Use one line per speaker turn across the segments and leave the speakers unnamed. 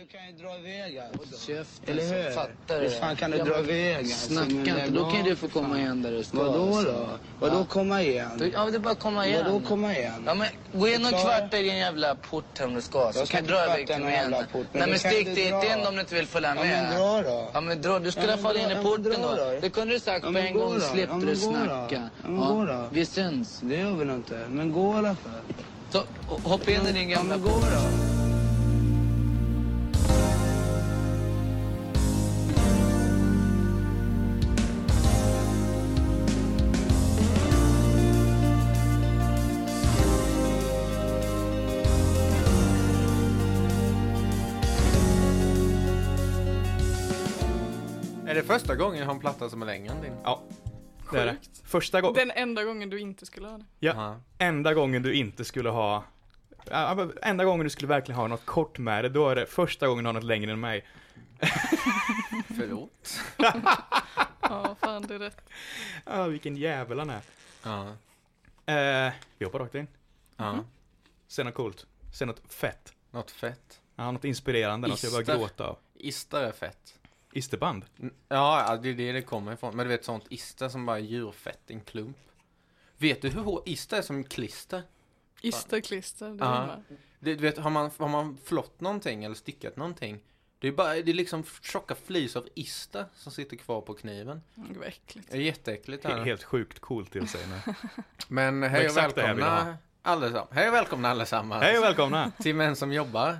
Du kan ju dra iväg alltså.
Käften,
Eller hur?
Fattar du
Hur fan kan du dra iväg alltså?
Snacka
Men
inte,
lägg
då kan
av,
ju du få
för
komma
fan.
igen där du ska.
Vadå
alltså.
då? Vadå
Ja.
komma igen?
Du- Ja, men det är bara att komma igen.
Vadå komma igen?
Ja, men gå in och
Förklara.
kvarta i din jävla port här om du ska. Så
Jag ska
kan du dra
inte
iväg
kvarta
till
någon
mig
jävla
igen.
port, men
Nej,
då kan
men stick
du
dit
dra.
in om du inte vill följa
Ja,
med.
men dra då.
Ja, men dra. Du skulle
Ja,
i alla
men
fall in
dra.
i
Ja, men
porten
dra
då.
då.
Det kunde du sagt
Ja,
på
men
en
gå
gång.
då.
Släppte
Ja, men
du
gå då.
snacka.
Ja, men gå då.
vi syns.
Det gör vi nog inte. Men gå i alla fall.
Så, hoppa in i din
Ja,
gamla
men gå då.
Är det första gången jag har en platta som är längre än din?
Ja, det är det. Första gången,
Den enda gången du inte skulle ha det.
Ja.
enda gången du inte skulle ha, ja, men enda gången du skulle verkligen ha något kort med det, då är det första gången du har något längre än mig.
Förlåt.
Ja, fan det är rätt.
Ja, vilken jävel han är.
Ja.
Eh, vi hoppar rakt in.
ja.
Säg något coolt. Säg Mm. något fett.
Något fett.
Ja, något inspirerande, något jag
Ister.
börjar gråta av.
Istar är fett.
Isterband.
N- Ja, ja, det är det det kommer ifrån. Men du vet sånt ista som bara är djurfett, en klump. Vet du hur hårt ista är som klister?
Isterklister, det
Ja.
är med.
Det, du vet, har man, har man flott någonting eller styckat någonting. Det är bara, det är liksom tjocka flis av ista som sitter kvar på kniven.
Gud Mm, vad äckligt.
Det är jätteäckligt.
He-
Här.
helt sjukt coolt till sig. nu.
Men hej och
exakt det här vill jag
välkomna allesammans. Hej och välkomna allesammans.
Hej och välkomna!
Till män som jobbar.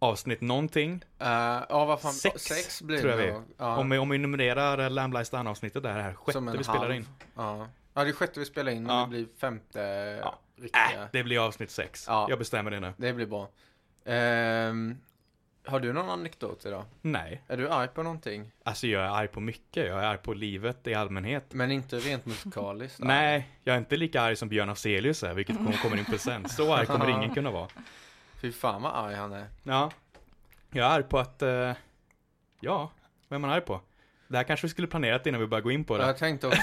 Avsnitt någonting.
Eh, ja, vad fan.
Sex,
sex blir
tror jag
det
vi
nog. Ja,
Om, vi, om vi numrerar Lamblistan avsnittet där här, sjätte
som en
vi spelar
halv.
in.
Ja. ja, det är sjätte vi spelar in, men
Ja.
det blir femte
Ja.
riktiga.
Äh, det blir avsnitt sex.
Ja.
Jag bestämmer det nu.
Det blir bra. Ehm, har du någon anekdot idag?
Nej,
Är du arg på någonting?
alltså jag är arg på mycket. Jag är arg på livet i allmänhet.
Men inte rent musikaliskt?
Nej, jag är inte lika arg som Björn Afzelius är, vilket kommer, kommer in på sen. Så arg kommer ingen kunna vara.
Fy fan vad arg han är.
Ja, jag är arg på att... eh, ja, vem är man arg på? Det här kanske vi skulle planerat innan vi började gå in på det.
Jag tänkte också...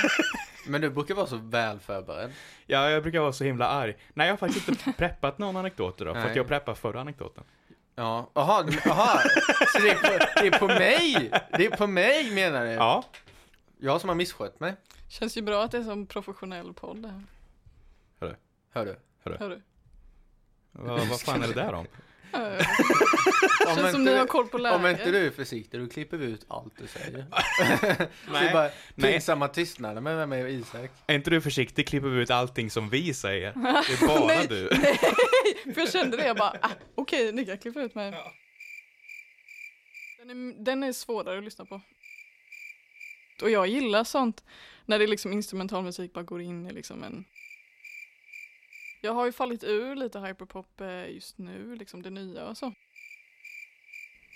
Men du brukar vara så väl förberedd.
Ja, jag brukar vara så himla arg. Nej, jag har faktiskt inte preppat någon anekdot idag, för
Nej.
att jag preppade förra anekdoten.
Ja, jaha, du- jaha. Så det är, på, det är på mig? Det är på mig menar du?
Ja,
Jag som har misskött mig.
Känns ju bra att det är som professionell podd det här.
Hör du?
Hör du?
vad, vad fan är det där om?
Ja,
Om
Känns som
inte
ni
du-
har koll på läget.
Om inte du är försiktig, då klipper vi ut allt du säger. Så det är
Nej.
bara
Nej.
pinsamma tystnader med mig och Isak.
Är inte du försiktig klipper vi ut allting som vi säger. Det är bara
Nej.
du.
För jag kände det, jag bara ah, okej, ni kan klippa ut mig. Den är, den är svårare att lyssna på. Och jag gillar sånt när det är liksom instrumentalmusik bara går in i liksom en... Jag har ju fallit ur lite hyperpop eh, just nu, liksom det nya och så.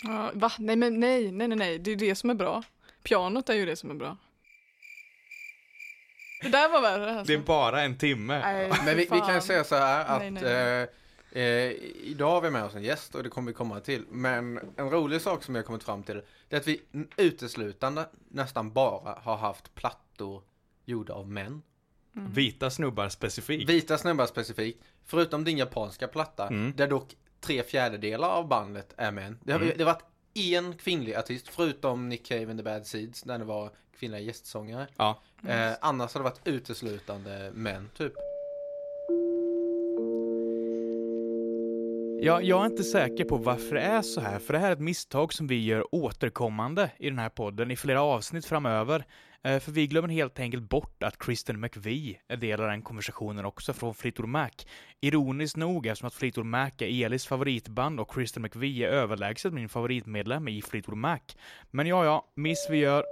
Ja, va? Nej men nej, nej nej nej, det är ju det som är bra. Pianot är ju det som är bra. Det där var värre alltså.
Det är bara en timme.
Nej,
Men vi,
fy
vi kan ju
fan.
säga så här att
Nej, nej,
Eh, eh, idag har vi med oss en gäst och det kommer vi komma till. Men en rolig sak som jag kommit fram till det är att vi n- uteslutande nästan bara har haft plattor gjorda av män.
Vita snubbar specifikt.
Vita snubbar specifikt, förutom din japanska platta,
Mm.
där dock tre fjärdedelar av bandet är män. Det har,
Mm.
det har varit en kvinnlig artist, förutom Nick Cave and the Bad Seeds, när det var kvinnliga gästsångare.
Ja.
Eh, annars har det varit uteslutande män, typ.
Ja, jag är inte säker på varför det är så här, för det här är ett misstag som vi gör återkommande i den här podden i flera avsnitt framöver. Eh, För vi glömmer helt enkelt bort att Kristen McVie är del av den konversationen också från Fleetwood Mac. Ironiskt nog eftersom att Fleetwood Mac är Elis favoritband och Kristen McVie är överlägset min favoritmedlem i Fleetwood Mac. Men ja, ja, miss vi gör.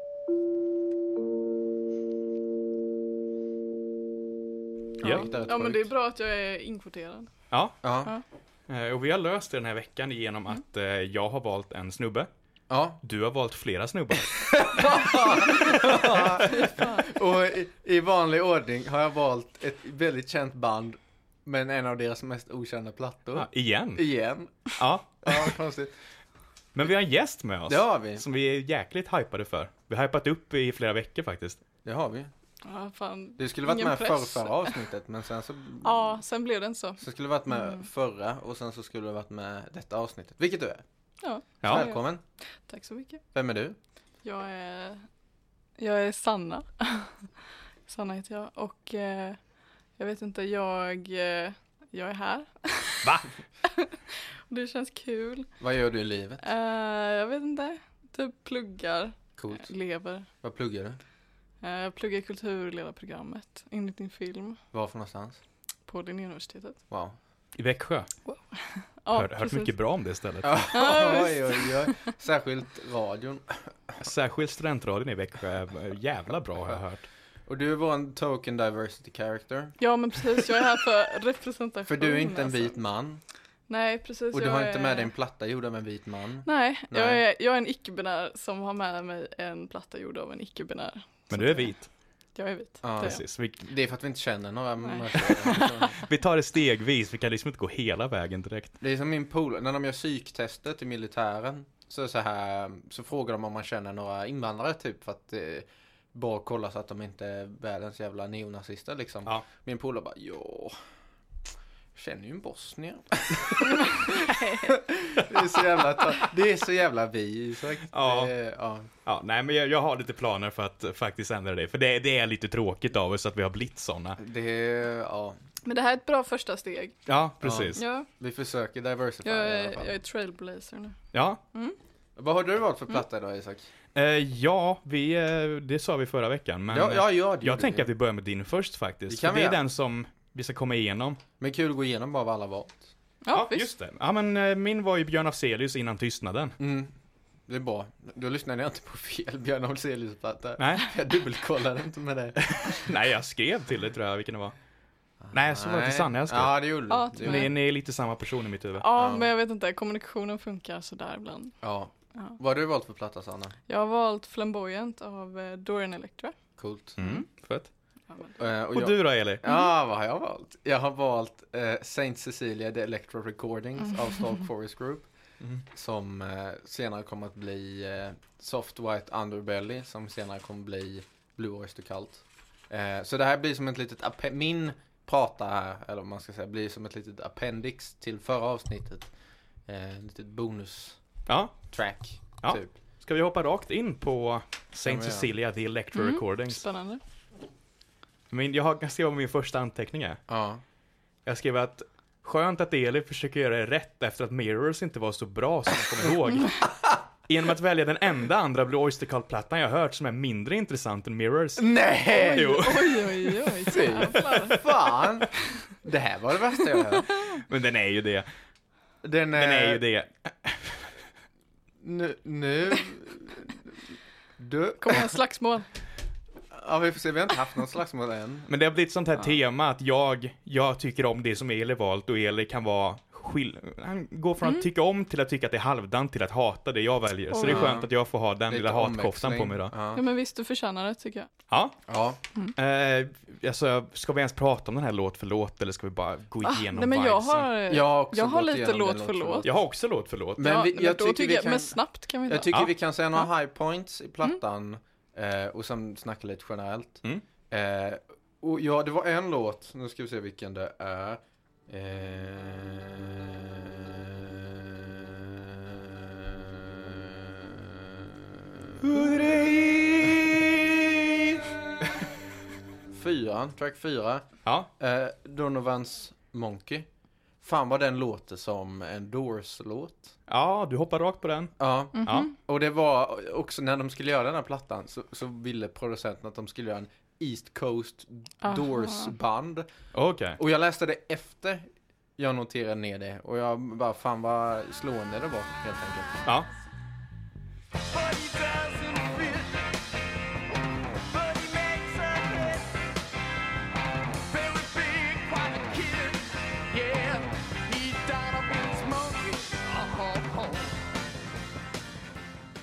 Ja.
Gick där ett
Ja men
sjukt?
det är bra att jag är inkvoterad.
Ja,
Ja.
eh, och vi har löst det den här veckan genom att eh, jag har valt en snubbe.
ja.
Du har valt flera snubbar.
Och i, i vanlig ordning har jag valt ett väldigt känt band, men en av deras mest okända plattor.
Ja, igen.
Igen.
Ja,
Ja, konstigt.
men vi har en gäst med oss.
Det har vi.
Som vi är jäkligt hypade för. Vi har hypat upp i flera veckor faktiskt.
Det har vi.
Ja, fan.
Du skulle varit
Ingen
med förra,
press.
förra avsnittet men sen så
Ja, sen blev det inte så.
Så skulle du varit med
Mm.
förra och sen så skulle du varit med detta avsnittet, vilket du är.
Ja,
Ja.
Välkommen!
tack så mycket.
Vem är du?
Jag är, jag är Sanna. Sanna heter jag och eh, jag vet inte, jag, eh, jag är här.
Va?
det känns kul.
Vad gör du i livet?
Eh, jag vet inte, typ pluggar,
Coolt.
lever.
Vad pluggar du?
Eh, jag pluggar kulturledarprogrammet enligt din film
Var för någonstans?
på Linnéuniversitetet.
Wow.
I Växjö.
Ja,
Hör, hört
precis.
mycket bra om det stället.
Ja,
oj, oj, oj. Särskilt radion.
Särskilt studentradion i Växjö är jävla bra har jag hört.
Och du är vår token diversity character.
Ja men precis, jag är här för representation.
För du är inte en
alltså.
vit man.
Nej precis.
Och du
jag
har inte
är-
med dig en platta gjord av en vit man.
Nej, Jag,
Nej.
är, jag är en icke-binär som har med mig en platta gjord av en icke-binär.
Men du är vit.
Jag är vit.
Ja,
det är jag.
Precis. Vi,
Det är för att vi inte känner några
Nej.
mörkare.
vi tar det stegvis, vi kan liksom inte gå hela vägen direkt.
Det är som min polare, när de gör psyktestet i militären så, så, här, så frågar de om man känner några invandrare typ för att eh, bara kolla så att de inte är världens jävla neonazister liksom.
Ja.
Min polare bara ja, jag känner ju en bosnier. det, är så jävla, ta- det är så jävla vi Isak.
Ja.
Det är- ja.
Ja, nej men jag, jag har lite planer för att faktiskt ändra det. För det, det är lite tråkigt av oss att vi har blivit sådana.
Det är, ja.
Men det här är ett bra första steg.
Ja, precis. Ja.
Ja,
Vi försöker diversifiera
jag
i
är,
alla fall.
jag Mm. är trailblazer nu.
Vad har du valt för platta idag Isak?
Eh, ja, vi, eh, det sa vi förra veckan. Men
ja,
eh,
ja, ja, det
jag
gjorde
tänker
vi.
att vi börjar med din först
Det
faktiskt.
kan
för
vi
det är
göra.
den som vi ska komma igenom.
Men kul att gå igenom bara vad alla valt.
Ja, visst.
just det. Ja, men eh, min var ju Björn Afzelius innan tystnaden.
Mm. Det är bra. Då lyssnade jag inte på fel Björn Afzelius-platta.
Nej,
Jag dubbelkollade inte med det.
nej, jag skrev till dig tror jag, vilken det var. Nej, så var det till Sanna jag skrev.
Ja, det gjorde
Ja,
du. Det
till
gjorde
Ni,
du.
mig.
ni är lite samma person i mitt huvud.
Ja,
Ja.
men jag vet inte, kommunikationen funkar sådär ibland.
Ja.
Ja.
Vad har du valt för platta, Sanna?
Jag har valt Flamboyant av eh, Dorian Electra.
Coolt.
Mm, fett.
Ja, men-
Eh, och
Och
jag...
du då Eli?
Ja, vad har jag valt? Jag har valt eh, Saint Cecilia The Electro Recordings av Stark Forest Group.
Mm.
Som eh, senare kommer att bli eh, Soft White Underbelly. Som senare kommer att bli Blue Oyster Cult. Eh, så det här blir som ett litet... appe- Min prata här, eller vad man ska säga, blir som ett litet appendix till förra avsnittet. Eh, ett litet bonus-track,
Ja, Ja.
typ.
Ska vi hoppa rakt in på Saint
men ja.
Cecilia, The Electro
Mm.
Recordings?
Spännande.
Min, jag har- jag skrev vad min första anteckning är.
Ja.
Jag skrev att skönt att Eli försöker göra det rätt efter att Mirrors inte var så bra som jag kommer ihåg. Genom att välja den enda andra Blue Oyster Cult-plattan jag hört som är mindre intressant än Mirrors.
Mm. Nej!
Jo,
Oj, oj, oj.
Fy
jävlar.
Fan! Det här var det värsta jag hört.
men den är ju det.
Den eh,
Den är ju det.
Nu... nu du.
Kommer det en slagsmål?
Ja, vi får se. Vi har inte haft någon slagsmål än.
Men det har blivit sånt här
Ja.
tema att jag, jag tycker om det som Eli valt och Eli kan vara skil... Han går från att tycka om till att tycka att det är halvdant till att hata det jag väljer. Så det är
Oj.
skönt att jag får ha den
Lite
lilla hatkoftan på
omväxling.
mig då.
Ja,
Ja.
men visst, du förtjänar det tycker jag.
Ja,
ja.
Eh, alltså, ska vi ens prata om den här låt för låt eller ska vi bara gå
Ah,
igenom
nej, men jag
vibesen?
har,
Jag har, också
jag har
gått
lite
igenom
låt
det
för låt.
Jag har också låt för låt.
Men
ja,
vi,
nej,
jag,
men då
tycker vi
jag-
kan,
Men snabbt kan vi
jag
ta.
tycker
Ja.
vi kan säga några high points i plattan eh, och sen snacka lite generellt.
Mm.
Eh, och ja, det var en låt. Nu ska vi se vilken det är. Eh... Fyran, track fyra.
Ja,
Eh, Donovans Monkey. Fan vad den låter som en Doors-låt.
ja, du hoppar rakt på den.
Ja,
Ja.
och det var också när de skulle göra den här plattan så, så ville producenten att de skulle göra en East Coast
Aha.
Doors-band.
Okej.
Och jag läste det efter jag noterade ner det och jag bara fan vad slående det var helt enkelt.
Ja.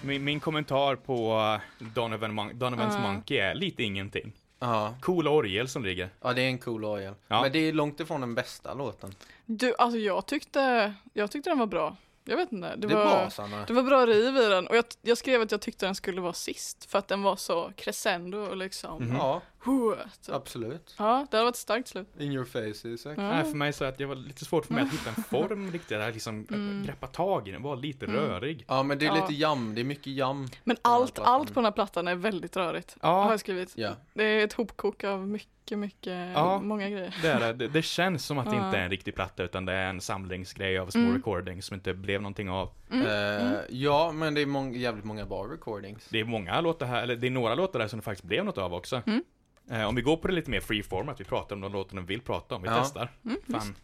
Min, min kommentar på eh, Donovan Mon- Donovans
Ja.
Monkey är lite ingenting.
Ja,
Cool orgel som ligger.
ja det är en cool orgel.
Ja.
Men det är långt ifrån den bästa låten.
Du, alltså jag tyckte, jag tyckte den var bra. Jag vet inte.
Det,
Det,
är
var, Mm.
bra Sanna.
det var bra riv i den. Och jag, jag skrev att jag tyckte den skulle vara sist för att den var så crescendo och liksom
Mhm.
Ja,
Huh, typ.
Absolut. Mm.
Ja, det hade varit ett starkt slut.
In your face, Isak.
Ja.
Nej, för mig så att det var lite svårt för mig att hitta en form riktigt, att liksom
Mm.
greppa tag i den, vara lite rörig.
Ja, men det är
Ja.
lite jam. Det är mycket jam.
Men
här
allt,
plattan.
allt på den här plattan är väldigt rörigt. Har
Ja,
jag skrivit.
Ja.
Det är ett hopkok av mycket, mycket,
Ja.
många grejer.
det, är, det. det, det känns som att det
Ja.
inte är en riktig platta utan det är en samlingsgrej av små
Mm.
recordings som inte blev någonting av.
Eh, Ja, men det är mång- jävligt många bra recordings.
Det är många låtar här, eller det är några låtar där som det faktiskt blev något av också.
Mm.
Eh, om vi går på det lite mer freeform, att vi pratar om de låtarna vi vill prata om, vi
Ja.
testar.
Mm,
Fan.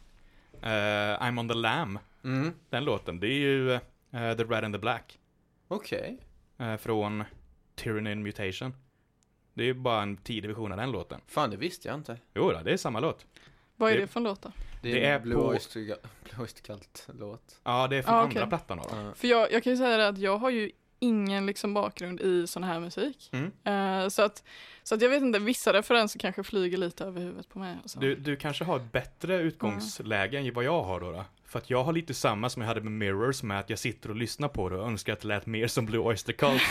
Eh, I'm on the lamb,
Mm.
den låten, det är ju eh, The Red and the Black.
Okej.
eh, från Tyranny and Mutation. Det är ju bara en tidig version av den låten.
Fan, det visste jag inte.
Jo då, det är samma låt.
Vad är
Det-
det för en låt då?
Det är,
Det är
Blue,
på-
Oyster, Blue Oyster Cult-låt.
Ja, det är från
Ah,
andra
okej.
plattan av dem.
Ja.
För jag, jag kan ju säga det att jag har ju ingen liksom bakgrund i sån här musik.
Mm.
Eh, så, att, så att jag vet inte, vissa referenser kanske flyger lite över huvudet på mig. Och så.
Du, du kanske har ett bättre utgångsläge än vad jag har då, då. För att jag har lite samma som jag hade med Mirrors med att jag sitter och lyssnar på det och önskar att det lät mer som Blue Oyster Cult.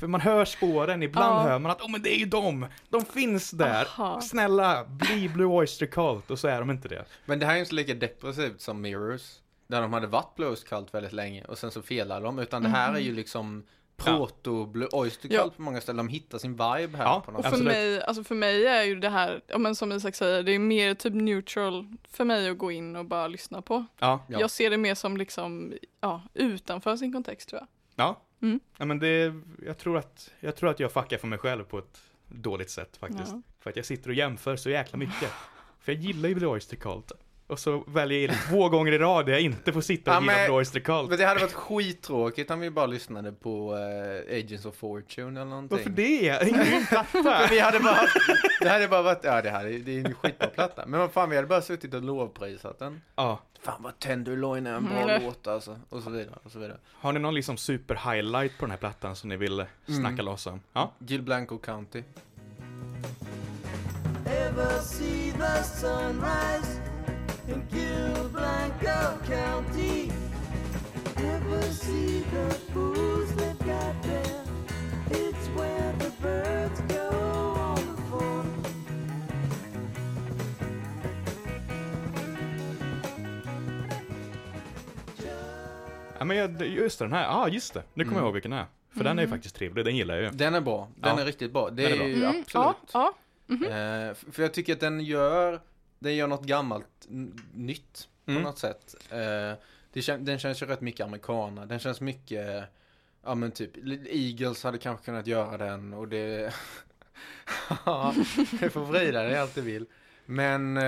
För man hör spåren, ibland
Mm. Ja.
hör man att åh men det är ju dem! De finns där!
Aha.
Snälla, bli Blue Oyster Cult! Och så är de inte det.
Men det här är ju inte lika depressivt som Mirrors. Där de hade varit Blue Oyster Cult väldigt länge och sen så felade de. Utan det här är
Mm.
ju liksom proto-Blue Oyster Cult
Ja.
på många ställen. De hittar sin vibe här
Ja,
på
och
något
för
absolut.
mig, alltså för mig är ju det här, ja, men som Isak säger, det är mer typ neutral för mig att gå in och bara lyssna på.
Ja,
Ja.
Jag ser det mer som liksom, ja, utanför sin kontext tror jag.
Ja.
Mm.
ja men det, jag, tror att, jag tror att jag fuckar för mig själv på ett dåligt sätt faktiskt.
Ja.
För att jag sitter och jämför så jäkla mycket. För jag gillar ju Blue Oyster Cult. Och så väljer jag två gånger i rad där jag inte får sitta och
Ja,
gilla
men-
Blue Oyster Cult.
Men det hade varit skittråkigt om vi bara lyssnade på eh, Agents of Fortune eller någonting.
Varför det? Ingen platta!
Vi hade bara, det hade bara varit, ja det här är, det är en skitbra platta. Men vad fan, vi hade bara suttit och lovprisat den.
ja.
Fan vad Tenderloin är en bra
Mm.
låt alltså. Och så vidare, och så vidare.
Har ni någon liksom super-highlight på den här plattan som ni vill
Mm.
snacka loss om? Ja.
Gil Blanco County.
ever see the sunrise in Gil Blanco County? Ever see the fools they've got there? It's where the birds go on the phone.
ja men jag, just det, den här, ja ah, just det. Nu
Mm.
kommer jag ihåg vilken det är. För den är ju faktiskt trevlig, den gillar jag ju.
Den är bra, den
Ja.
är riktigt bra. Det
Den
är,
är bra.
ju
Mm, ja,
absolut.
ja. mhm.
Eh, f- för jag tycker att den gör, den gör något gammalt n- nytt på
Mm.
något sätt. Eh, det kän, den känns ju rätt mycket amerikana. Den känns mycket, ja men typ, Little Eagles hade kanske kunnat göra den och det... Ja, du får vrida dig allt du vill. Men eh,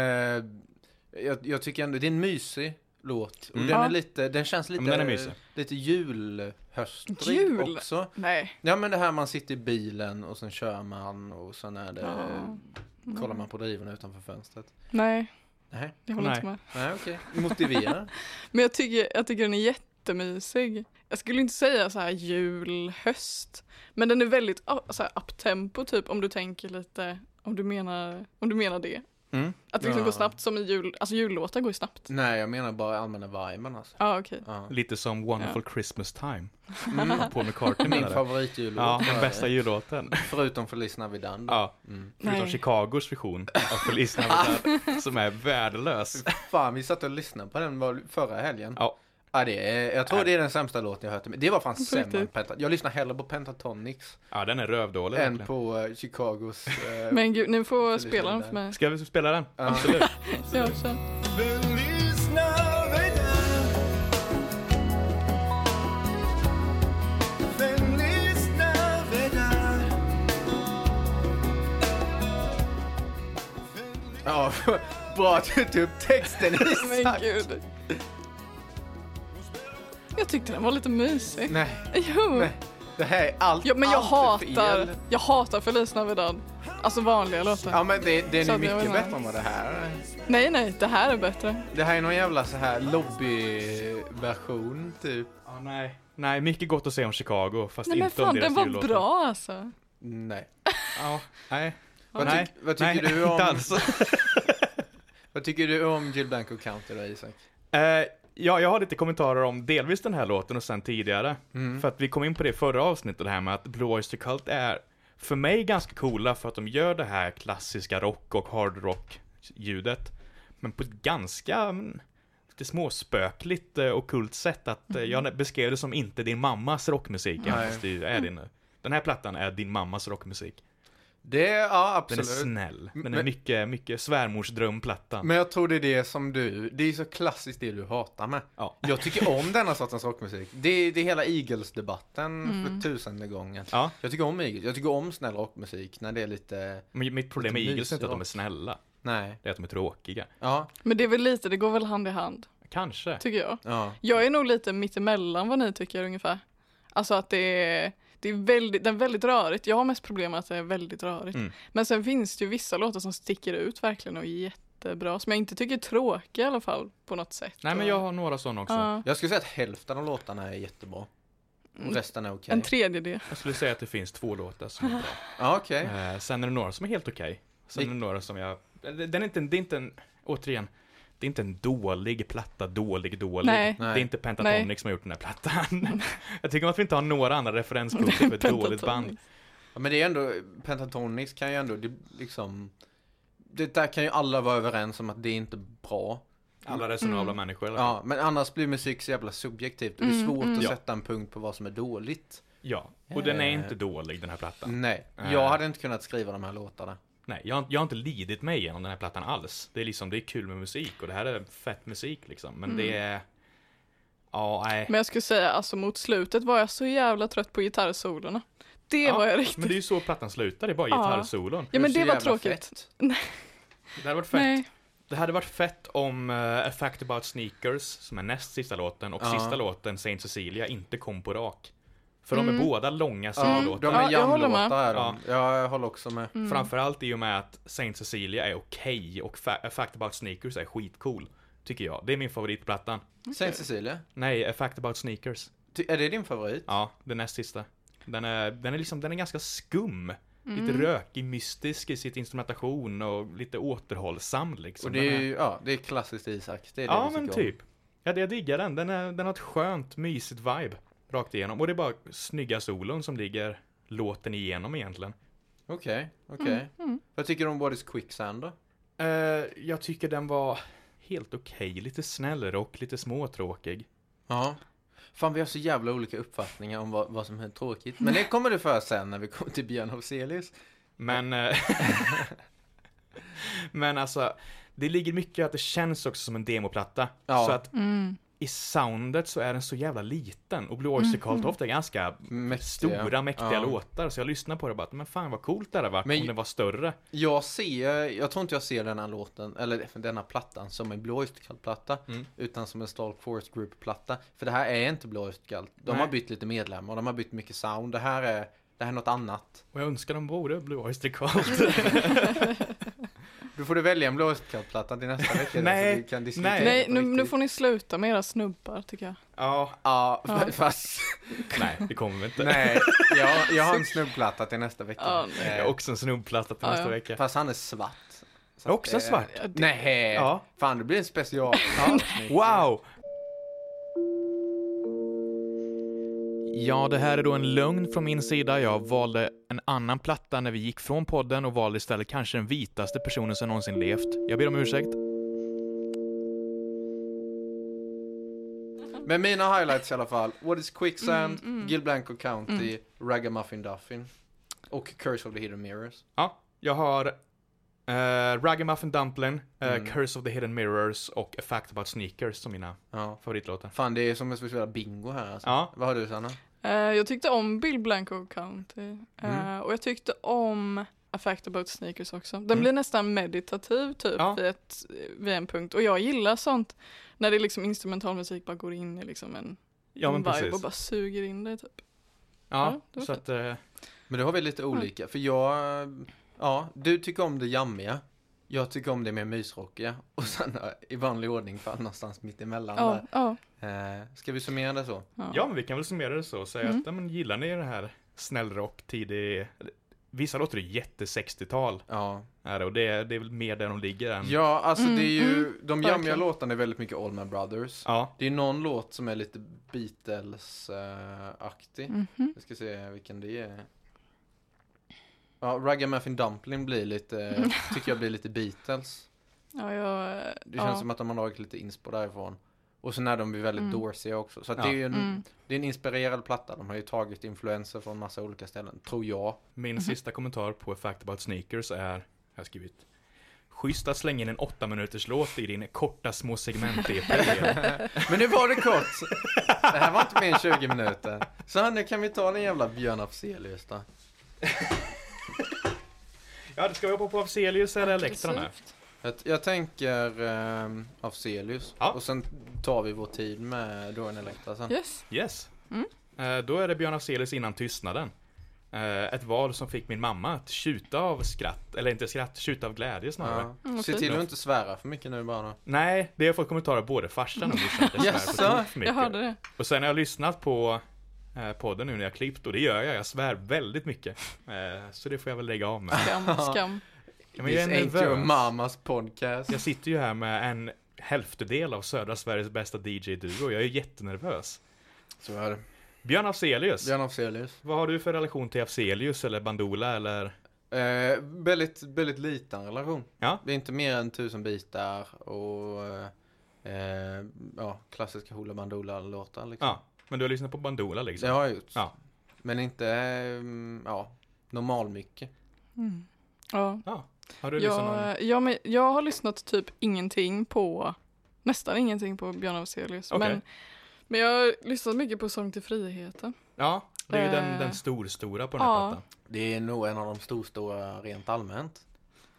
jag, jag tycker ändå, det är en mysig låt. Och
Mm.
den
Ja.
är lite, den känns
men
lite,
den är mysig.
lite julhöstrig
Jul?
också.
Nej.
Ja men det här man sitter i bilen och sen kör man och sen är det,
Ja.
mm.
kollar man på drivorna utanför fönstret.
Nej,
Nej,
jag håller
Nej.
inte med.
nej okej. Motivera.
Men jag tycker, jag tycker den är jättemysig. Jag skulle inte säga så här jul, höst. Men den är väldigt ah, så här uptempo typ om du tänker lite, om du menar, om du menar det.
Mm.
Att det liksom
Ja.
går snabbt som i jul, alltså jullåtar går ju snabbt. Ja
nej jag menar bara allmänna viben alltså.
ah, okej.
Ja.
Lite som Wonderful Christmas Time.
Mm.
Paul McCartney
Min
menar det.
favoritjullåt.
Ja,
var
den
det.
bästa jullåten.
Förutom Feliz Navidad. då.
Ja.
Mm.
Förutom
Nej.
Chicagos version av Feliz Navidad som är värdelös.
Fan vi satt och lyssnade på den var- förra helgen.
Ja.
Ja, det är, jag tror det är den sämsta låten jag hört. Men det var fan sämre än
riktigt.
Penta- Jag lyssnar hellre på Pentatonics
Ja, den är rövdålig
än
verkligen.
på eh, Chicagos... eh,
Men gud, ni får
Feliz
spela den
Navidad.
för mig.
Ska vi spela den?
Ja.
Absolut.
Ja, kör.
Feliz Navidad. Feliz Navidad.
Ja, bra att du tog upp texten
Men
Isak.
gud. Jag tyckte den var lite mysig.
Nej.
Jo.
Nej. Det här är allt,
Ja, men jag
allt är
hatar,
fel.
jag hatar Feliz Navidad. Alltså vanliga låtar.
Ja men det, den
Så
är
att jag
mycket
menar-
bättre än vad det här är.
Nej, nej, det här är bättre.
Det här är någon jävla så här lobbyversion typ.
Ja, nej. Nej, mycket gott att säga om Chicago, fast
Nej men
inte om
fan,
deras
den var
jullåtar.
bra alltså.
Nej.
Ja, nej.
Vad,
nej.
tyck- vad tycker
nej,
du om...
Inte alls.
Vad tycker du om Jill Blanco County då Isak?
Eh, ja, jag har lite kommentarer om delvis
Mm.
den här låten och sen tidigare. För att vi kom in på det i förra avsnittet, det här med att Blue Oyster Cult är för mig ganska coola för att de gör det här klassiska rock och hardrock-ljudet. Men på ett ganska mm, lite småspökligt eh, ockult sätt att eh, jag beskrev det som inte din mammas rockmusik. även
Mm. Nej. Mm.
fast Det är det nu. Den här plattan är din mammas rockmusik.
Det, ja
Den
absolut.
är snäll. Den är
Men-
mycket, mycket svärmorsdrömplattan.
Men jag tror det är det som du, det är så klassiskt det du hatar med.
Ja.
Jag tycker om denna sortens rockmusik. Det är, det är hela Eagles-debatten för tusende gången.
Ja.
Jag tycker om Eagles, jag tycker om snäll rockmusik när det är lite,
Men mitt problem med
Lite
Eagles är inte att de är
mysig
snälla.
nej,
Det är att de är tråkiga.
ja,
Men det är väl lite, det går väl hand i hand,
Kanske.
tycker jag.
ja.
Jag är nog lite mittemellan vad ni tycker ungefär. Alltså att det är, det är väldigt, den är väldigt rörigt. Jag har mest problem med att det är väldigt rörigt.
Mm.
Men sen finns det ju vissa låtar som sticker ut verkligen och är jättebra. Som jag inte tycker är tråkiga i alla fall på något sätt.
Nej men
Och-
jag har några sådana också.
Ja,
Jag skulle säga att hälften av låtarna är jättebra. Och resten är okej.
en tredjedel.
Jag skulle säga att det finns två låtar som är bra.
Ja, okej.
Eh, sen är det några som är helt okej. Sen är det några som jag... Den är inte, det är inte en... Återigen. Det är inte en dålig platta, dålig, dålig.
Nej.
Det är
Nej.
inte Pentatonix
Nej.
som har gjort den här plattan. jag tycker att vi inte har några andra referenspunkter för Typ ett dåligt band.
Pentatonix.
Ja, men det är ändå, Pentatonix kan ju ändå, det, liksom, det där kan ju alla vara överens om att det är inte bra.
Alla resonabla
Mm.
människor. eller?
Ja, men annars blir musik så jävla subjektivt och det är svårt att
Ja.
sätta en punkt på vad som är dåligt.
ja. Och den är
Eh. Mm.
inte dålig, den här plattan.
Nej,
Eh.
jag hade inte kunnat skriva de här låtarna.
Nej, jag, har- jag har inte lidit mig igenom den här plattan alls. Det är liksom, det är kul med musik och det här är fett musik liksom.
Mm.
Men det är... Ja, nej.
Men jag skulle säga alltså mot slutet var jag så jävla trött på gitarrsolorna. Det
ja,
var jag riktigt.
Men det är ju så plattan slutar, det är bara
Ja.
gitarrsolon.
Ja men
så
det var
jävla
tråkigt.
fett.
Det hade varit fett
Nej.
Det hade varit fett om uh, A Fact About Sneakers, som är näst sista låten, och
Ja.
sista låten, Saint Cecilia, inte kom på rak. För
Mm.
de är båda långa
Ja,
solollåtar.
de
Ja,
är
jag håller
jamlåtar är de.
Ja.
Ja, jag håller också med.
Mm.
Framförallt i och med att Saint Cecilia är okej och Fa- A Fact About Sneakers är skitcool. Tycker jag. Det är min favorit på plattan.
Mm.
Saint Cecilia,
Nej, A Fact About Sneakers.
ty- är det din favorit?
Ja, den näst sista. Den är, den är liksom, den är ganska skum. Lite
Mm.
rökig, mystisk i sitt instrumentation och lite återhållsam liksom.
Och det
Den
är
är-
ju, ja, det är klassiskt Isak. Det är det
Ja
vi
men
tycker om.
typ. Ja, det- jag diggar den. Den, är, den har ett skönt, mysigt vibe rakt igenom. Och det är bara snygga solon som ligger låten igenom egentligen.
Okej,
Mm,
okej. Vad tycker du om What is Quicksand då?
Eh, jag tycker den var helt okej. Lite snäll rock, lite småtråkig.
Ja. Fan vi har så jävla olika uppfattningar om vad, vad som är tråkigt. Men det kommer du för sen när vi kommer till Björn Afzelius.
Men... eh, men alltså, det ligger mycket i att det känns också som en demoplatta.
Ja.
Så att i soundet så är den så jävla liten. Och Blue Oyster Cult ofta är ganska
Mäktiga.
stora, mäktiga
Ja.
låtar. Så jag lyssnar på det och bara, men fan vad coolt det hade varit
Men-
om det var större.
Jag ser, jag tror inte jag ser denna låten, eller denna plattan som en Blå Oysterkalt-platta.
Mm.
Utan som en Stalk Forest Group-platta. För det här är inte Blå Oysterkalt. De
Nej.
har bytt lite medlemmar, de har bytt mycket sound. Det här är, det här är något annat.
Och jag önskar de vore Blue Oyster Cult.
Då får du välja en Blå Oysterkalt-platta till nästa vecka.
Nej,
så vi kan diskutera
nej.
det
Nej,
på
nu, nu
riktigt.
får ni sluta med era snubbar tycker jag.
ja,
Ja, fa- fast...
nej, det kommer vi inte.
Nej, jag, jag har en snubbplatta till nästa vecka. Eh,
Ja,
Jag har också en snubbplatta till
Ja,
nästa
ja.
vecka.
Fast han är svart. Så
Jag är också
att, eh,
svart.
Nej,
Ja.
fan det blir en special.
Wow!
Ja, det här är då en lögn från min sida. Jag valde en annan platta när vi gick från podden och valde istället kanske den vitaste personen som någonsin levt. Jag ber om ursäkt.
Men mina highlights i alla fall. What is Quicksand, Gil Blanco County, Ragamuffin Duffin och Curse of the Hidden Mirrors.
Ja, jag har uh, Ragamuffin Dumplin, eh,
Mm.
Curse of the Hidden Mirrors och A Fact About Sneakers som mina
Ja.
favoritlåtar.
Fan det är som att spela bingo här alltså.
Ja.
Vad har du Sanna?
Eh, jag tyckte om Bill Blanco County. Eh,
Mm.
Och jag tyckte om A Fact About Sneakers också. Den blir nästan meditativ typ
Ja.
vid, ett, vid en punkt. Och jag gillar sånt när det är liksom instrumentalmusik bara går in i liksom en,
Ja, men
en vibe
precis.
och bara suger in dig typ.
Ja,
Ja, det var
så att... eh,
Men då har vi lite olika. För jag, ja, du tycker om det jammiga. Jag tycker om det mer mysrockiga. Och Sanna i vanlig ordning fan någonstans mitt emellan
Ja, ja.
där. Eh, ska vi summera det så?
ja, men vi kan väl summera det så och säga att, ja, men gillar ni den här snällrock, tidig... Vissa låter det jätte-60-tal,
Ja.
är det, och det är, det är väl mer där de ligger än...
Ja, alltså det är ju, de jammiga
verkligen.
låtarna är väldigt mycket All My Brothers.
ja.
Det är någon låt som är lite eh,
Mm. Mhm.
Beatles-aktig. Jag ska se vilken det är. Ja, Ragamuffin Dumpling blir lite, tycker jag blir lite Beatles.
Ja, jag... eh,
Det
ja.
känns som att de har dragit lite inspo därifrån. Och sen är de ju väldigt
Mm.
dorsiga också. Så att
Ja.
det är ju en,
Mm.
det är en inspirerad platta. De har ju tagit influenser från massa olika ställen, tror jag.
Min sista kommentar på Fact About Sneakers är, jag har skrivit, Schysst att slänga in en 8 minuters låt i din korta små segment-EP.
Men nu var det kort! Det här var inte mer än 20 minuter. Så nu kan vi ta den jävla Björn Afzelius då.
ja, det ska vi hoppa på Afzelius eller Elektra nu?
Aggressivt.
Jag, jag tänker ehm, Afzelius.
Ja.
Och sen tar vi vår tid med Dorian Electra sen.
Yes.
Yes.
Mm.
Eh, Då är det Björn Afzelius innan tystnaden. Eh, Ett val som fick min mamma att tjuta av skratt, eller inte skratt, tjuta av glädje snarare.
Ja.
Mm, vad
Se
fint.
till att inte svära för mycket nu bara.
Nej, det har jag fått kommentarer av både farsan och morsan. att jag svär på
Jaså?
tok för mycket.
Jag hörde det.
Och sen har jag lyssnat på eh, podden nu när jag klippt och det gör jag, jag svär väldigt mycket. Eh, Så det får jag väl lägga av med.
Skam, skam.
Ja, men
This
jag, är
ain't your
nervös.
mamas podcast.
jag sitter ju här med en hälftedel av södra Sveriges bästa DJ-duo, jag är jättenervös.
Så är det.
Björn Afzelius,
Björn Afzelius.
vad har du för relation till Afzelius eller Bandula eller?
Eh, väldigt, väldigt liten relation.
Ja.
Det är inte mer än tusen bitar och eh, eh, ja, klassiska Hoola Bandoola-låtar. Liksom.
Ja, men du har lyssnat på Bandula
Det
liksom?
har jag gjort.
Ja.
Men inte, eh, ja, normal mycket.
Mm. Ja.
Har du lyssnat någon?
Jag, ja, eh, men jag har lyssnat typ ingenting på, nästan ingenting på Björn Afzelius.
Okej.
Men, men jag har lyssnat mycket på Sång till friheten.
Ja, det är ju den,
Eh,
den stor-stora på den här
ja.
plattan.
Det är nog en av de storstora rent allmänt.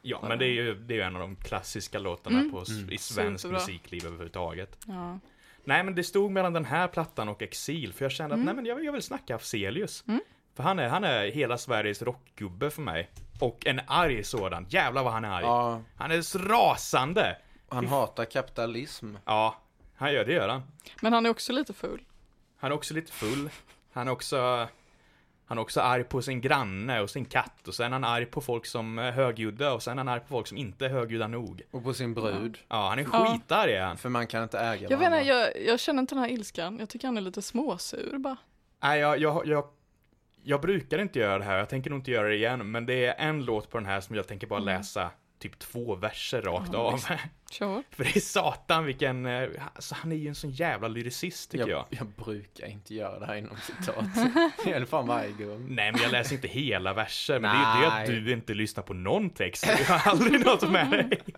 Ja, men det är ju, det är ju en av de klassiska låtarna
Mm.
på, s-
Mm.
i svensk
Superbra.
musikliv överhuvudtaget.
Ja.
Nej, men det stod mellan den här plattan och Exil, för jag kände att
Mm.
nej, men jag, vill- jag vill snacka Afzelius.
Mm.
För han är, han är hela Sveriges rockgubbe för mig. Och en arg sådan. Jävlar vad han är arg.
Ja,
Han är så rasande!
han hatar kapitalism.
Ja, han gör det gör han.
Men han är också lite ful.
Han är också lite full. Han är också... Han är också arg på sin granne och sin katt och sen är han arg på folk som är högljudda och sen är han arg på folk som inte är högljudda nog.
Och på sin brud.
Ja, han är
Ja.
skitarg är han.
För man kan inte äga
Jag, vet
varandra.
inte, jag, jag känner inte den här ilskan. Jag tycker han är lite småsur bara.
Nej, jag, jag, jag, jag brukar inte göra det här, jag tänker nog inte göra det igen, men det är en låt på den här som jag tänker bara
Mm.
läsa typ två verser rakt
Ja,
av.
visst. Sure.
För det är satan vilken, eh, alltså han är ju en sån jävla lyricist tycker jag.
jag, jag brukar inte göra det här inom citat. jag gör det fan varje gång.
Nej men jag läser inte hela verser, men det är ju det att
Nej.
du inte lyssnar på någon text, du har aldrig något med dig.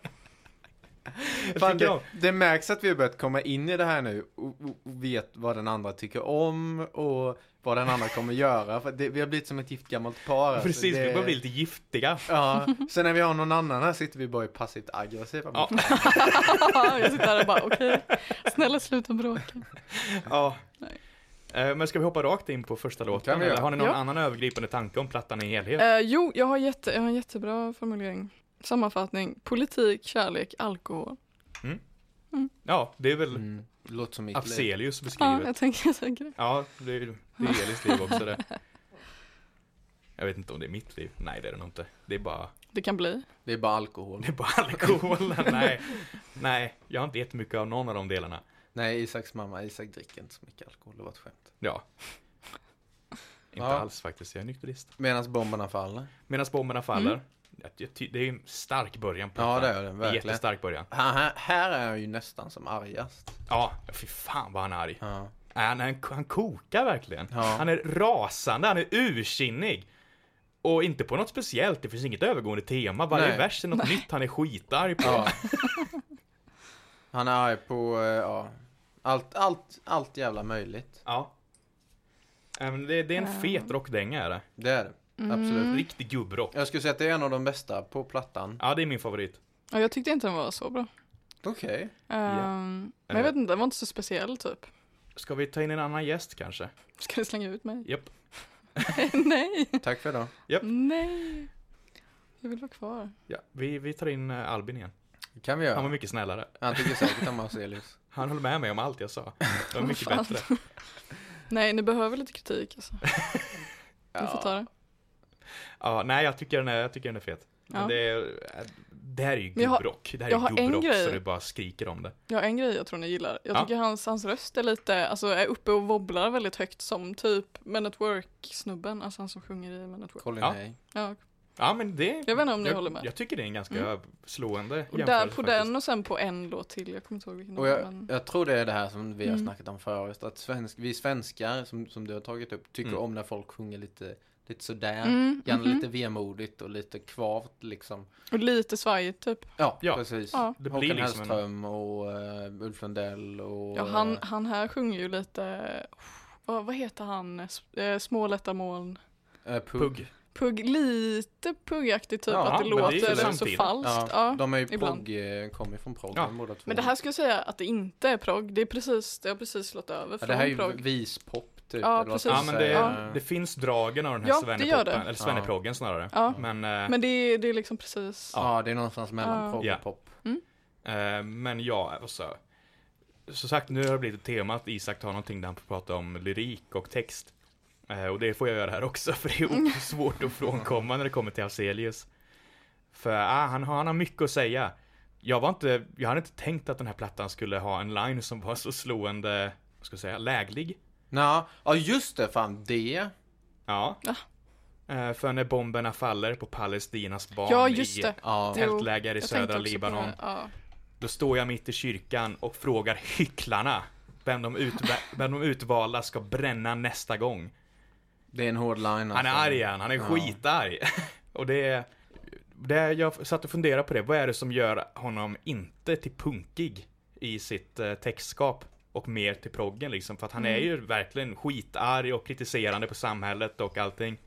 Jag
Fan,
tycker
det,
om-
det märks att vi har börjat komma in i det här nu och, och, och vet vad den andra tycker om och vad den andra kommer göra. För det, vi har blivit som ett gift gammalt par. alltså.
Precis,
det,
vi börjar bli lite giftiga.
Ja, sen när vi har någon annan här sitter vi bara i passivt aggressiva.
Ja.
jag sitter där och bara okej, snälla sluta bråka.
Ja.
Nej.
Eh, Men ska vi hoppa rakt in på första låten?
kan vi
Eller
göra.
har ni någon
Ja.
annan övergripande tanke om plattan i helhet?
Eh, jo, jag har, jätte, jag har en jättebra formulering. Sammanfattning, politik, kärlek, alkohol.
Ja, det är väl
Mm, låter som mitt liv.
Afzelius
Ja,
beskrivet.
jag tänker säkert det.
Ja, det är, det är Elis liv också det. Jag vet inte om det är mitt liv. Nej, det är det nog inte. Det är bara,
Det kan bli.
Det är bara alkohol.
det är bara alkoholen. Nej, nej, jag har inte jättemycket av någon av de delarna.
Nej, Isaks mamma, Isak dricker inte så mycket alkohol. Det var ett skämt.
Ja. Inte
Ja.
alls faktiskt, jag är nykterist.
Medan bomberna faller.
Medan bomberna
Mm.
faller. Jag, jag ty- det är en stark början på
Ja, det
plattan.
är den verkligen.
Jättestark början.
Han, här, här är han ju nästan som argast.
Ja, fy fan vad han är arg.
Ja.
Nej, Han, han, han kokar verkligen.
Ja.
Han är rasande, han är ursinnig. Och inte på något speciellt, det finns inget övergående tema. Varje
Nej.
vers är något nytt han är skitarg på.
Ja. Han är arg på, eh, ja, allt, allt, allt jävla möjligt.
Ja. Äh, men Det, det är en
Ja.
fet rockdänga är det.
Det är det.
Mm.
Absolut.
Riktig gubbrock.
Jag skulle säga att det är en av de bästa på plattan.
Ja, det är min favorit.
Ja, jag tyckte inte den var så bra.
Okej.
Ehm,
Eh.
Men jag vet inte, den var inte så speciell typ.
Ska vi ta in en annan gäst kanske?
Ska du slänga ut mig?
Japp.
Nej,
Tack för idag.
nej. Jag vill vara kvar.
Ja, vi, vi tar in eh, Albin igen.
Det kan vi
Han var
göra.
mycket snällare.
Han tycker säkert om Afzelius.
Han höll med mig om allt jag sa. Det var mycket
Fan.
bättre.
Nej, ni behöver lite kritik alltså. Ni får ta det.
Ja, nej, jag tycker den är, jag tycker den är fet. Men
Ja.
det, är, eh, det här är ju
Men jag har-
gubbrock. Det här
jag
är
har en
gubbrock så
grej.
du bara skriker om det.
Jag har en grej jag tror ni gillar. Jag
Ja.
tycker hans, hans röst är lite, alltså är uppe och wobblar väldigt högt som typ Men at Work-snubben, alltså han som sjunger i Men at Work.
Colin
Ja.
Hay.
Ja,
Ja, men det...
Jag vet inte om ni håller med. Mm.
Jag tycker det är en ganska slående
Och där
jämförelse
på
faktiskt.
den och sen på en låt till, jag kommer inte ihåg vilken det
Och
var.
jag,
Men...
jag tror det är det här som vi har
Mm.
snackat om förut. Att svensk, vi svenskar, som, som du har tagit upp, tycker
Mm.
om när folk sjunger lite, lite sådär.
Mm,
Gärna
mhm.
lite vemodigt och lite kvavt liksom.
Och lite svajigt typ.
Ja,
Ja.
precis.
Ja.
Det blir
Håkan
liksom en...
Hellström och eh, Ulf Lundell och...
Ja, han,
eh,
han här sjunger ju lite, oh, vad, vad heter han, S- eh, Små lätta moln.
eh, Pugh.
Pugg.
Pugg, lite puggaktigt typ,
Ja,
att det
men det är ju
låter så
samtidigt.
falskt.
Ja,
Ja.
de är ju
ibland.
prog, eh, kommer ju från proggen
Ja.
båda två.
Men det här skulle jag säga att det inte är progg, det är precis, det har precis slått över
ja,
från
det här är ju
progg.
vispop typ.
Ja,
eller vad
precis.
ska man
Ja, men det,
säga?
det finns dragen av den här
Ja, det gör
svennepoppen,
det.
eller svenneproggen snarare.
Ja.
Men, eh,
Men det är, det är liksom precis.
Ja, det är någonstans mellan
Ja.
prog
Ja.
och pop.
eh, men ja, alltså. Som sagt, nu har det blivit ett tema att Isak tar någonting där han får prata om lyrik och text. Eh, och det får jag göra här också, för det är o- svårt att frånkomma när det kommer till Hazelius. För ah, han, har, han har mycket att säga. Jag, var inte, jag hade inte tänkt att den här plattan skulle ha en line som var så slående, vad ska jag säga, läglig.
Ja, ja just det, fan det.
Ja.
Ja.
Eh, för när bomberna faller på Palestinas barn
Ja, just
i
det.
Ja.
Jo,
tältläger i
Jag
södra
tänkte också på
Libanon.
det. Ja.
Då står jag mitt i kyrkan och frågar hycklarna vem de, utva- vem de utvalda ska bränna nästa gång.
Det är en hård line alltså.
Han är arg igen, han är
Ja.
skitarg. och det är... Det är, jag satt och funderade på det, vad är det som gör honom inte till punkig i sitt eh, textskap? Och mer till proggen liksom, för att han är
Mm.
ju verkligen skitarg och kritiserande på samhället och allting.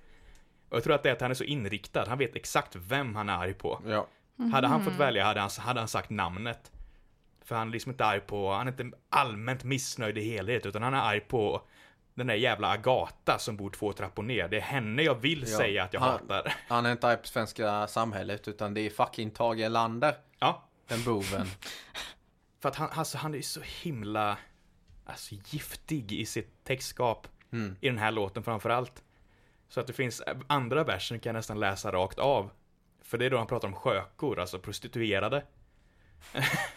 Och jag tror att det är att han är så inriktad, han vet exakt vem han är arg på.
Ja.
Hade han fått välja hade han, hade han sagt namnet. För han är liksom inte arg på, han är inte allmänt missnöjd i helhet, utan han är arg på den där jävla Agata som bor två trappor ner. Det är henne jag vill
Ja.
säga att jag
Han-
hatar.
Han är inte arg på svenska samhället utan det är fucking Tage Erlander.
Ja,
Den boven.
för att han, alltså, han är så himla alltså, giftig i sitt textskap.
Mm.
I den här låten framförallt. Så att det finns eh, andra versen kan jag nästan läsa rakt av. För det är då han pratar om skökor, alltså prostituerade.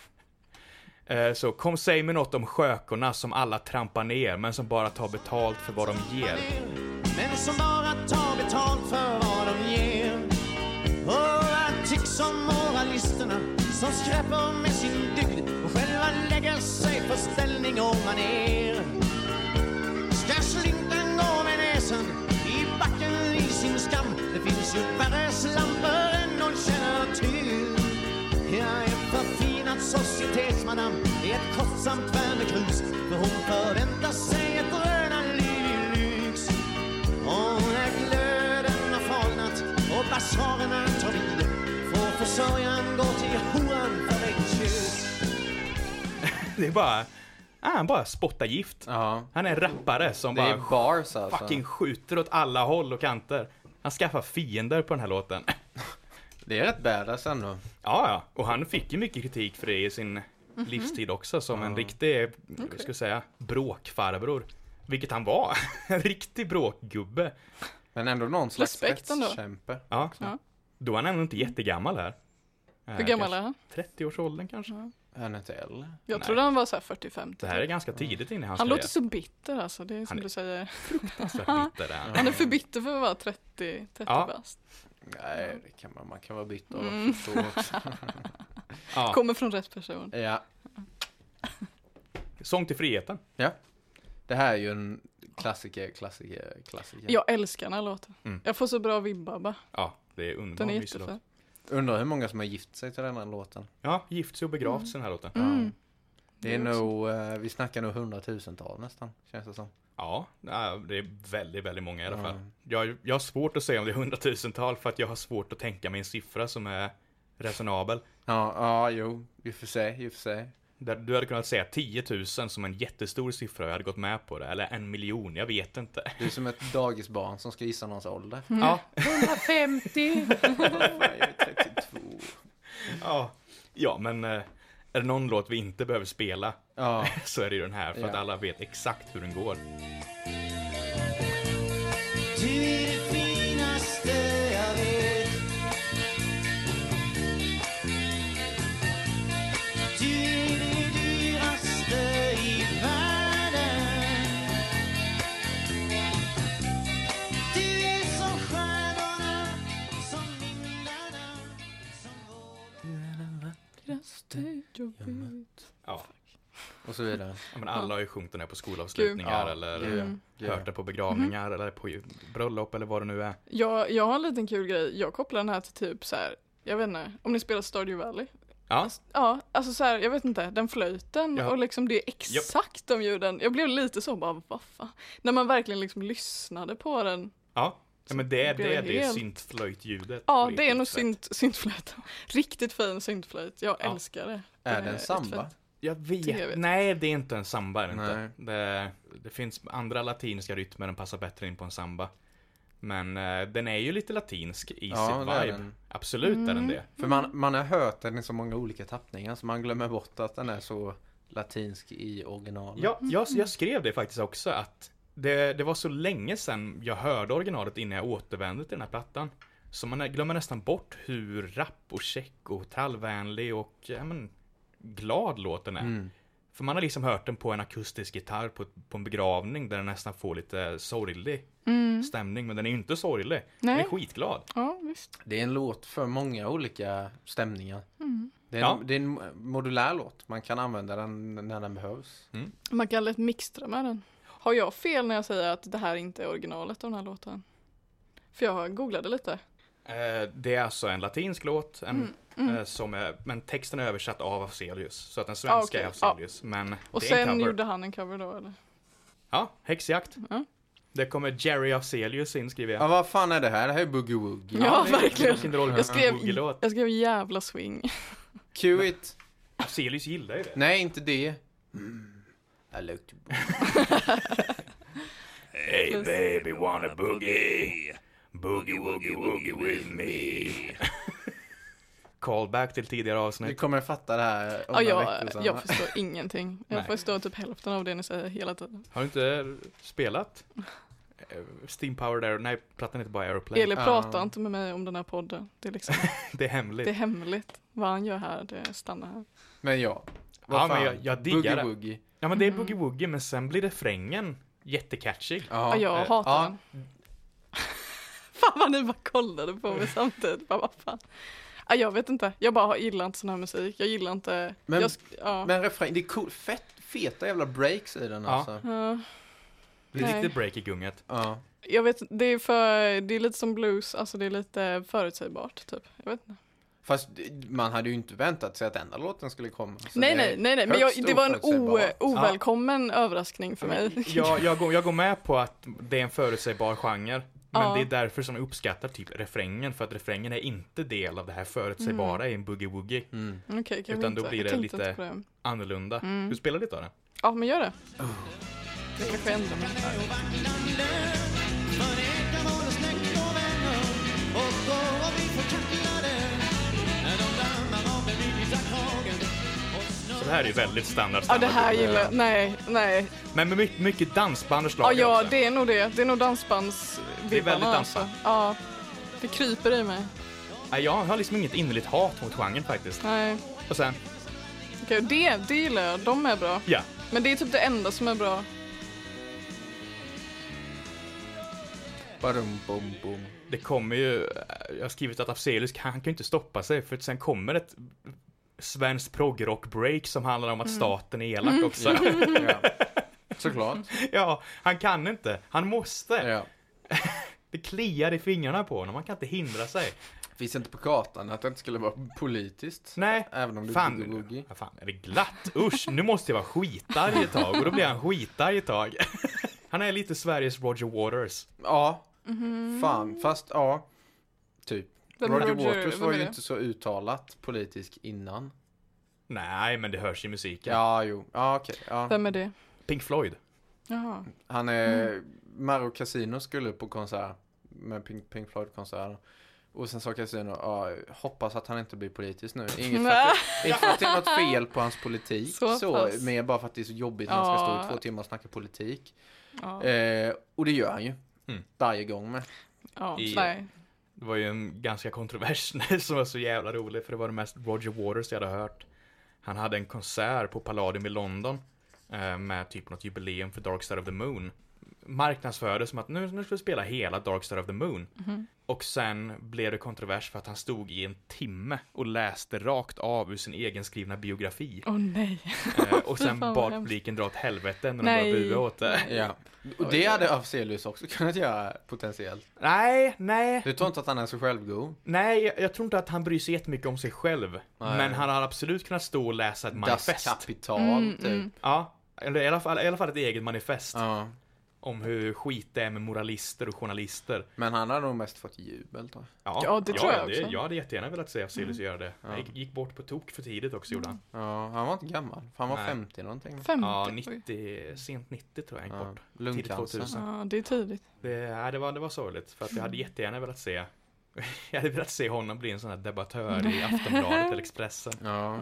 Eh, Så kom säg mig något om skökorna som alla trampar ner men som bara tar betalt för vad de ger.
Men som bara tar betalt för vad de ger Och jag tycks som moralisterna Som skräpar med sin dygd Och själva lägger sig på ställning och manér Ska slinten gå med näsan I backen i sin skam Det finns ju värre slamper än någon känner till Jag är förfinad societetsmadam I ett kostsamt värmekrus För hon förväntar sig ett röna liv i lyx och när glöden har falnat och basarerna tar vid får försörjaren gå till hoan för ett tjus.
Det är bara, ah, han bara spottar gift.
Ja.
Han är en rappare som
Det är
bara
bars alltså.
fucking skjuter åt alla håll och kanter. Han skaffar fiender på den här låten.
Det är rätt badass ändå.
Ja, ja. Och han fick ju mycket kritik för det i sin
Mhm.
livstid också som en riktig, vad ska jag säga, bråkfarbror. Vilket han var. en riktig bråkgubbe.
Men ändå någon slags
Respekt ändå.
rättskämpe.
Ja.
Ja.
Då är han ändå inte jättegammal här.
Hur gammal är han?
30-årsåldern kanske.
Är han inte äldre?
Jag
Nej.
trodde han var såhär
Det
40-50.
här är ganska tidigt in i hans
Han
karriär.
låter så bitter alltså, det är som
Han är-
du säger.
Fruktansvärt bitter är han.
Han är för bitter för att vara 30, 30
Ja.
bast.
Nej, det kan man, man kan vara bitter
Mm.
och förstå också.
Ja.
Kommer från rätt person.
Ja.
Sång till friheten.
Det här är ju en klassiker, klassiker, klassiker.
Jag älskar den här låten.
Mm.
Jag får så bra vibbar bara.
Ja, det är underbart.
Den är
mysig låt.
jättefin.
Undrar hur många som har gift sig till den här låten.
Ja, gift sig och begravts i den här låten.
Mm.
Det är
Det också.
nog, eh, vi snackar nog hundratusental nästan, känns det som.
Ja, nej, det är väldigt, väldigt många i alla fall.
Mm.
Jag, jag har svårt att säga om det är hundratusental för att jag har svårt att tänka mig en siffra som är resonabel.
Ja, ja, jo, i och för sig, i och för sig.
Där du hade kunnat säga 10 000 som en jättestor siffra och jag hade gått med på det. Eller en miljon, jag vet inte.
Du är som ett dagisbarn som ska gissa någons ålder.
Mm.
Ja,
150!
Fan, jag är 32.
ja. ja, men eh, är det någon låt vi inte behöver spela
Ja,
så är det ju den här. För att
Ja.
alla vet exakt hur den går.
Du är det finaste jag vet. Du är det dyraste i världen. Du är som stjärnorna som
Jag vet.
Ja.
Och så vidare.
Ja, men alla har ju sjungit den här på skolavslutningar
Ja,
eller
det gör jag.
Mm.
Det gör jag.
hört det på begravningar
Mhm.
eller på ju- bröllop eller vad det nu är.
Jag, jag har en liten kul grej. Jag kopplar den här till typ så här. Jag vet inte, om ni spelar Stardew Valley?
Ja,
Ja, alltså så här, jag vet inte, den flöjten
Ja.
och liksom det är exakt de ljuden. Jag blev lite så bara, vad fan? När man verkligen liksom lyssnade på den.
ja. ja men det, är-
Blir
det är
det
det
helt-
syntflöjtljudet.
Ja,
på
det är nog
riktigt sätt.
synt, syntflöjten. Riktigt fin syntflöjt, jag
Ja.
älskar det.
Är
är
det en
ett
samba?
fett-
Jag vet.
Jag vet.
Nej, det är inte en samba. Är det,
Nej.
inte. Det, det finns andra latinska rytmer som passar bättre in på en samba. Men eh, den är ju lite latinsk i
Ja,
sitt
det är
vibe.
den.
Absolut är
Mm.
den det.
För man, man har hört den i så många olika tappningar så man glömmer bort att den är så latinsk i originalet.
Ja, jag,
Mm.
jag skrev det faktiskt också att det, det var så länge sedan jag hörde originalet innan jag återvände till den här plattan. Så man glömmer nästan bort hur rapp och check och trallvänlig och ja, men, glad låten är.
Mm.
För man har liksom hört den på en akustisk gitarr på, på en begravning där den nästan får lite sorglig stämning. Men den är ju inte sorglig. Den
Mm. Nej.
är skitglad.
Ja, visst.
Det är en låt för många olika stämningar.
Mm.
Det, är
Ja.
en, det är en modulär låt. Man kan använda den när den behövs.
Mm.
Man kan lätt mixtra med den. Har jag fel när jag säger att det här inte är originalet av den här låten? För jag googlade lite.
Eh, Det är alltså en latinsk låt, en,
Mm,
eh, som är, men texten är översatt av Afzelius. Så att den svenska
Ah, okej.
är Afzelius, men
Och
det är en
sen
cover.
gjorde han en cover då eller?
Ja, häxjakt.
Ja.
Det kommer Jerry Afzelius in, skriver jag.
Ja, vad fan är det här? Det här är Boogie Woogie.
Ja, verkligen. Jag
Jag
skrev-
skrev...
Jag skrev jävla swing.
Cue it.
Afzelius gillar ju det.
Nej, inte det.
Mm.
I look to boogie.
Hey baby, wanna boogie? Boogie woogie woogie with me. Callback till tidigare
Du
avsnitt.
kommer att fatta det här om
Ja,
några
jag,
veckor sedan. va?
jag förstår ingenting. Jag
Nej.
förstår typ hälften av det ni säger hela tiden.
Har du inte spelat? eh, Steam Power där? Nej, plattan heter bara Aeroplane.
Eli
Ja.
pratar inte med mig om den här podden. Det är, liksom,
Det är hemligt.
det är hemligt. Vad han gör här, det stannar här.
Men ja.
Ja, men jag- jag diggar
boogie
det.
Woogie.
Ja men det är boogie woogie men sen blir refrängen jättecatchig.
Ja, jag
eh,
hatar
ja.
den. Fan vad ni bara kollade på mig samtidigt. Bara, vad fan. Ja, jag vet inte. Jag bara gillar inte sån här musik. Jag gillar inte...
Men-
jag, sk- ja.
Men refräng, det är cool, fett, feta jävla breaks i den
Ja.
alltså.
Ja.
Det är
Nej.
riktigt break i gunget.
Ja.
eh, jag vet, det är, för, det är lite som blues, alltså det är lite förutsägbart typ. Jag vet inte.
Fast det- man hade ju inte väntat sig att enda låten skulle komma. Så
nej,
det är
nej, nej, nej, men jag,
högst
det var en o,
oförutsägbart.
ovälkommen överraskning för mig.
Jag, jag, går, jag går med på att det är en förutsägbar genre. Men
Ja.
det är därför som jag uppskattar typ refrängen. För att refrängen är inte del av det här förutsägbara i en boogie woogie.
Mm.
Okej, kanske
Utan
inte.
då blir
Jag
det
tänkte
lite-
inte på det.
Annorlunda.
Mm.
Du spelar lite av den?
Ja, men gör det.
Oh.
Jag kanske ändrar mig.
Så det här är ju väldigt standard.
Ja,
standard
det här
boogie
gillar
woogie.
jag. Nej, nej.
Men med mycket, mycket dansband och
Ja,
schlager
ja,
också.
det är nog det. Det är nog dansbands
Det är väldigt dansband.
Alltså. Ja, det kryper i mig.
Ja, jag har liksom inget innerligt hat mot genren faktiskt.
Nej,
Och sen,
okej, det, det gillar jag. De är bra.
ja.
Men det är typ det enda som är bra.
Badum, bum, bum.
Det kommer ju, jag har skrivit att Afzelius, han kan ju inte stoppa sig för sen kommer ett svenskt progrock-break som handlar
Mm.
om att staten är elak också.
Ja. Såklart.
ja, han kan inte, han måste.
Ja.
Det kliar i fingrarna på honom, han kan inte hindra sig.
Finns inte på kartan att det inte skulle vara politiskt.
Nej,
Även om det är
fan,
boogie woogie.
ja, fan är det glatt? Usch, nu måste jag vara skitarg ett tag och då blir han skitarg ett tag. han är lite Sveriges Roger Waters.
Ja. Fan, fast ja. Typ.
Mhm. Vem
Roger,
Roger-
Waters
vem
var
är
ju
det?
inte så uttalat politisk innan.
Nej, men det hörs i musiken.
Ja, jo. Ja, okej. Ja.
Vem är det?
Pink Floyd.
Jaha.
Han är...
Mm.
Maro Casino skulle på konsert. Med Pink, Pink Floyd-konsert. Och sen sa Casino, ja, hoppas att han inte blir politisk nu. Inget för att, det- inte för att det är något fel på hans politik.
Så
Så,
pass.
mer bara för att det är så jobbigt när han ska stå
Ja.
i två timmar och snacka politik.
Ja,
Eh, och det gör han ju.
Mm.
Varje gång med.
ja,
i-
nej.
Det var ju en ganska kontrovers som var så jävla rolig för det var det mest Roger Waters jag hade hört. Han hade en konsert på Palladium i London eh, med typ något jubileum för Dark Side of the Moon. marknadsförde som att nu, nu ska vi spela hela Dark Star of the Moon.
Mhm.
Och sen blev det kontrovers för att han stod i en timme och läste rakt av ur sin egen skrivna biografi.
Åh nej.
Eh, och sen
Fy fan, vad
bad
hemskt.
publiken dra åt helvete när de
Nej.
började bua åt det.
Ja. Och det hade Afzelius också kunnat göra potentiellt.
Nej, nej,
Du tror inte att han är så självgod?
nej, jag, jag tror inte att han bryr sig jättemycket om sig själv.
Nej.
Men han hade absolut kunnat stå och läsa ett
Das
manifest.
kapital,
Mm,
typ.
mm.
Ja, eller i alla fall, i alla fall ett eget manifest.
Ja.
Om hur skit det är med moralister och journalister.
Men han har nog mest fått jubel, tror
Ja, det tror jag
det,
också. Mm.
Jag hade jättegärna velat se Afzelius göra det.
Ja.
Han gick, gick bort på tok för tidigt också gjorde han.
jag. Ja, han var inte gammal. För han var
Nej.
50 någonting.
50.
Ja,
Mm. Oj.
90, sent 90 tror jag han gick
Ja,
bort. Tidigt
lungcancer.
2000.
Ja, det är tidigt.
Det, nej, det, var, det var sorgligt för att jag hade
Mm.
jättegärna velat se jag hade velat se honom bli en sån här debattör i Aftonbladet eller Expressen.
Ja.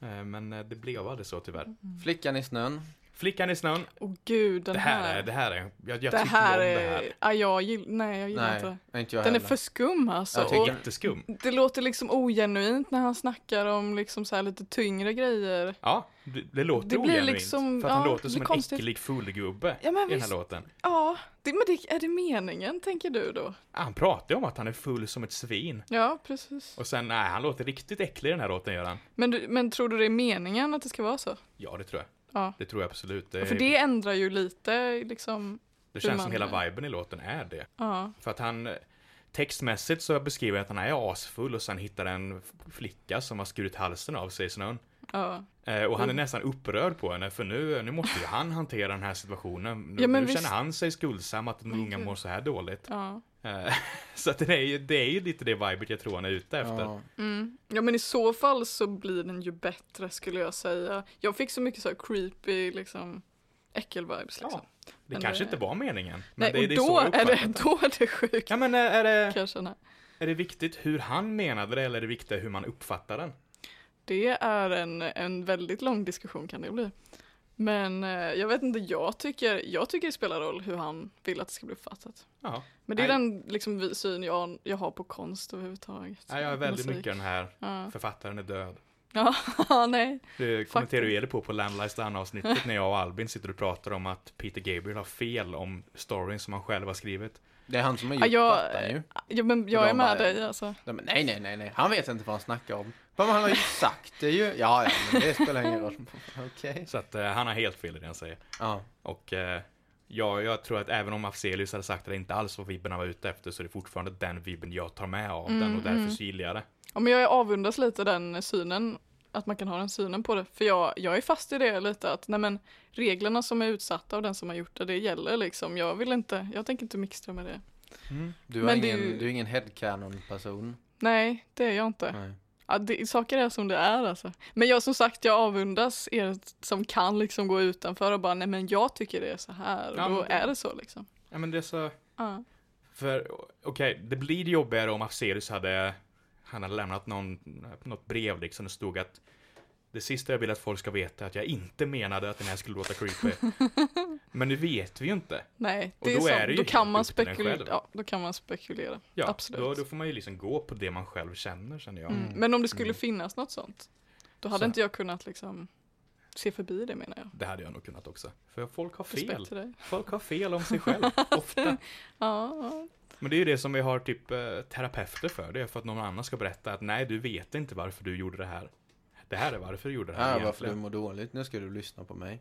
Ja.
Eh, Men eh, det blev aldrig så tyvärr.
Mm.
Flickan i snön.
Flickan i snön.
Åh gud, den
Det här är,
här.
det här är, jag, jag
det
tycker
här
om
är...
det här.
Ja, jag gillar... Nej, jag gillar
Nej,
inte det.
inte jag
Den är
heller.
för skum alltså.
Jag
Det är
Och
jätteskum.
det låter liksom ogenuint när han snackar om liksom så här lite tyngre grejer.
Ja, det, det låter
Det blir
ogenuint.
liksom-
för att han
ja,
låter
det
som
är
en
konstigt.
äcklig fullgubbe
Ja, men
i den här
visst.
låten.
Ja, det, men det, är det meningen tänker du då?
Han pratar ju om att han är full som ett svin.
Ja, precis.
Och sen, nej, han låter riktigt äcklig i den här låten gör han.
Men, du, men tror du det är meningen att det ska vara så?
Ja, det tror jag.
Ja.
Det tror jag absolut. Det,
För det ändrar ju lite liksom,
det känns som
man-
hela viben i låten är det.
ja.
För att han, textmässigt så beskriver han att han är asfull och sen hittar en f- flicka som har skurit halsen av sig i snön.
ja. Mm.
Eh, och han är nästan upprörd på henne för nu, nu måste ju han hantera den här situationen. Nu,
Ja, men
nu
visst.
känner han sig skuldsam att de
Men
unga
gud.
mår så här dåligt.
ja.
Eh, så att det är, ju, det är ju lite det vibet jag tror han är ute efter.
Ja.
Mm. Ja men i så fall så blir den ju bättre skulle jag säga. Jag fick så mycket så här creepy liksom äckel-vibes liksom.
Ja, det
Men
kanske
det-
inte var meningen. Men
Nej,
det,
och
det är
då
så jag
är, det,
uppfattat det.
då är det sjukt
Ja men eh, är det,
kan jag känna.
är det viktigt hur han menade det eller är det viktigt hur man uppfattar den?
Det är en, en väldigt lång diskussion kan det bli. Men eh, jag vet inte, jag tycker, jag tycker det spelar roll hur han vill att det ska bli uppfattat.
Ja,
Men det är
Nej.
den liksom, vi- syn jag, jag har på konst överhuvudtaget.
Nej, jag är väldigt
Musik.
mycket den här
Ja.
författaren är död.
ja, nej.
Det kommenterar ju Eli på på Lamblized avsnittet när jag och Albin sitter och pratar om att Peter Gabriel har fel om storyn som han själv har skrivit.
Det är han som har
Ja,
gjort
jag-
plattan ju.
Ja, men
Och
jag
de
är med
bara-
dig alltså.
Nej, men nej, nej, nej, nej. Han vet inte vad han snackar om. Men han har ju sagt det ju. Ja, ja, men det spelar ingen roll. Okej.
Så att eh, han har helt fel i det han säger.
Ja.
Och eh, ja, jag tror att även om Afzelius hade sagt att det inte alls var vibben han var ute efter så är det fortfarande den vibben jag tar med av den och därför så gillar jag det.
Ja, men jag avundas lite den synen, att man kan ha den synen på det. För jag, jag är fast i det lite att nej, men reglerna som är utsatta av den som har gjort det, det gäller liksom. Jag vill inte, jag tänker inte mixtra med det.
Du, har
Men det är
ingen,
ju-
du är ingen headcanon-person.
Nej, det är jag inte.
Nej.
Ja, det, saker är som det är alltså. Men jag som sagt, jag avundas er som kan liksom gå utanför och bara nej men jag tycker det är så här.
Ja,
och då
men det-
är det så liksom.
Ja men det är så,
Ja.
för okej, det blir jobbigare om Afzelius hade, han hade lämnat någon, något brev liksom det stod att det sista jag vill att folk ska veta är att jag inte menade att den här skulle låta creepy. men det vet vi ju inte.
Nej,
Och
det är
då
sant.
är det ju
då, kan
helt
man
upp till en
spekulera.
själv.
Ja, då kan man spekulera.
Ja,
Absolut.
Då, då får man ju liksom gå på det man själv känner känner jag.
Mm. Men om det skulle finnas något sånt, då hade
Så.
inte jag kunnat liksom se förbi det menar jag.
Det hade jag nog kunnat också. För folk har fel.
Respekt till dig.
Folk har fel om sig själv, ofta.
Ja, ja.
Men det är ju det som vi har typ eh, terapeuter för. Det är för att någon annan ska berätta att nej, du vet inte varför du gjorde det här. Det här är varför du gjorde det här
Ja, varför du
egentligen.
mår dåligt. Nu ska du lyssna på mig.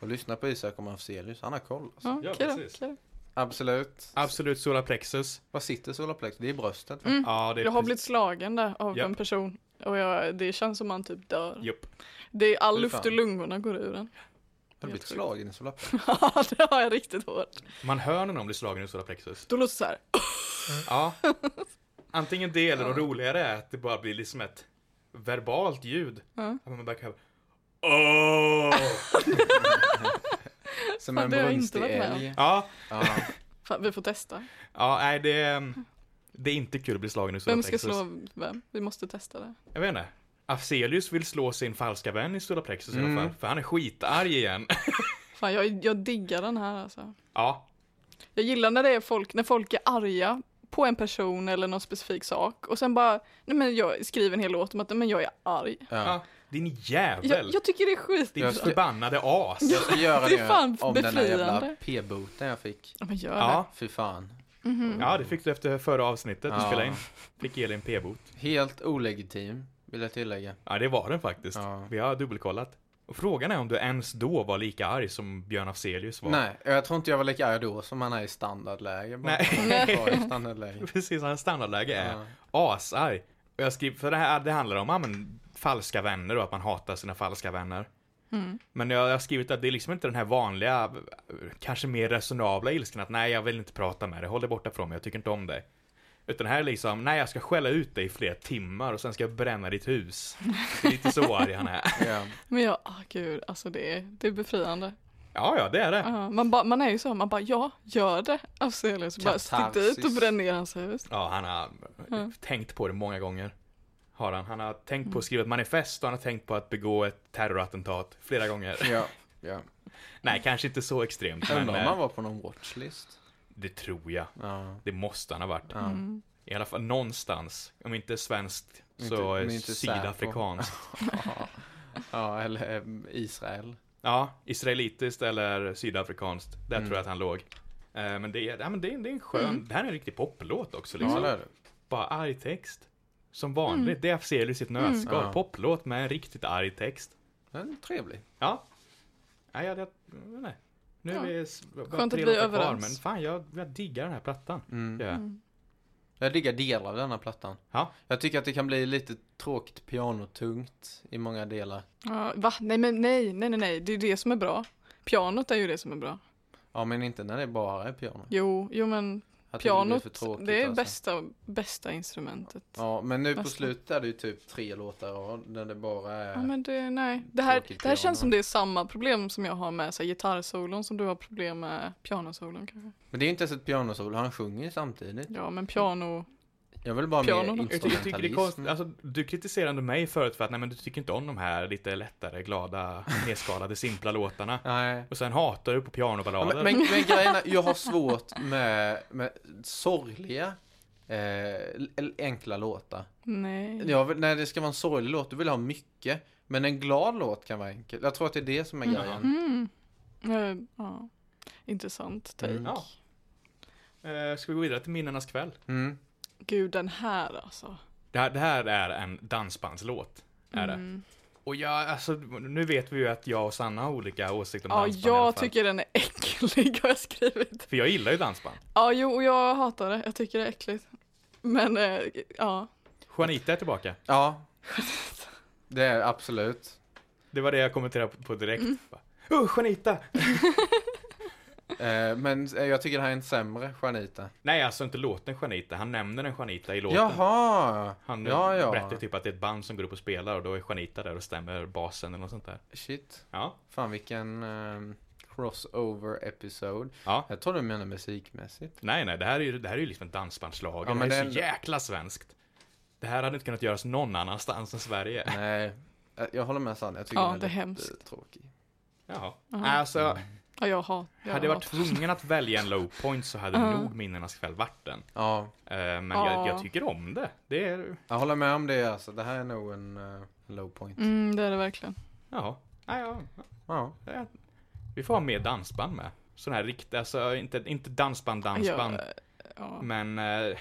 Och lyssna på Isak om Afzelius. Han har koll. Alltså.
ja,
Ja,
okej då,
precis.
okej då.
Absolut.
Absolut solaplexus.
Var sitter solarplexus? Det är i bröstet. va?
Mm.
Ja, det är
Jag har
precis-
blivit slagen där av
Japp.
en person. Och jag, det känns som man typ dör.
Japp.
Det är all
Fy
luft
fan.
ur lungorna går ur en.
Har du blivit
sjukt.
slagen i solarplexus?
Ja, det har jag riktigt hårt.
Man hör när någon blir slagen i solaplexus.
Då låter det så här.
Ja. Antingen det eller det roligare är att det bara blir liksom ett verbalt ljud.
Ja.
Att man bara kan... Åh!
Som
Fan,
en
det har jag inte
brunstig
varit med om.
älg.
Ja,
Ja.
Fan, vi får testa.
ja, nej det är... Det är inte kul att bli slagen i
Vem ska
solaplexus.
slå vem? Vi måste testa det.
Jag vet inte. Afzelius vill slå sin falska vän i solaplexus i alla
Mm.
fall. För han är skitarg igen.
Fan, jag, jag diggar den här alltså.
ja,
Jag gillar när det är folk, när folk är arga på en person eller någon specifik sak och sen bara, nej men jag skriver en hel låt om att nej men jag är arg.
Ja.
Ja. Din jävel!
Jag, jag tycker det är skit.
Din
Jag ska-
förbannade as!
Jag ska göra
det
det,
är fan
om den där jävla
befriande.
p-boten jag fick.
Ja, men gör
Ja,
Fy fan.
Mm.
ja, det fick du efter förra avsnittet du
Ja.
spelade in. Fick Elin p-bot.
Helt olegitim, vill jag tillägga.
Ja, det var den faktiskt.
Ja.
Vi har dubbelkollat. Och frågan är om du ens då var lika arg som Björn Afzelius var.
Nej, jag tror inte jag var lika arg då som man är i standardläge. bara.
Nej.
Man är kvar i standardläge.
Precis, hans standardläge är
Ja.
asarg. Och jag skrev, för det här det handlar om ja, men, falska vänner och att man hatar sina falska vänner. Men jag jag har skrivit att det är liksom inte den här vanliga, kanske mer resonabla ilskan att nej, jag vill inte prata med dig, håll dig borta från mig, jag tycker inte om dig. Utan här är liksom, nej jag ska skälla ut dig i flera timmar och sen ska jag bränna ditt hus. Det är lite så arg han är.
Ja.
det. Men jag, ah, gud, alltså det är, det är befriande.
Ja, ja, det är det.
Ja, man, ba, man är ju så, man bara ja, gör det. Alltså, eller så bara stick
Katarsis.
dit och bränn ner hans hus.
Ja, han har tänkt på det många gånger. Har han. Han har tänkt på att skriva ett manifest och han har tänkt på att begå ett terrorattentat flera gånger.
Ja. ja.
Nej, kanske inte så extremt, men
Undrar om man
eh,
var på någon watchlist.
det tror jag.
Ja.
Det måste han ha varit.
Ja.
I alla fall någonstans. Om inte svenskt,
Inte-
så
men
eh,
inte
sydafrikanskt.
Ja. ja, eller em, Israel.
Ja, israelitiskt eller sydafrikanskt. Där
Mm.
tror jag att han låg. Eh, Men det är, ja, men det är, det är en skön, det här är en riktig poplåt också
Ja,
Mm.
liksom.
det är det.
Bara arg text. Som vanligt, det är Afzelius i ett nötskal.
Mm. Ja.
Poplåt med en riktigt arg text.
Den är trevlig.
Ja. Nej, jag, jag, nej. Nu
Ja.
är vi s- bara
Skönt
tre
att vi är
låtar kvar,
överens.
men fan jag, jag diggar den här plattan.
Mm.
Ja.
Jag diggar delar av denna plattan.
Ja.
Jag tycker att det kan bli lite tråkigt pianotungt i många delar.
Ja, va? Nej, men nej, nej, nej, nej, det är det som är bra. Pianot är ju det som är bra.
Ja, men inte när det bara är piano.
Jo, jo men
Jag tycker blir
pianot,
för
det,
tråkigt,
är
alltså.
bästa, bästa instrumentet. Ja.
Ja, men nu på
Nästan.
slutet är det ju typ tre låtar i rad där det bara är...
men det, nej. Det här,
Tråkigt
det här
piano.
känns som det är samma problem som jag har med så här, gitarrsolon som du har problem med pianosolon kanske.
Men det är ju inte ens ett pianosolo, han sjunger ju samtidigt.
Ja, men piano,
Jag vill bara
Piano
mer
då?
Jag, ty- jag tycker det är
instrumentalism.
konstigt, alltså, du kritiserade mig förut för att nej, men du tycker inte om de här lite lättare, glada, nedskalade, simpla låtarna.
Nej.
Och sen hatar du på pianoballader.
Men, men, men grejen är, jag har svårt med, med sorgliga, eh, l- enkla låtar.
Mm.
nej.
Jag vill, när det ska vara en sorglig låt, du vill ha mycket. Men en glad låt kan vara enkel. Jag tror att det är det som är
Mm.
grejen.
Mm. Eh, ja. Intressant take.
Mm.
Ja. Eh, ska vi gå vidare till Minnenas kväll?
Mm.
Gud, den här alltså.
Det här, det här är en dansbandslåt. Är det.
Mm.
Och jag, alltså, nu vet vi ju att jag och Sanna har olika åsikter om
Ja,
dansband i alla
jag
fall.
tycker den är äcklig har jag skrivit.
För jag gillar ju dansband.
Ja, jo, och jag hatar det. Jag tycker det är äckligt. Men, eh, ja.
Juanita är tillbaka.
Ja. Det är absolut.
Det var det jag kommenterade på- på direkt. Bara, Oh, Juanita!
Eh, men eh, jag tycker det här är en sämre Juanita.
Nej, alltså inte låten Juanita. Han nämner en Juanita i låten.
Jaha!
Han
ja, ja.
berättar typ att det är ett band som går upp och spelar och då är Juanita där och stämmer basen eller något sånt där.
Shit.
Ja,
Fan vilken eh, crossover episode.
ja.
Jag tror du menar musikmässigt.
Nej, nej, det här är ju, det här är ju liksom en dansbandslag.
Ja,
det
men
här är
det
så
är-
jäkla svenskt. Det här hade inte kunnat göras någon annanstans än Sverige.
Nej. eh, Jag håller med Sanna, jag tycker
Ja,
den
det
lite
är hemskt.
tråkig.
Jaha. Alltså,
Mm.
ja jag har. Jag
hade jag varit
hatar.
tvungen att välja en low point så hade nog minnenas kväll varit den.
Ja,
Eh, Men
Ja.
jag, jag tycker om det. Det är...
jag håller med om det alltså. Det här är nog en eh, low point.
Mm, det är det verkligen.
Jaha. Ja, ja.
Ja.
Ja. Vi får ha mer dansband med. Sådana här riktiga, alltså inte, inte dansband, dansband.
Jag, ja.
Men eh,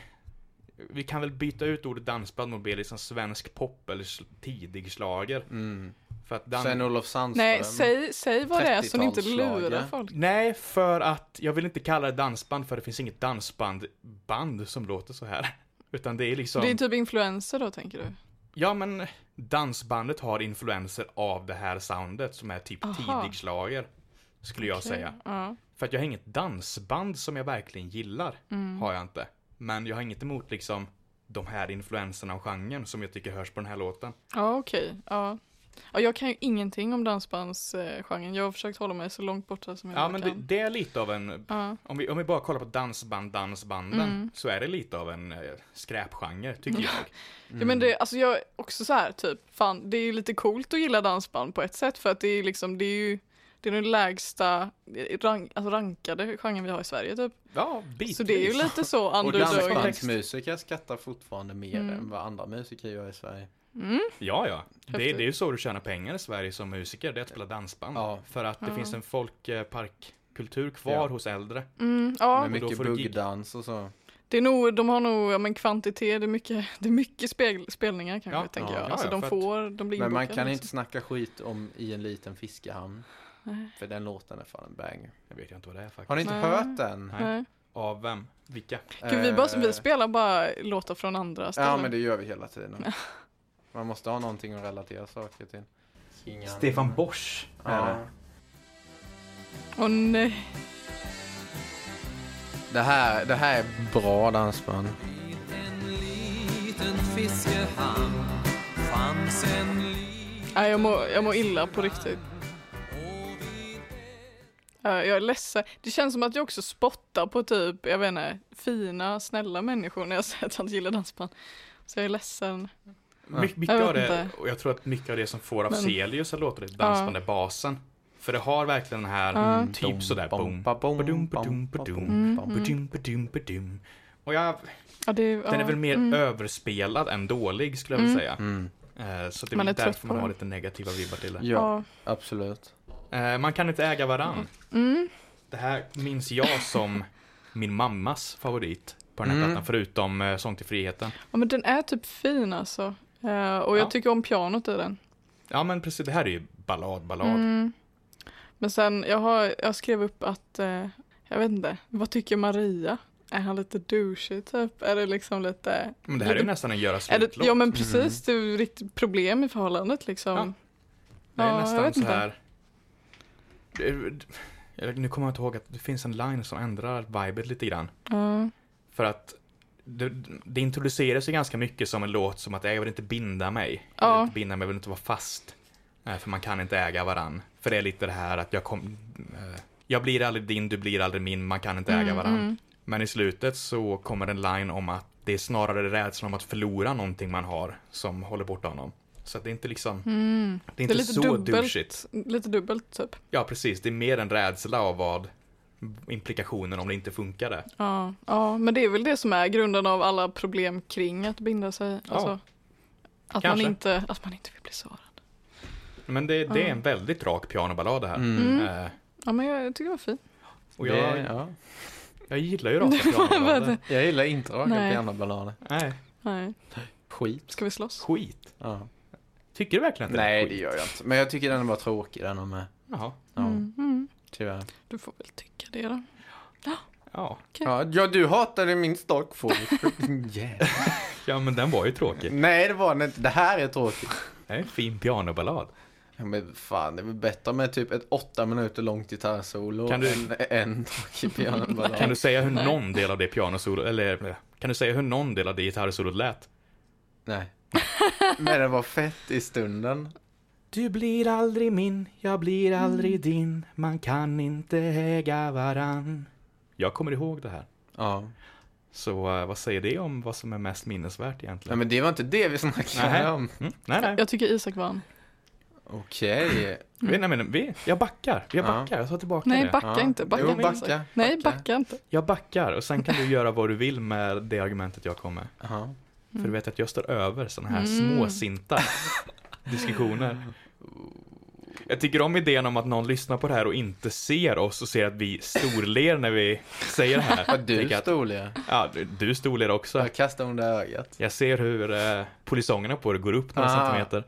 vi kan väl byta ut ordet dansband mot mer liksom svensk pop eller sl- tidig schlager.
Mm.
För att dan-
Sven-Olof Sandström.
Nej, säg, säg vad det är så ni inte lurar
30-talsschlager.
folk.
Nej, för att jag vill inte kalla det dansband för det finns inget dansband band som låter så här. Utan det är liksom,
Det är typ influenser då, tänker du?
ja men dansbandet har influenser av det här soundet som är typ
Aha.
tidig schlager. Skulle jag säga.
Ja.
För att jag har inget dansband som jag verkligen gillar.
Mm.
Har jag inte. Men jag har inget emot liksom de här influenserna och genren som jag tycker hörs på den här låten.
Ja, okej. Ja. Ja, jag kan ju ingenting om dansbandsgenren. Jag har försökt hålla mig så långt borta som jag
Ja
bara
men det,
kan.
det är lite av en,
Ja. Mm.
om, vi, om vi bara kollar på dansband, dansbanden, så är det lite av en eh, skräpgenre tycker jag.
Ja, men
Mm.
det, alltså jag är också så här, typ, fan, det är ju lite coolt att gilla dansband på ett sätt för att det är liksom, det är ju det är den lägsta rank, alltså rankade genren vi har i Sverige typ.
Ja, bitvis.
Så det är ju lite så
Och
underdog.
dansbandsmusiker skrattar fortfarande mer än vad andra musiker gör i Sverige.
Mm.
Ja, ja. Det, det
Häftigt.
är ju så du tjänar pengar i Sverige som musiker, det är att spela dansband.
Ja.
För att det
Ja.
finns en folkparkkultur kvar
Ja.
hos äldre.
Mm, ja,
Med
men då
mycket
får du gig.
buggdans och så.
det är nog, de har nog ja, men kvantitet, det är mycket, det är mycket spel, spelningar kanske,
Ja,
tänker
ja,
jag.
ja,
Alltså
ja,
de
för att-
får, de blir
Men man
inbokade,
kan inte
liksom.
snacka skit om i en liten fiskehamn.
Nej.
För den låten är fan en banger.
Jag vet ju inte vad det är faktiskt.
Har ni inte
Nej.
hört den?
Nej.
Nej.
Av vem? Vilka?
Gud, vi, bara, vi
Eh,
spelar bara låtar från andra ställen.
Ja men det gör vi hela tiden. Man måste ha någonting att relatera saker till.
Stefan Bors.
Ja.
Åh nej.
Det här, det här är bra dansband.
Nej, jag mår, jag mår illa på riktigt. Ja, Jag är ledsen. Det känns som att jag också spottar på typ, jag vet inte, fina, snälla människor när jag säger att jag inte gillar dansband. Så jag är ledsen.
Ja.
My, mycket
Jag vet
av det,
inte.
och jag tror att mycket av det som får
Men-
Afzelius att låta det dansband är basen. För det har verkligen den här,
Ja.
mm, typ sådär, boom,
Bom, bom,
badum,
bom,
badum,
bom,
badum,
bom.
badum, badum, badum. Och jag,
Ja, det, ja,
den är väl mer
mm.
överspelad än dålig skulle jag vilja säga.
Mm.
Eh, Så det är
Man
väl
är trött
därför
på
man har
den.
lite negativa vibbar till det.
Ja,
Ja.
absolut.
Eh, Man kan inte äga varann.
Mm.
Det här minns jag som min mammas favorit på den här
Mm.
plattan, förutom eh, Sång till friheten.
ja, men den är typ fin alltså. Eh, och jag
Ja.
tycker om pianot i den.
Ja men precis, det här är ju ballad, ballad.
Mm. Men sen, jag, har, jag skrev upp att, eh, jag vet inte, vad tycker Maria? Är han lite douchey typ? Är det liksom lite...
Men det här är ju
lite-
nästan Mm. en göra
är det,
slut-låt.
Ja men precis, det är ju riktigt problem i förhållandet liksom.
Det är
Ja, jag
nästan
vet
så
inte.
här. Det- det- jag- Nu kommer jag inte ihåg att det finns en line som ändrar vibet lite grann.
Ja.
För att det, det introduceras ju ganska mycket som en låt som att jag vill inte binda mig. Jag vill
Ja.
inte binda mig, jag vill inte vara fast. Eh, För man kan inte äga varann. För det är lite det här att jag kom... eh, Jag blir aldrig din, du blir aldrig min, man kan inte
Mm,
äga varann. Men i slutet så kommer en line om att det är snarare rädslan om att förlora någonting man har som håller borta honom. Så att det är inte liksom... Det är inte
Mm. Det är lite
så
dubbelt.
douchigt.
Lite dubbelt typ.
Ja, precis. Det är mer en rädsla av vad implikationen om det inte funkade.
Ja. ja, men det är väl det som är grunden av alla problem kring att binda sig.
Ja.
Alltså, att, man
Kanske.
inte, att man inte vill bli sårad.
Men det, det är en väldigt rak pianoballad det här. Eh,
Ja men jag, jag tycker det var fint.
Och
Det,
jag,
ja.
jag gillar ju raka pianoballader.
Jag gillar inte raka
Nej.
pianoballader.
Nej,
Nej,
Skit.
ska vi slåss?
skit.
Ja.
Tycker du verkligen att
Nej,
är
det
skit?
gör jag inte. Men jag tycker den var tråkig den och med.
Jaha.
Ja,
Mm.
Mm-hmm.
Mm.
tyvärr.
Du får väl tycka det då.
Ja.
Ja, ja, du hatade min stockfolk. yeah.
ja, men den var ju tråkig.
Nej, det var den inte. Det här är tråkigt.
Det är en fin pianoballad.
Ja, men fan, det är väl bättre med typ ett åtta minuter långt gitarrsolo
Kan du-
än en tråkig pianoballad.
Kan du säga hur någon del av det pianosolo, eller eh, kan du säga hur någon del av det gitarrsolot lät?
Nej. Men den var fett i stunden.
Du blir aldrig min, jag blir aldrig din, man kan inte äga varann. Jag kommer ihåg det här.
Ja.
Så eh, vad säger det om vad som är mest minnesvärt
Nej,
egentligen?
men det var inte det vi snackade
Nej.
om.
Mm, nej, nej.
Jag tycker Isak vann.
Okej.
Vi, nej men vi, jag backar. Jag
Ja.
backar. Jag tar tillbaka
Nej
det.
backa
Ja.
inte, backa
Jo,
inte Isak.
backa,
Nej
backa.
backa inte.
Jag backar och sen kan du göra vad du vill med det argumentet jag kom
Mm.
med.
Jaha.
För du vet att jag står över sådana här småsinta diskussioner. Jag tycker om idén om att någon lyssnar på det här och inte ser oss och ser att vi storler när vi säger det här.
Ja, du
Tänker att,
storliga.
ja, du- du storler också.
Jag kastade under ögat.
Jag ser hur eh, polisongerna på dig går upp några
Ah.
centimeter.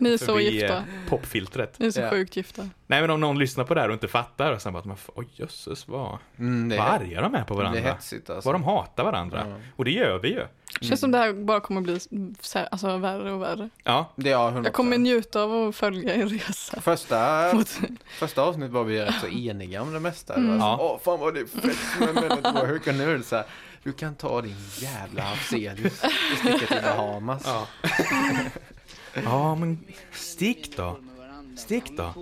Ni är så
förbi,
gifta.
eh, popfiltret.
Ni är så
Ja.
sjukt gifta.
Nej men om någon lyssnar på det här och inte fattar och sen bara att man, får- oj jösses vad,
Mm, det,
vad
är,
arga de är på
det
varandra.
är hetsigt alltså.
Vad de hatar varandra.
Ja.
Och det gör vi ju.
Känns som
Mm.
det här bara kommer bli så här, alltså, värre och värre.
Ja,
Det är 100%.
Jag kommer njuta av att följa er resa.
Första,
Mot-
första avsnittet var vi rätt så eniga om det mesta.
Mm.
Det var
Ja.
så, Åh, fan vad det är fett som är mellan två hökar nu. är det Så här, du kan ta din jävla Afzelius och sticka till Bahamas.
Ja men stick då.
Med varandra.
Stick då.
Klart,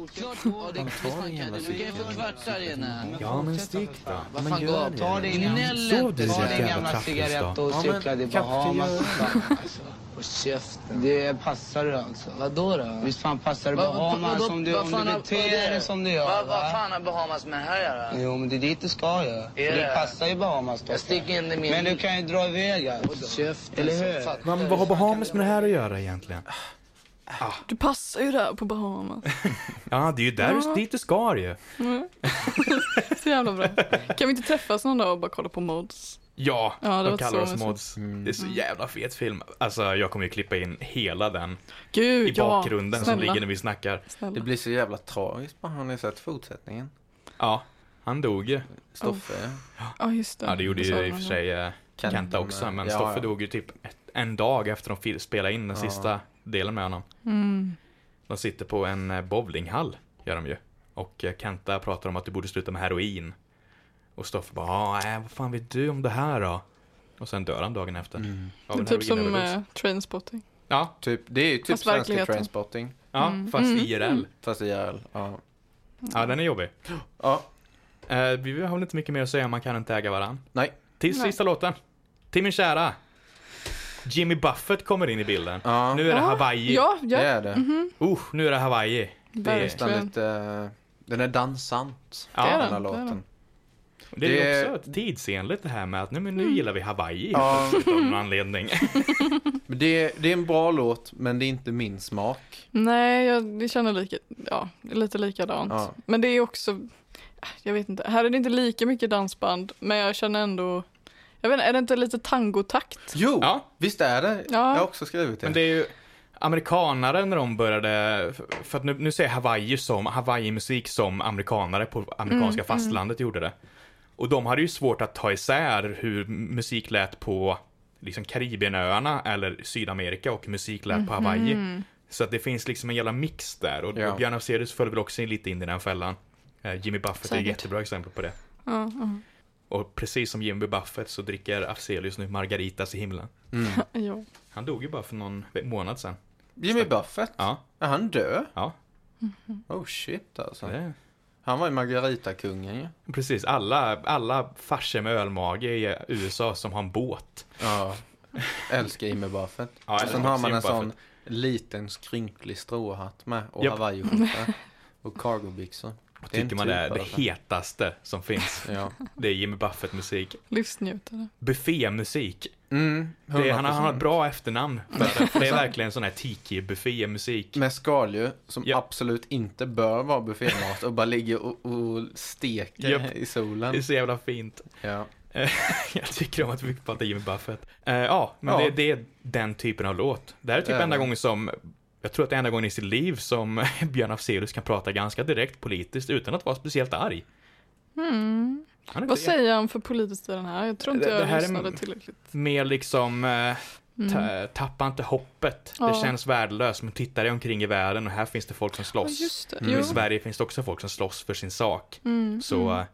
ja, det är klart man kan. Du kan ju få kvartar i den här.
Ja, men stick då.
Vad fan, gå av. Ta din
Sov
gnäll
du,
inte. Ta din
jävla
gamla
trappis då.
cigarett och
Ja, men
cykla till
kaffe
Bahamas.
gör-
fan, alltså. Och käften.
Det passar du alltså.
Vadå då?
Visst fan passar det
Va- va-
Bahamas
vadå-
om du,
vad
om
fan
du
har- vad
beter
är det?
dig som du gör.
Vad
va?
vad fan har Bahamas med det här att göra?
Jo, men det är dit du ska ju.
det?
Det passar ju Bahamas då.
Jag sticker in i min...
Men du kan ju dra iväg alltså.
Käften,
Eller
så
hur?
fattar
Men
du.
vad har Bahamas med det här att göra egentligen?
Du passar ju där på Bahamas.
Ja, det är ju där
Ja.
du, dit du ska ju.
Mm. Så jävla bra. Kan vi inte träffas någon dag och bara kolla på mods?
Ja,
Ja, det
de
var
kallar
så
oss
mysigt.
mods. Det är så jävla fet film. Alltså, jag kommer ju klippa in hela den
Gud,
i
ja.
bakgrunden som
snälla,
ligger när vi snackar.
Det
Snälla.
blir så jävla tragiskt bara har ni sett fortsättningen?
Ja, han dog ju.
Stoffe.
Ja, just det.
Ja, det gjorde
sa
ju i och
han
för sig eh,
Kent
Kenta
med.
också, men
Ja,
Stoffe
ja.
dog ju typ ett, en dag efter de fil- spelade in den
Ja.
sista delen med honom.
Mm.
De sitter på en eh, bowlinghall, gör de ju. Och eh, Kenta pratar om att du borde sluta med heroin. Och Stoffe bara, "Ah, nej, vad fan vet du om det här då? Och sen dör han dagen efter. Av
Mm.
Det är
en
typ som
heroinöverdos.
eh, Trainspotting.
Ja,
Typ, det är ju typ
Fast
svenska
verkligheten.
Trainspotting.
ja
Mm.
fast
Mm.
IRL.
Fast i IRL. Ja.
Ja, den är jobbig.
ja.
Eh, vi har väl inte mycket mer att säga, man kan inte äga varann.
Nej.
Till
Nej.
sista låten. Till min kära. Jimmy Buffett kommer in i bilden.
Ja.
Nu är det Hawaii.
Ja,
Det
ja.
är det.
Usch, nu är det Hawaii.
Nästan
Verkligen.
lite... eh, Den är dansant.
Ja,
är
den här
den, det är
låten.
den.
Det är ju
Det-
också tidsenligt det här med att nej, men nu gillar vi Hawaii
Ja.
plötsligt av någon anledning.
Men det, det är en bra låt, men det är inte min smak.
Nej, jag det känner lika, ja, det är lite likadant.
Ja.
Men det är också, äh, jag vet inte, här är det inte lika mycket dansband, men jag känner ändå, jag vet inte, är det inte lite tangotakt?
Jo,
Ja.
visst är det?
Ja.
Jag har också skrivit det.
Men det är ju amerikanare när de började, för- för att nu, nu ser jag Hawaii som, Hawaii-musik som amerikanare på amerikanska fastlandet gjorde det. Och de hade ju svårt att ta isär hur musik lät på liksom Karibienöarna eller Sydamerika och hur musik lät på Hawaii. Så att det finns liksom en jävla mix där och
Ja.
ja. Björn Afzelius föll väl också in lite in i den fällan. Eh, Jimmy Buffett är ett
Säkert.
jättebra exempel på det.
Ja, ja.
Och precis som Jimmy Buffett så dricker Afzelius nu Margaritas i himlen.
ja.
Han dog ju bara för någon månad sedan.
Jimmy Buffett?
Ja,
Är han död?
ja.
Oh shit alltså.
Det.
Han var ju Margarita-kungen ju.
Precis, alla, alla farsor med ölmage i USA som har en båt.
Ja. Älskar Jimmy Buffett.
Ja,
och
älskar
sen har man
Jimmy
en sån
Buffett.
liten skrynklig stråhatt med och
Japp.
hawaiiskjorta och cargobyxor.
Och
Det är en
tycker man
typ
det är det
alltså.
hetaste som finns.
Ja.
Det är Jimmy Buffett-musik.
livsnjutare.
Buffémusik.
Mm,
Det är, han, har- han har
100%.
ett bra efternamn för det. Det är verkligen sån här tiki-buffémusik.
Med skaldjur som
Japp.
absolut inte bör vara buffémat och bara ligger och, och steker
Japp.
i
Det är
solen.
så jävla fint.
Ja.
Jag tycker om att vi fick prata Jimmy Buffett. Eh, ja, men
Ja.
Det, det är den typen av låt. Det här är typ
Det är
enda
det.
gången som, jag tror att det är enda gången i sitt liv som Björn Afzelius kan prata ganska direkt politiskt utan att vara speciellt arg.
Mm.
Han är
Vad
inte
säger han för politiskt i den här? Jag tror inte
Det- det
jag
här är-
lyssnade tillräckligt.
mer liksom, eh, ta,
Mm.
tappa inte hoppet. Det
Ja.
känns värdelöst, men tittar dig omkring i världen och här finns det folk som
Ja,
slåss.
just det.
Mm.
Och I
Jo.
Sverige finns det också folk som slåss för sin sak.
Mm.
Så
mm.
eh,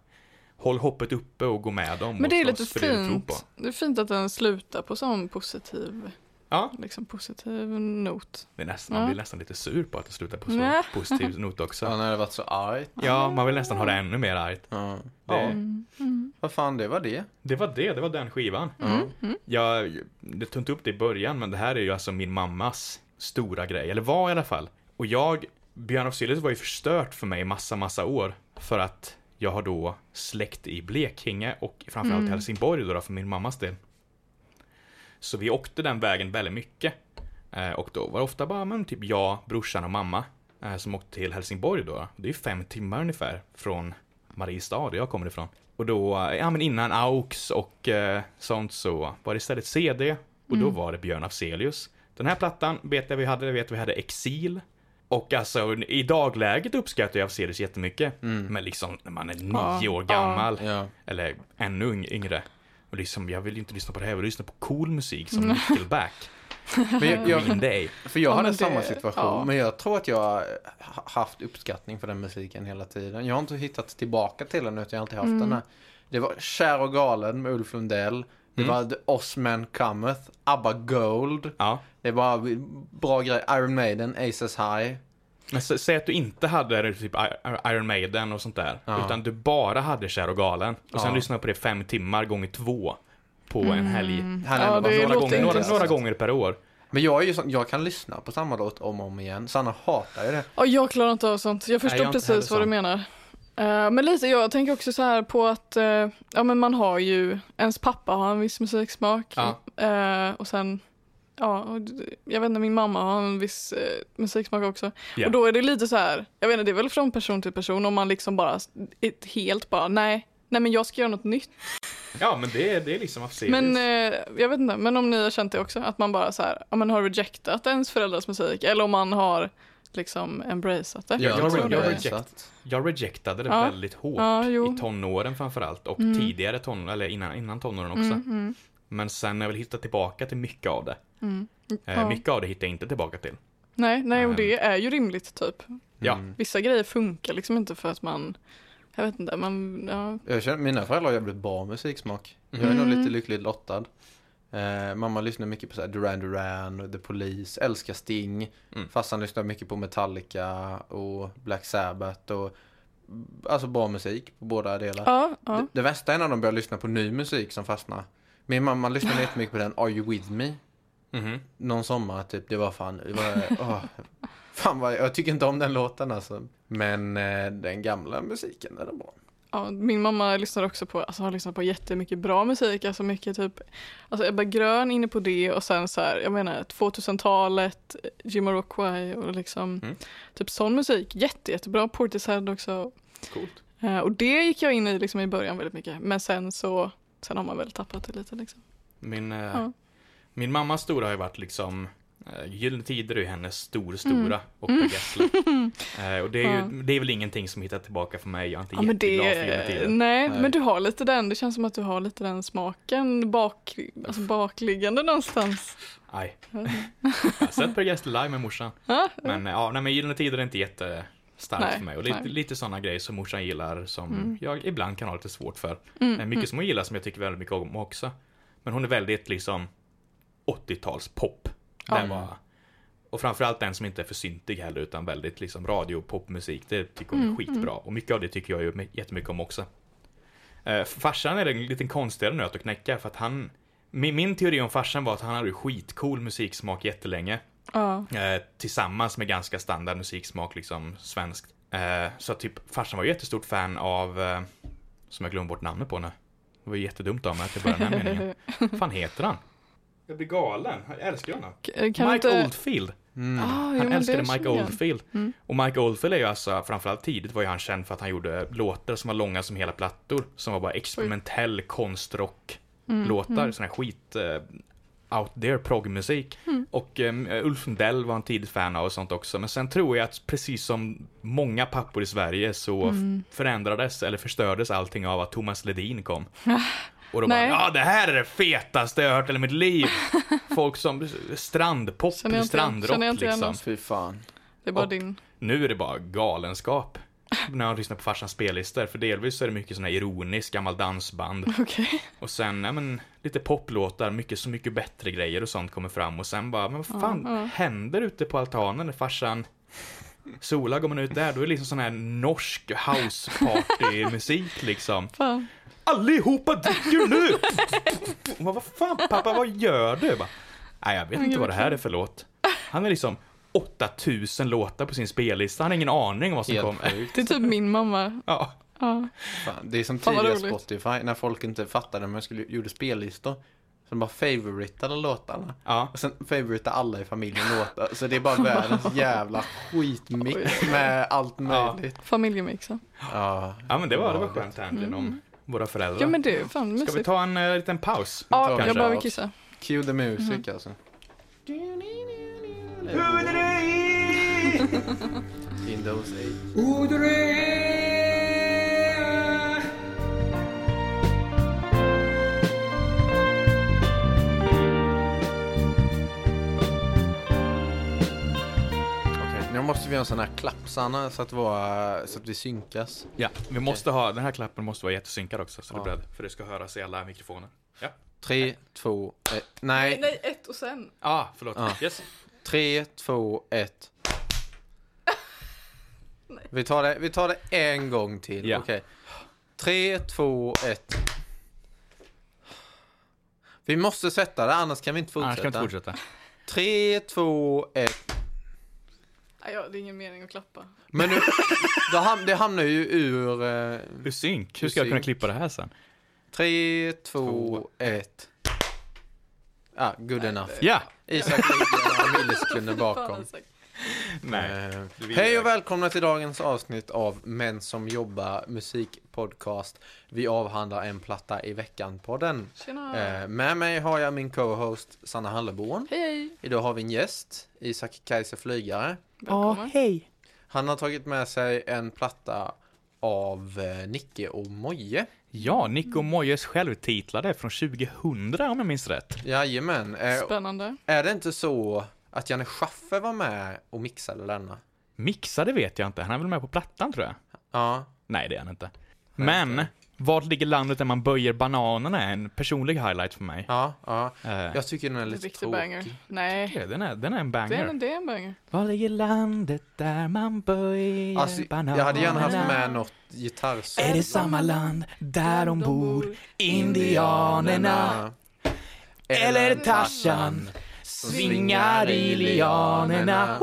håll hoppet uppe och gå med dem. och
Men det är
slåss
lite
för det du tror på.
fint. Det är fint att den slutar på sån positiv,
Ja.
liksom positiv not.
Det är nästan, Man
Ja.
blir nästan lite sur på att det slutar på så
Nej.
positiv not också.
Så han hade varit så arg.
Ja, man vill nästan ha det ännu mer argt.
Ja.
Det,
Mm. Mm.
Vad fan, det var det.
det var det, det var den skivan.
Mm. Mm.
Jag, jag tog inte upp det i början, men det här är ju alltså min mammas stora grej, eller var i alla fall. Och jag, Björn Afzelius var ju förstört för mig i massa, massa år. För att jag har då släkt i Blekinge och framförallt
Mm.
Helsingborg då, då, för min mammas del. Så vi åkte den vägen väldigt mycket. Eh, och då var det ofta bara, men typ jag, brorsan och mamma eh, som åkte till Helsingborg då. Det är fem timmar ungefär från Mariestad, där jag kommer ifrån. Och då, eh, ja men innan AUX och eh, sånt så var det istället CD och
Mm.
då var det Björn Afzelius. Den här plattan vet jag vi hade, jag vet vi hade Exil. Och alltså i dagläget uppskattar jag Afzelius jättemycket. Men liksom när man är nio
Ja.
år gammal.
Mm. Ja.
Eller ännu yng- yngre. Och liksom, jag vill ju inte lyssna på det här, jag vill lyssna på cool musik som Nickelback.
Men jag,
Green
jag,
Day.
för jag
Ja,
hade
men det-
samma situation,
ja.
men jag tror att jag har haft uppskattning för den musiken hela tiden. Jag har inte hittat tillbaka till den, utan jag har alltid haft
Mm.
den här. Det var Kär och galen med Ulf Lundell. Det var The Osman Cometh, ABBA Gold.
Ja,
Det var bra grejer. Iron Maiden, Aces High.
Men sä- säg att du inte hade typ I- Iron Maiden och sånt där.
Ja.
Utan du bara hade Kär och galen. Och sen
Ja.
lyssnade på det fem timmar gånger två på en helg.
Han
Mm. Ja,
ändå
det
varit några
låter
gånger.
Några,
intressant.
några gånger per år.
Men jag är ju sån, jag kan lyssna på samma låt om och om igen. Sanna hatar ju det.
Ja, jag klarar inte av sånt. Jag förstår
jag inte heller
precis vad du
sån.
menar. Eh, men lite, jag tänker också så här på att eh, ja, men man har ju, ens pappa har en viss musiksmak.
Ja.
Eh, och sen, ja, och d- jag vet inte, min mamma har en viss eh, musiksmak också.
Ja.
Och då är det lite så här, jag vet inte, det är väl från person till person om man liksom bara, s- ett helt bara, nej, nej men jag ska göra något nytt.
Ja, men det, är- det är liksom att se.
Men eh, jag vet inte, men om ni har känt det också, att man bara så här, om man har rejectat ens föräldrars musik eller om man har liksom embraceat det.
Jag
jag,
tror
jag,
det.
rejectat.
Jag rejectade det
Ja.
väldigt hårt
Ja, jo. Mm.
i tonåren framförallt och tidigare tonåren, eller innan, innan tonåren också.
Mhm.
Men sen har jag väl hittat tillbaka till mycket av det. Eh,
Mm. Ja.
Mycket av det hittar jag inte tillbaka till.
Nej, nej, och
Ehm.
det är ju rimligt typ.
Ja,
Mm.
Vissa grejer funkar liksom inte för att man, jag vet inte, man, ja.
Jag känner, mina föräldrar har jävligt bra musiksmak. Jag är
Mm.
nog lite lyckligt lottad. Eh, mamma lyssnar mycket på så här Duran Duran, The Police, älskar Sting.
Mm.
Farsan lyssnar mycket på Metallica och Black Sabbath och alltså bra musik på båda delar.
Ja, ja.
Det, det värsta är när de börjar lyssna på ny musik som fastnar. Min mamma lyssnade jättemycket på den Are You With Me
Mhm.
någon sommar typ. Det var fan, det var, åh, fan vad, jag tycker inte om den låten alltså. Men eh, den gamla musiken den är bra.
Mm.
ja. Min mamma lyssnar också på, alltså har lyssnat på jättemycket bra musik, alltså mycket typ, alltså Ebba Grön inne på det och sen så här, jag menar 2000-talet, Jamiroquai och liksom,
Mm.
typ sån musik, jätte, jättebra, Portishead också.
coolt.
Eh, Och det gick jag in i liksom i början väldigt mycket, men sen så, sen har man väl tappat det lite liksom.
Min, eh,
Ja.
min mammas stora har ju varit liksom eh, Gyllene Tider är ju hennes stor, stora
Mm.
och Per Gessle. Eh, och det är, ju, det är väl ingenting som hittar tillbaka för mig. Jag är inte
Ja, men
jätteglad
det,
för Gyllene Tider.
nej,
Nej.
men du har lite den. Det känns som att du har lite den smaken bak, alltså bakliggande någonstans.
Nej. jag har sett Per Gessle live med morsan. Men eh, ja, nej, men Gyllene Tider är inte jättestarkt
Nej,
för mig. Och lite,
nej. Mm.
lite sådana grejer som morsan gillar som jag ibland kan ha lite svårt för. Eh, mycket som hon gillar som jag tycker väldigt mycket om också. Men hon är väldigt liksom 80-talspop. Den var... Och framförallt den som inte är för syntig heller utan väldigt liksom radiopopmusik. Det tycker
Mm,
hon är skitbra. Och mycket av det tycker jag ju jättemycket om också. Eh, farsan är en liten konstigare nöt att knäcka för att han... Min, min teori om farsan var att han hade ju skitcool musiksmak jättelänge.
Ja,
Eh, tillsammans med ganska standard musiksmak, liksom svenskt. Eh, så att typ, farsan var ju jättestort fan av, eh, som jag glömde bort namnet på nu. Det var ju jättedumt av mig att jag började den här meningen. Vad fan heter han? Jag blir galen, jag älskar honom.
K- kan
Mike
du inte...
Oldfield.
Ah, jo, men
Han
det
älskade Mike
känner jag Mm. igen.
Oldfield. Och Mike Oldfield är ju alltså, framförallt tidigt var ju han känd för att han gjorde låtar som var långa som hela plattor. Som var bara experimentell konstrock
Mm,
låtar. Sån här skit eh, out there progmusik.
Mm.
Och um, Ulf Lundell var en tidig fan av och sånt också. Men sen tror jag att precis som många pappor i Sverige så
Mm.
f- förändrades eller förstördes allting av att Thomas Ledin kom. Och då bara,
Nej.
ja det här är det fetaste jag har hört i hela mitt liv. Folk som strandpop,
Känner jag inte igen-
strandrock
känner jag inte igen
liksom.
oss.
Fy fan.
Det är bara
Och-
din.
Nu är det bara galenskap. När jag lyssnar på farsans spellistor. För delvis så är det mycket sån här ironisk gammal dansband.
Okej.
Och sen, ja men, lite poplåtar, mycket Så mycket bättre grejer och sånt kommer fram. Och sen bara, men vad fan händer ute på altanen när farsan solar? Går man ut där, då är det liksom sån här norsk houseparty-musik liksom.
Fan.
Allihopa dricker nu! Och man, vad fan pappa, vad gör du? Jag Bara, Nej, jag vet inte vad det här är för låt. Han är liksom 8000 låtar på sin spellista. Han har ingen aning om vad som
Helt
kommer.
sjukt.
Det är typ min mamma.
Ja.
Ja.
Fan, det är som
Fan, vad
tidiga
roligt.
Spotify när folk inte fattade när man skulle, gjorde spellistor. Så de bara favoritade låtarna.
ja.
Och sen favoritade alla i familjen låtar. Så det är bara världens jävla skitmix med allt möjligt.
Familjemixen.
Ja.
Ja, men det var, det var skönt handling om våra föräldrar.
Mm. Ja men det är fan
Ska vi
mysigt.
ta en eh, liten paus?
Ja,
kanske
jag behöver
oss?
kissa.
Cue the music alltså. In those eight. Okej, Nu måste vi göra en sån här klapp Sanna så att, våra, så att vi synkas.
Ja, vi måste ha, den här klappen måste vara jättesynkad också. Så
Ja.
det är beredd. För det ska höras i alla mikrofoner. Ja,
Tre, två, ett. Nej,
Nej, ett och sen.
ah, förlåt.
Ja.
Yes.
tre, två, ett. Vi tar det, vi tar det en gång till.
Ja.
Okej. Tre, två, ett. Vi måste sätta det, annars kan vi inte
Annars kan vi
fortsätta.
inte fortsätta.
Tre, två, ett.
Nej, ja, det är ingen mening att klappa.
Men nu, då ham- det hamnar ju ur... eh,
Hur synk? Hur ska jag kunna klippa det här sen?
Tre, två, ett. Ah, good enough.
Ja!
Isak ligger några millisekunder
Fan,
bakom.
alltså.
Nej.
Eh,
Du vill
Hej
jag.
och välkomna till dagens avsnitt av Män som jobbar musikpodcast. Vi avhandlar en platta i veckan-podden.
Tjena.
Eh, med mig har jag min co-host Sanna Hallerborn.
Hej, hej.
Idag har vi en gäst, Isak Kaiser Flygare.
Välkommen.
hej!
Han har tagit med sig en platta av eh, Nicke och Moje.
Ja, ni...
Nico Moyes självtitlade från 2000 om jag minns rätt.
Jajamän. Eh,
Spännande.
är det inte så att Janne Schaffer var med och mixade denna?
Mixade vet jag inte, han är väl med på plattan tror jag.
Ja.
Nej, det är han inte.
Nej,
Men,
inte.
vart ligger landet där man böjer bananerna är en personlig highlight för mig.
Ja, ja.
Eh,
Jag tycker den är lite
Riktig
tråkig.
banger. Nej,
ja, den, är, den är en
det är
banger.
en, det är en banger.
Var ligger landet där man böjer
Alltså, jag hade gärna haft med något gitarrsolo.
Är det samma land där de bor, indianerna?
Indianerna.
Eller Tarzan? Svingar i lianerna.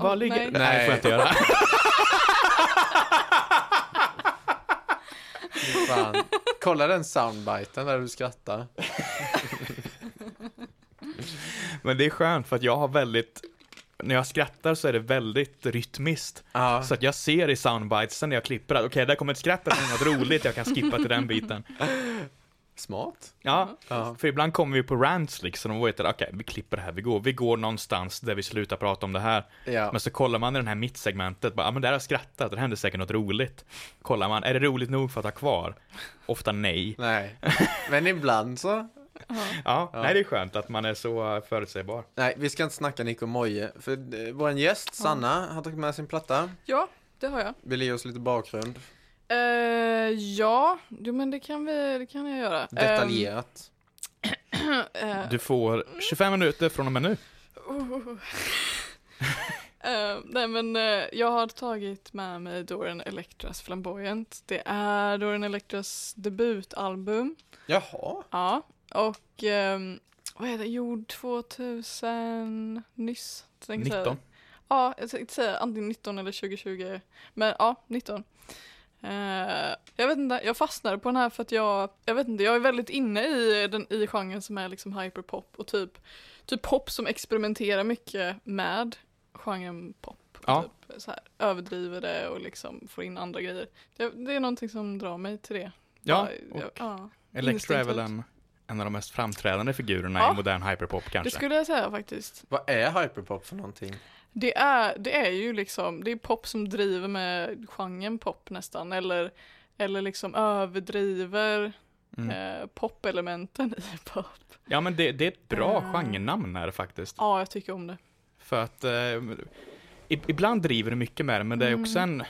Var
ligger-
Nej.
Nej, det får jag inte
Nej,
göra.
fan. Kolla den soundbiten där du skrattar.
Men det är skönt för att jag har väldigt, när jag skrattar så är det väldigt rytmiskt.
Ja.
Så att jag ser i soundbitesen när jag klipper att okej, där kommer ett skratt, där kommer något roligt, jag kan skippa till den biten.
Smart.
Mm.
Ja,
Ja.
för ibland kommer vi på rants liksom och vet att okej, vi klipper det här, vi går, vi går någonstans där vi slutar prata om det här.
Ja.
Men så kollar man i den här mittsegmentet, bara, ja men där har jag skrattat, det hände säkert något roligt. Kollar man, är det roligt nog för att ha kvar? Ofta nej.
Nej. Men ibland så.
Ja, nej det är skönt att man är så eh, förutsägbar.
Nej, vi ska inte snacka Nico Moje. För eh, vår gäst, Sanna, har tagit med sin platta.
Ja, det har jag.
Vill ge oss lite
Ehm.
bakgrund.
Eh, ja, jo, men det kan, vi, det kan jag göra. Ehm,
Detaljerat.
eh,
Du får 25 minuter från och med nu.
Ehm, oh, Eh, nej men eh, jag har tagit med mig Dorian Electras Flamboyant. Det är Dorian Electras debutalbum.
Jaha.
Ja, och ehm, vad är det? Jo, 2000 nyss. Jag tänkte säga-
19.
Ja, jag tänkte säga antingen 19 eller 2020. Men ja, 19. Eh, jag vet inte, jag fastnade på den här för att jag, jag vet inte, jag är väldigt inne i den i genren som är liksom hyperpop och typ, typ pop som experimenterar mycket med genren pop. och
Ja.
Typ, så här, överdriver det och liksom får in andra grejer. Det, det är någonting som drar mig till det.
Ja,
Bara,
och
jag, ja.
Elektra är
instinktivt.
väl en, en av de mest framträdande figurerna
Ja.
i modern hyperpop
Det
kanske.
skulle jag säga faktiskt.
Vad är hyperpop för någonting?
Det är, det är ju liksom, det är pop som driver med genren pop nästan, eller, eller liksom överdriver
Mm.
eh, popelementen i pop.
Ja men det, det är ett bra
Ah.
genrenamn här faktiskt.
Ja, jag tycker om det.
För att eh, i- ibland driver det mycket med det, men det är också
Mm.
en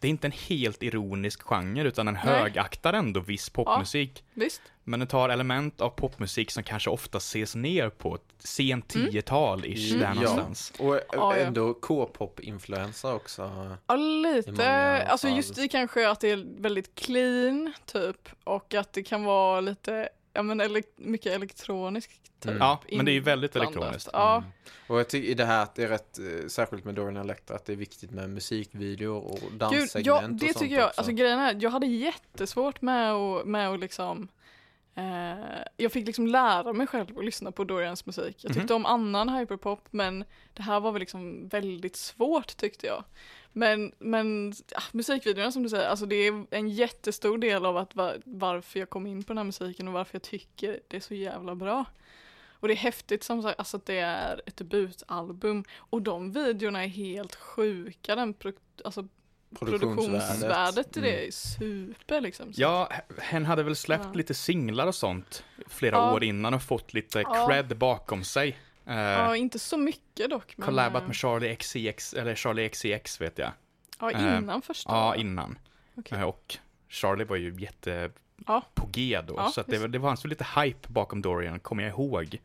det är inte en helt ironisk genre, utan den högaktar ändå viss popmusik.
Visst?
Men den tar element av popmusik som kanske ofta ses ner på ett sent
Mm.
10-tal-ish där någonstans.
Och eh,
Ja, ja.
ändå K-pop-influensa också.
Ja,
I
lite.
många
Alltså
fall.
just i kanske att det är väldigt clean, typ, och att det kan vara lite, ja men elek- mycket elektroniskt, typ.
Mm.
Ja, men det är ju väldigt
inblandat.
elektroniskt. Mm.
Ja,
Och jag tycker i det här att det är rätt, eh, särskilt med Dorian Electra, att det är viktigt med musikvideor och
Gud,
danssegment
ja,
och
det
sånt
tycker jag.
också.
Alltså grejen är, jag hade jättesvårt med att, med att liksom eh, jag fick liksom lära mig själv att lyssna på Dorians musik.
Mhm.
Jag tyckte om annan hyperpop men det här var väl liksom väldigt svårt tyckte jag. Men, men ah, musikvideorna som du säger, alltså det är en jättestor del av att va- varför jag kom in på den här musiken och varför jag tycker det är så jävla bra. Och det är häftigt som sagt, alltså att det är ett debutalbum och de videorna är helt sjuka. Den pro- alltså produktionsvärdet i det är super liksom. Så-
Mm. Ja, hen hade väl släppt
Ja.
lite singlar och sånt flera
Ja.
år innan och fått lite
Ja.
cred bakom sig. Eh,
ja, inte så mycket dock. Men,
Collabat
eh,
med Charlie XCX, eller Charlie XCX vet jag.
Ja, innan första.
eh, Ja, innan.
Okej.
Eh, Och Charlie var ju jätte
Ja.
på G då,
Ja,
så att
visst. Mm,
det, det fanns väl lite hype bakom Dorian, kommer jag ihåg.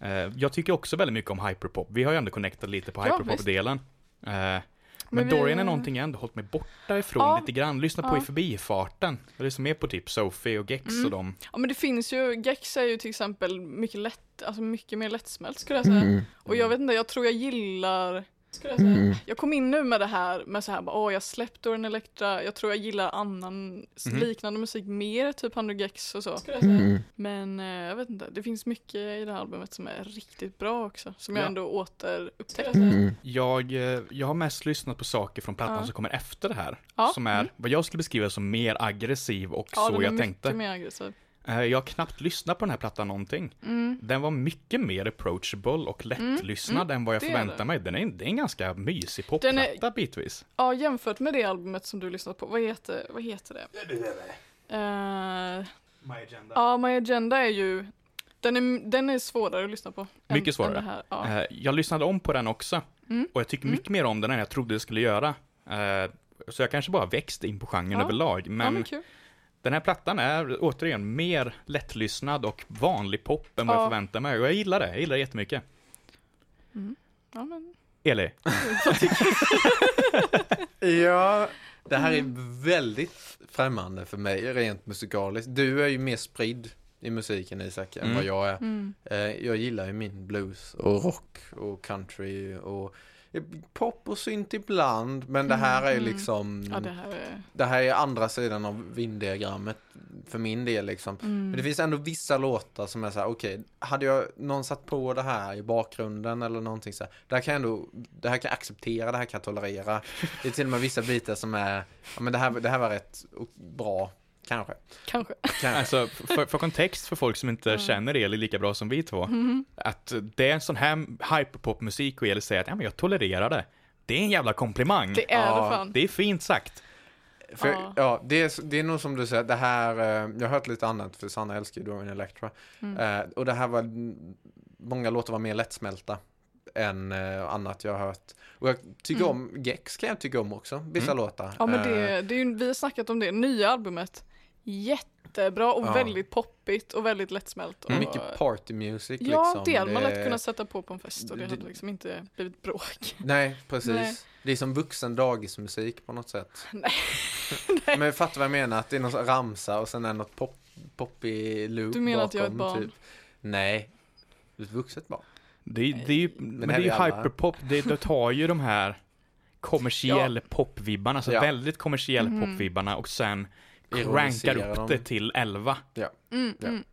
Eh, jag tycker också väldigt mycket om hyperpop. Vi har ju ändå connectat lite på
Ja,
hyperpop-delen. Eh,
Men,
vi-
Dorian är någonting jag ändå hållit mig borta ifrån
Ja.
lite grann. Lyssna på
Ja.
i förbifarten.
Jag lyssnar mer på typ Sophie och Gex
Mm.
och dem.
Ja men det finns ju, Gex är ju till exempel mycket lätt, alltså mycket mer lättsmält skulle jag säga. Och jag vet inte, jag tror jag gillar skulle jag, säga. jag kom in nu med det här med så här, bara, åh jag släppte en Elektra, jag tror jag gillar annan s- liknande musik mer, typ Hunter Gex och så. Skulle jag säga. Men eh, jag vet inte, det finns mycket i det här albumet som är riktigt bra också, som jag
Ja.
ändå återupptäckte.
Jag, eh, jag har mest lyssnat på saker från plattan
Ja.
som kommer efter det här.
Ja, Mm.
Som är vad jag skulle beskriva som mer aggressiv och
Ja,
så
den är
jag
mycket
tänkte.
mer aggressiv.
Eh, Jag har knappt lyssnat på den här plattan någonting.
Mm.
Den var mycket mer approachable och lättlyssnad än vad jag
det är
förväntade
det.
mig. Den är, det är en ganska mysig
Den är-
popplatta bitvis.
Ja, jämfört med det albumet som du lyssnat på, vad heter, vad heter det? Eh, Ja, My Agenda är ju, den är, den är svårare att lyssna på. än-
Mycket svårare.
Än det här. Ja. Mm,
Eh, Jag lyssnade om på den också. Och jag tycker mycket mer om den än jag trodde jag skulle göra. Eh, Så jag kanske bara växt in på genren
Ja.
överlag. Men,
ja, men kul.
den här plattan är återigen mer lättlyssnad och vanlig pop än vad
Ja.
jag förväntade mig. Och jag gillar det. Jag gillar det jättemycket.
Ja, men,
Eli,
Ja, det här är
Mm.
väldigt främmande för mig rent musikaliskt. Du är ju mer spridd i musiken Isak än
Mm.
vad jag är.
mm.
Eh, Jag gillar ju min blues och rock och country och eh, pop och synt ibland. Men det här är ju
Mm.
liksom,
ja det här är,
det här är andra sidan av vinddiagrammet för min del liksom. Men det finns ändå vissa låtar som är så här, okej, hade jag någon satt på det här i bakgrunden eller någonting så här, det här kan jag ändå, det här kan jag acceptera, det här kan jag tolerera. Det är till och med vissa bitar som är, ja men det här, det här var rätt och- bra, kanske.
kanske.
kanske.
alltså för, för kontext för folk som inte känner Eli lika bra som vi två.
Mm-hmm.
Att det är en sån här hyperpopmusik och Eli säger att ja, men jag tolererar det. Det är en jävla komplimang.
Det är
Ja,
det fan.
Det är fint sagt.
För,
Ja.
ja. det, är, det är nog som du säger, det här, eh, jag har hört lite annat för Sanna älskar ju Dorian Electra.
Mm.
Eh, och det här var, många låtar var mer lättsmälta än eh, annat jag har hört. Och jag tycker om, Gex kan jag tycka om också, vissa låtar.
Mm. Ja men
Eh,
det, det är ju, vi har snackat om det nya albumet. Jättebra och
Ja.
väldigt poppigt och väldigt lättsmält. Och,
Mycket party music
Ja,
liksom.
det hade man
Det-
lätt kunnat sätta på på en fest och det,
det-
hade liksom inte blivit bråk.
Nej, precis.
Nej.
Det är som vuxen dagismusik på något sätt. Men jag fattar vad jag menar, att det är någon sån ramsa och sen är något pop, poppy loop
Du menar att jag är ett
bakom,
barn?
Typ. Nej, du är ett vuxet barn.
Det, är- det är ju, men det
här
är
vi
ju
alla.
hyperpop. Det, det tar ju de här kommersiell popvibbarna, alltså
Ja.
väldigt kommersiell
Mm-hmm.
popvibbarna och sen rankar
Ironiserar
upp
dem.
det till 11.
Ja.
Mm,
Ja.
mm,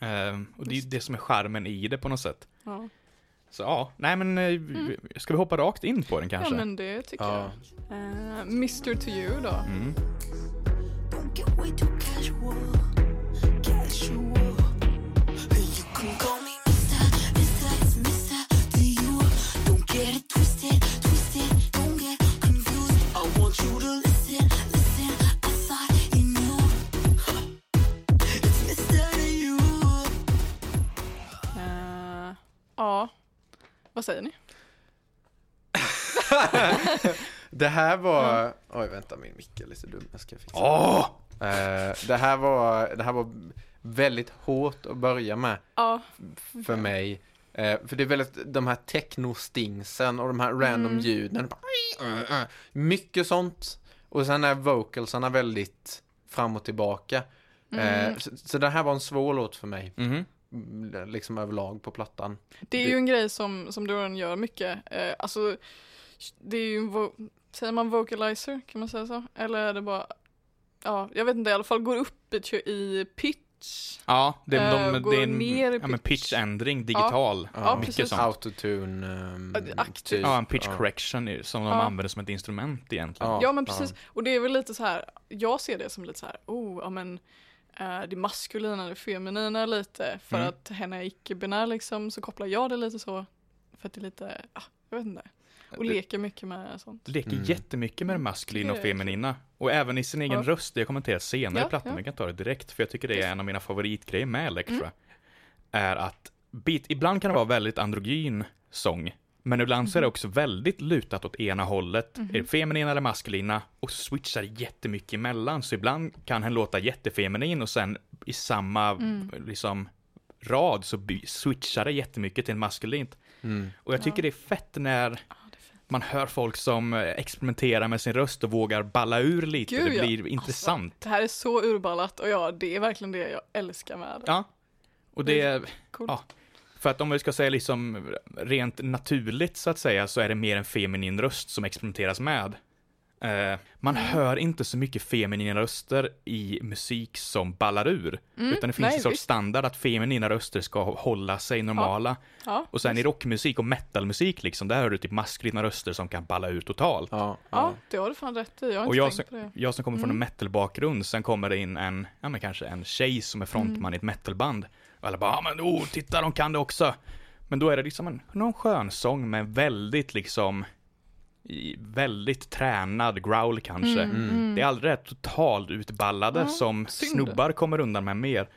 Ehm, och det är ju det som är charmen i det på något sätt.
ja.
Så ja, nej men eh, ska vi hoppa rakt in på den
Mm. ja
kanske?
men det tycker
Ja.
jag. Eh, Mr to you då.
Don't get way too casual. Casual. You can call me Mr. Mr. It's Mr. to you. Don't get it twisted. Twisted. Don't get confused. I want you to listen. Listen. I thought you knew. It's Mr. to you.
Eh, ja, vad säger ni?
Det här var... Oj, vänta, min mick är lite dum. Jag ska fixa
Åh!
det. Eh, det, här var, det här var väldigt hårt att börja med
Ja,
för mig. Eh, för det är väldigt de här technostingsen och de
Mm.
här random ljuden. Bara- Mycket sånt. Och sen är vocalsarna väldigt fram och tillbaka.
Mm.
Eh, så, så det här var en svår låt för mig.
Mhm.
Mm, Liksom överlag på plattan.
Det är
Det-
ju en grej som, som Doran gör mycket. Eh, alltså, det är ju en vo- säger man vocalizer, kan man säga så? Eller är det bara, ja, jag vet inte, i alla fall går upp i, i pitch.
Ja, det,
Eh,
är de,
går
det är en
ner i
ja, men
pitch.
pitchändring digital.
Ja,
mycket
precis.
sånt.
Autotune. ehm,
Ja, det är aktivt.
typ.
Ja, en pitch correction är- som de
Ja.
använder som ett instrument egentligen.
Ja men precis, och det är väl lite så här, jag ser det som lite så här, oh, ja men eh, det maskulina, det feminina lite, för
Mm.
att henne är icke-binär liksom, så kopplar jag det lite så, för att det är lite, ah, jag vet inte, och leker mycket med sånt.
leker jättemycket med det maskulina och
Tycker jag.
feminina. Och även i sin egen
Ja.
röst, det jag kommenterar senare
Ja,
i plattan,
ja. Mm.
men jag kan ta det direkt, för jag tycker det är en av mina favoritgrejer med Elektra. Är att bit, ibland kan det vara väldigt androgyn sång, men ibland
Mhm.
så är det också väldigt lutat åt ena hållet. Är det feminina eller maskulina? Och så switchar det jättemycket emellan, så ibland kan han låta jättefeminin och sen i samma
Mm.
liksom rad så by- switchar det jättemycket till maskulint. Och jag tycker det är fett när
Ja, det är fint.
man hör folk som eh, experimenterar med sin röst och vågar balla ur lite.
Gud,
det
ja. Alltså.
blir intressant.
Det här är så urballat och ja, det är verkligen det jag älskar med det.
Ja. Och det är,
Coolt.
ja. För att om vi ska säga liksom rent naturligt så att säga så är det mer en feminin röst som experimenteras med. Eh, man
Mm.
hör inte så mycket feminina röster i musik som ballar ur. utan det finns
Mm. nej,
en sorts
visst.
standard att feminina röster ska hålla sig normala.
Ja,
Och sen i rockmusik och metalmusik liksom, där hör du typ maskulina röster som kan balla ur totalt.
Ja,
ja, det har du fan rätt i. Jag har
Och
inte
jag som,
tänkt på det. Mm.
jag som kommer från en metalbakgrund, sen kommer det in en, ja men kanske en tjej som är frontman
Mm.
i ett metalband. Och alla bara, ja men oh, titta de kan det också. Men då är det liksom en, någon skön sång med väldigt liksom, i, väldigt tränad growl kanske. Det är aldrig det här totalt utballade som
Mm, synd.
snubbar kommer undan med mer.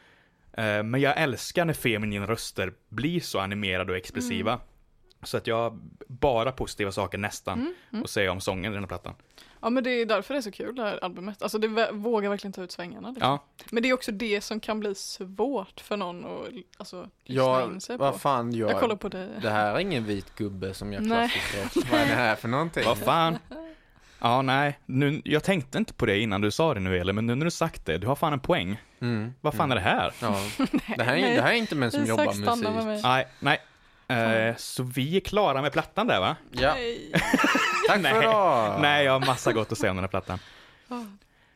Eh, Men jag älskar när feminina röster blir så animerade och expressiva.
Mm.
Så att jag, bara positiva saker nästan,
Mm,
och säga om sången i den här plattan.
Ja, men det är därför det är så kul det här albumet. Alltså det vä- vågar verkligen ta ut svängarna. Liksom.
Ja,
Men det är också det som kan bli svårt för någon att alltså, lyssna
ja
in sig på.
vad fan gör
Jag kollar på dig.
Det här är ingen vit gubbe som gör
Nej.
klassisk rock. Vad är det här för någonting?
Vad fan? Ja, nej. Nu, jag tänkte inte på det innan du sa det nu, eller, men nu när du sagt det, du har fan en poäng.
Mm.
Vad fan är det här?
Ja. Det, här är,
nej.
det här är inte män som
Isak,
jobbar
stanna med
musik. Ah,
mig.
Nej, nej. Eh, så vi är klara med plattan där, va?
Ja.
Nej.
Tack för idag!
Nej, jag har massa gott att säga om den här plattan.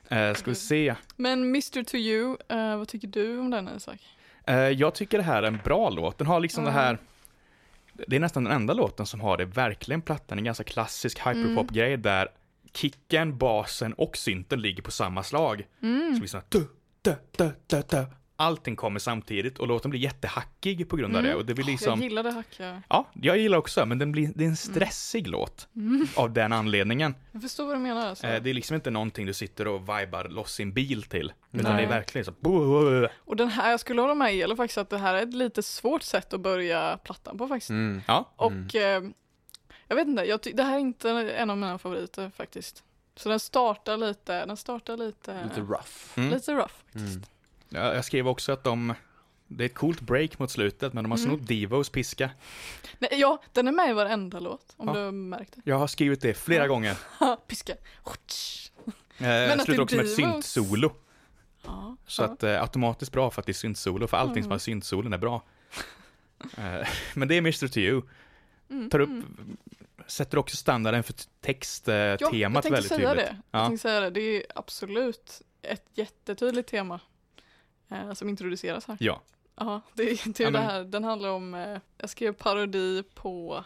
Eh, ska vi se.
Men Mr to you, eh, vad tycker du om den Isak?
Eh, jag tycker det här är en bra låt. Den har liksom
Mm.
det här... Det är nästan den enda låten som har det verkligen plattan. En ganska klassisk
Mm.
hyperpop-grej där kicken, basen och synten ligger på samma slag.
Mm.
Så liksom... Du, du, du, du, du. Allting kommer samtidigt och låten blir jättehackig på grund av det. Och det blir
Mm. Ah, Jag
liksom...
gillar Mm. det hacka.
Ja, jag gillar också, men den blir, det är en stressig låt
Mm.
av den anledningen.
Jag förstår vad du menar alltså.
Eh, Det är liksom inte någonting du sitter och vibar loss sin bil till. Utan
Nej.
det är verkligen så...
Och den här, jag skulle hålla med Elin faktiskt att det här är ett lite svårt sätt att börja plattan på faktiskt.
Mm.
Ja,
Och eh, jag vet inte, jag ty- det här är inte en av mina favoriter faktiskt. Så den startar lite, den startar lite,
Lite rough.
Mm.
lite rough faktiskt.
Ja, Jag skrev också att de, det är ett coolt break mot slutet, men de har
Mm.
snott Divos piska.
Nej, ja, den är med i varenda låt om
Ja.
du har märkt det.
Jag har skrivit det flera gånger.
Piska.
Men
att
slutar
det
också med ett
Divos-
syntsolo.
Ja,
Så
ja. Mm.
att eh, automatiskt bra för att det är syntsolo, för allting som har syntsolon är bra. Eh, men det är Mr. To You.
Mm,
Tar upp, sätter också standarden för texttemat eh,
Ja, jag
temat
tänkte
väldigt
säga
tydligt.
det. Jag
Ja.
tänkte säga det. Det är absolut ett jättetydligt tema eh, som introduceras här.
Ja.
Ja, det, är- det är
Ja,
ju det
men-
här. Den handlar om, eh, jag skrev parodi på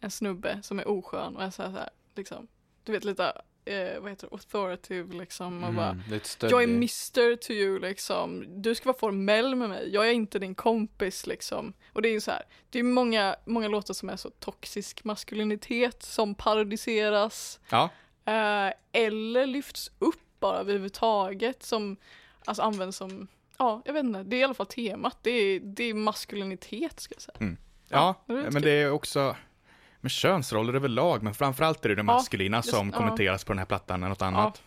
en snubbe som är oskön och är så här, så här liksom, du vet lite, eh, vad heter det, authoritative liksom och bara
Mm. Lite stöddig.
jag är mister to you liksom. Du ska vara formell med mig. Jag är inte din kompis liksom. Och det är ju så här. Det är många, många låtar som är så toxisk maskulinitet som parodiseras.
Ja.
Eh, eller lyfts upp bara överhuvudtaget som alltså används som, ja jag vet inte, det är i alla fall temat. Det är, det är maskulinitet ska jag säga.
Mm, Ja,
det är rätt
men
kul.
det är också med könsroller överlag, men framförallt är det det maskulina
just-
som
ja.
kommenteras på den här plattan än något annat.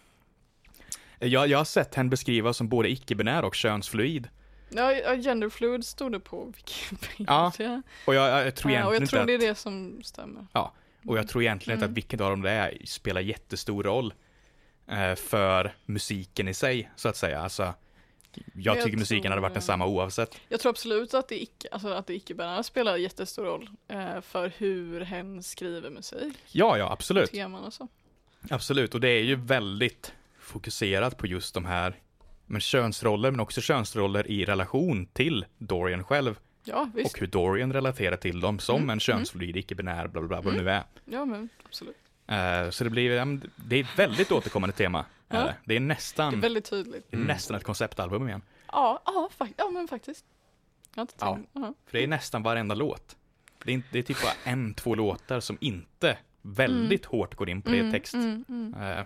Jag, jag har sett henne beskrivas som både icke-binär och könsfluid.
Ja, ja, genderfluid stod det på Wikipedia.
Ja,
Ja,
Och jag, jag tror
och
egentligen
jag tror det
inte
är Mm.
att,
det som stämmer.
Ja, och jag tror egentligen inte att vilket av dem det är spelar jättestor roll eh, för musiken i sig, så att säga. Alltså, jag,
Jag
tycker musiken
tror
hade varit
det.
densamma oavsett.
Jag tror absolut att det icke, alltså att det icke-binära spelar jättestor roll eh, för hur hen skriver musik,
Ja, ja, absolut.
teman och så.
Absolut, och det är ju väldigt fokuserat på just de här men könsroller, men också könsroller i relation till Dorian själv
Ja, visst.
och hur Dorian relaterar till dem
Mm,
som en könsfluid, icke-binär, bla bla bla, vad det nu är.
Ja, men absolut.
Eh, så det blir, ja, men det är ett väldigt återkommande tema. är det. det är nästan,
Det är väldigt tydligt.
nästan ett konceptalbum igen.
Ja, ja, fak- ja men faktiskt. Jag har inte
Ja.
tänkt. Ja.
För det är nästan varenda låt. Det är, inte, det är typ bara en, två låtar som inte väldigt
Mm.
hårt går in på det text. Eh,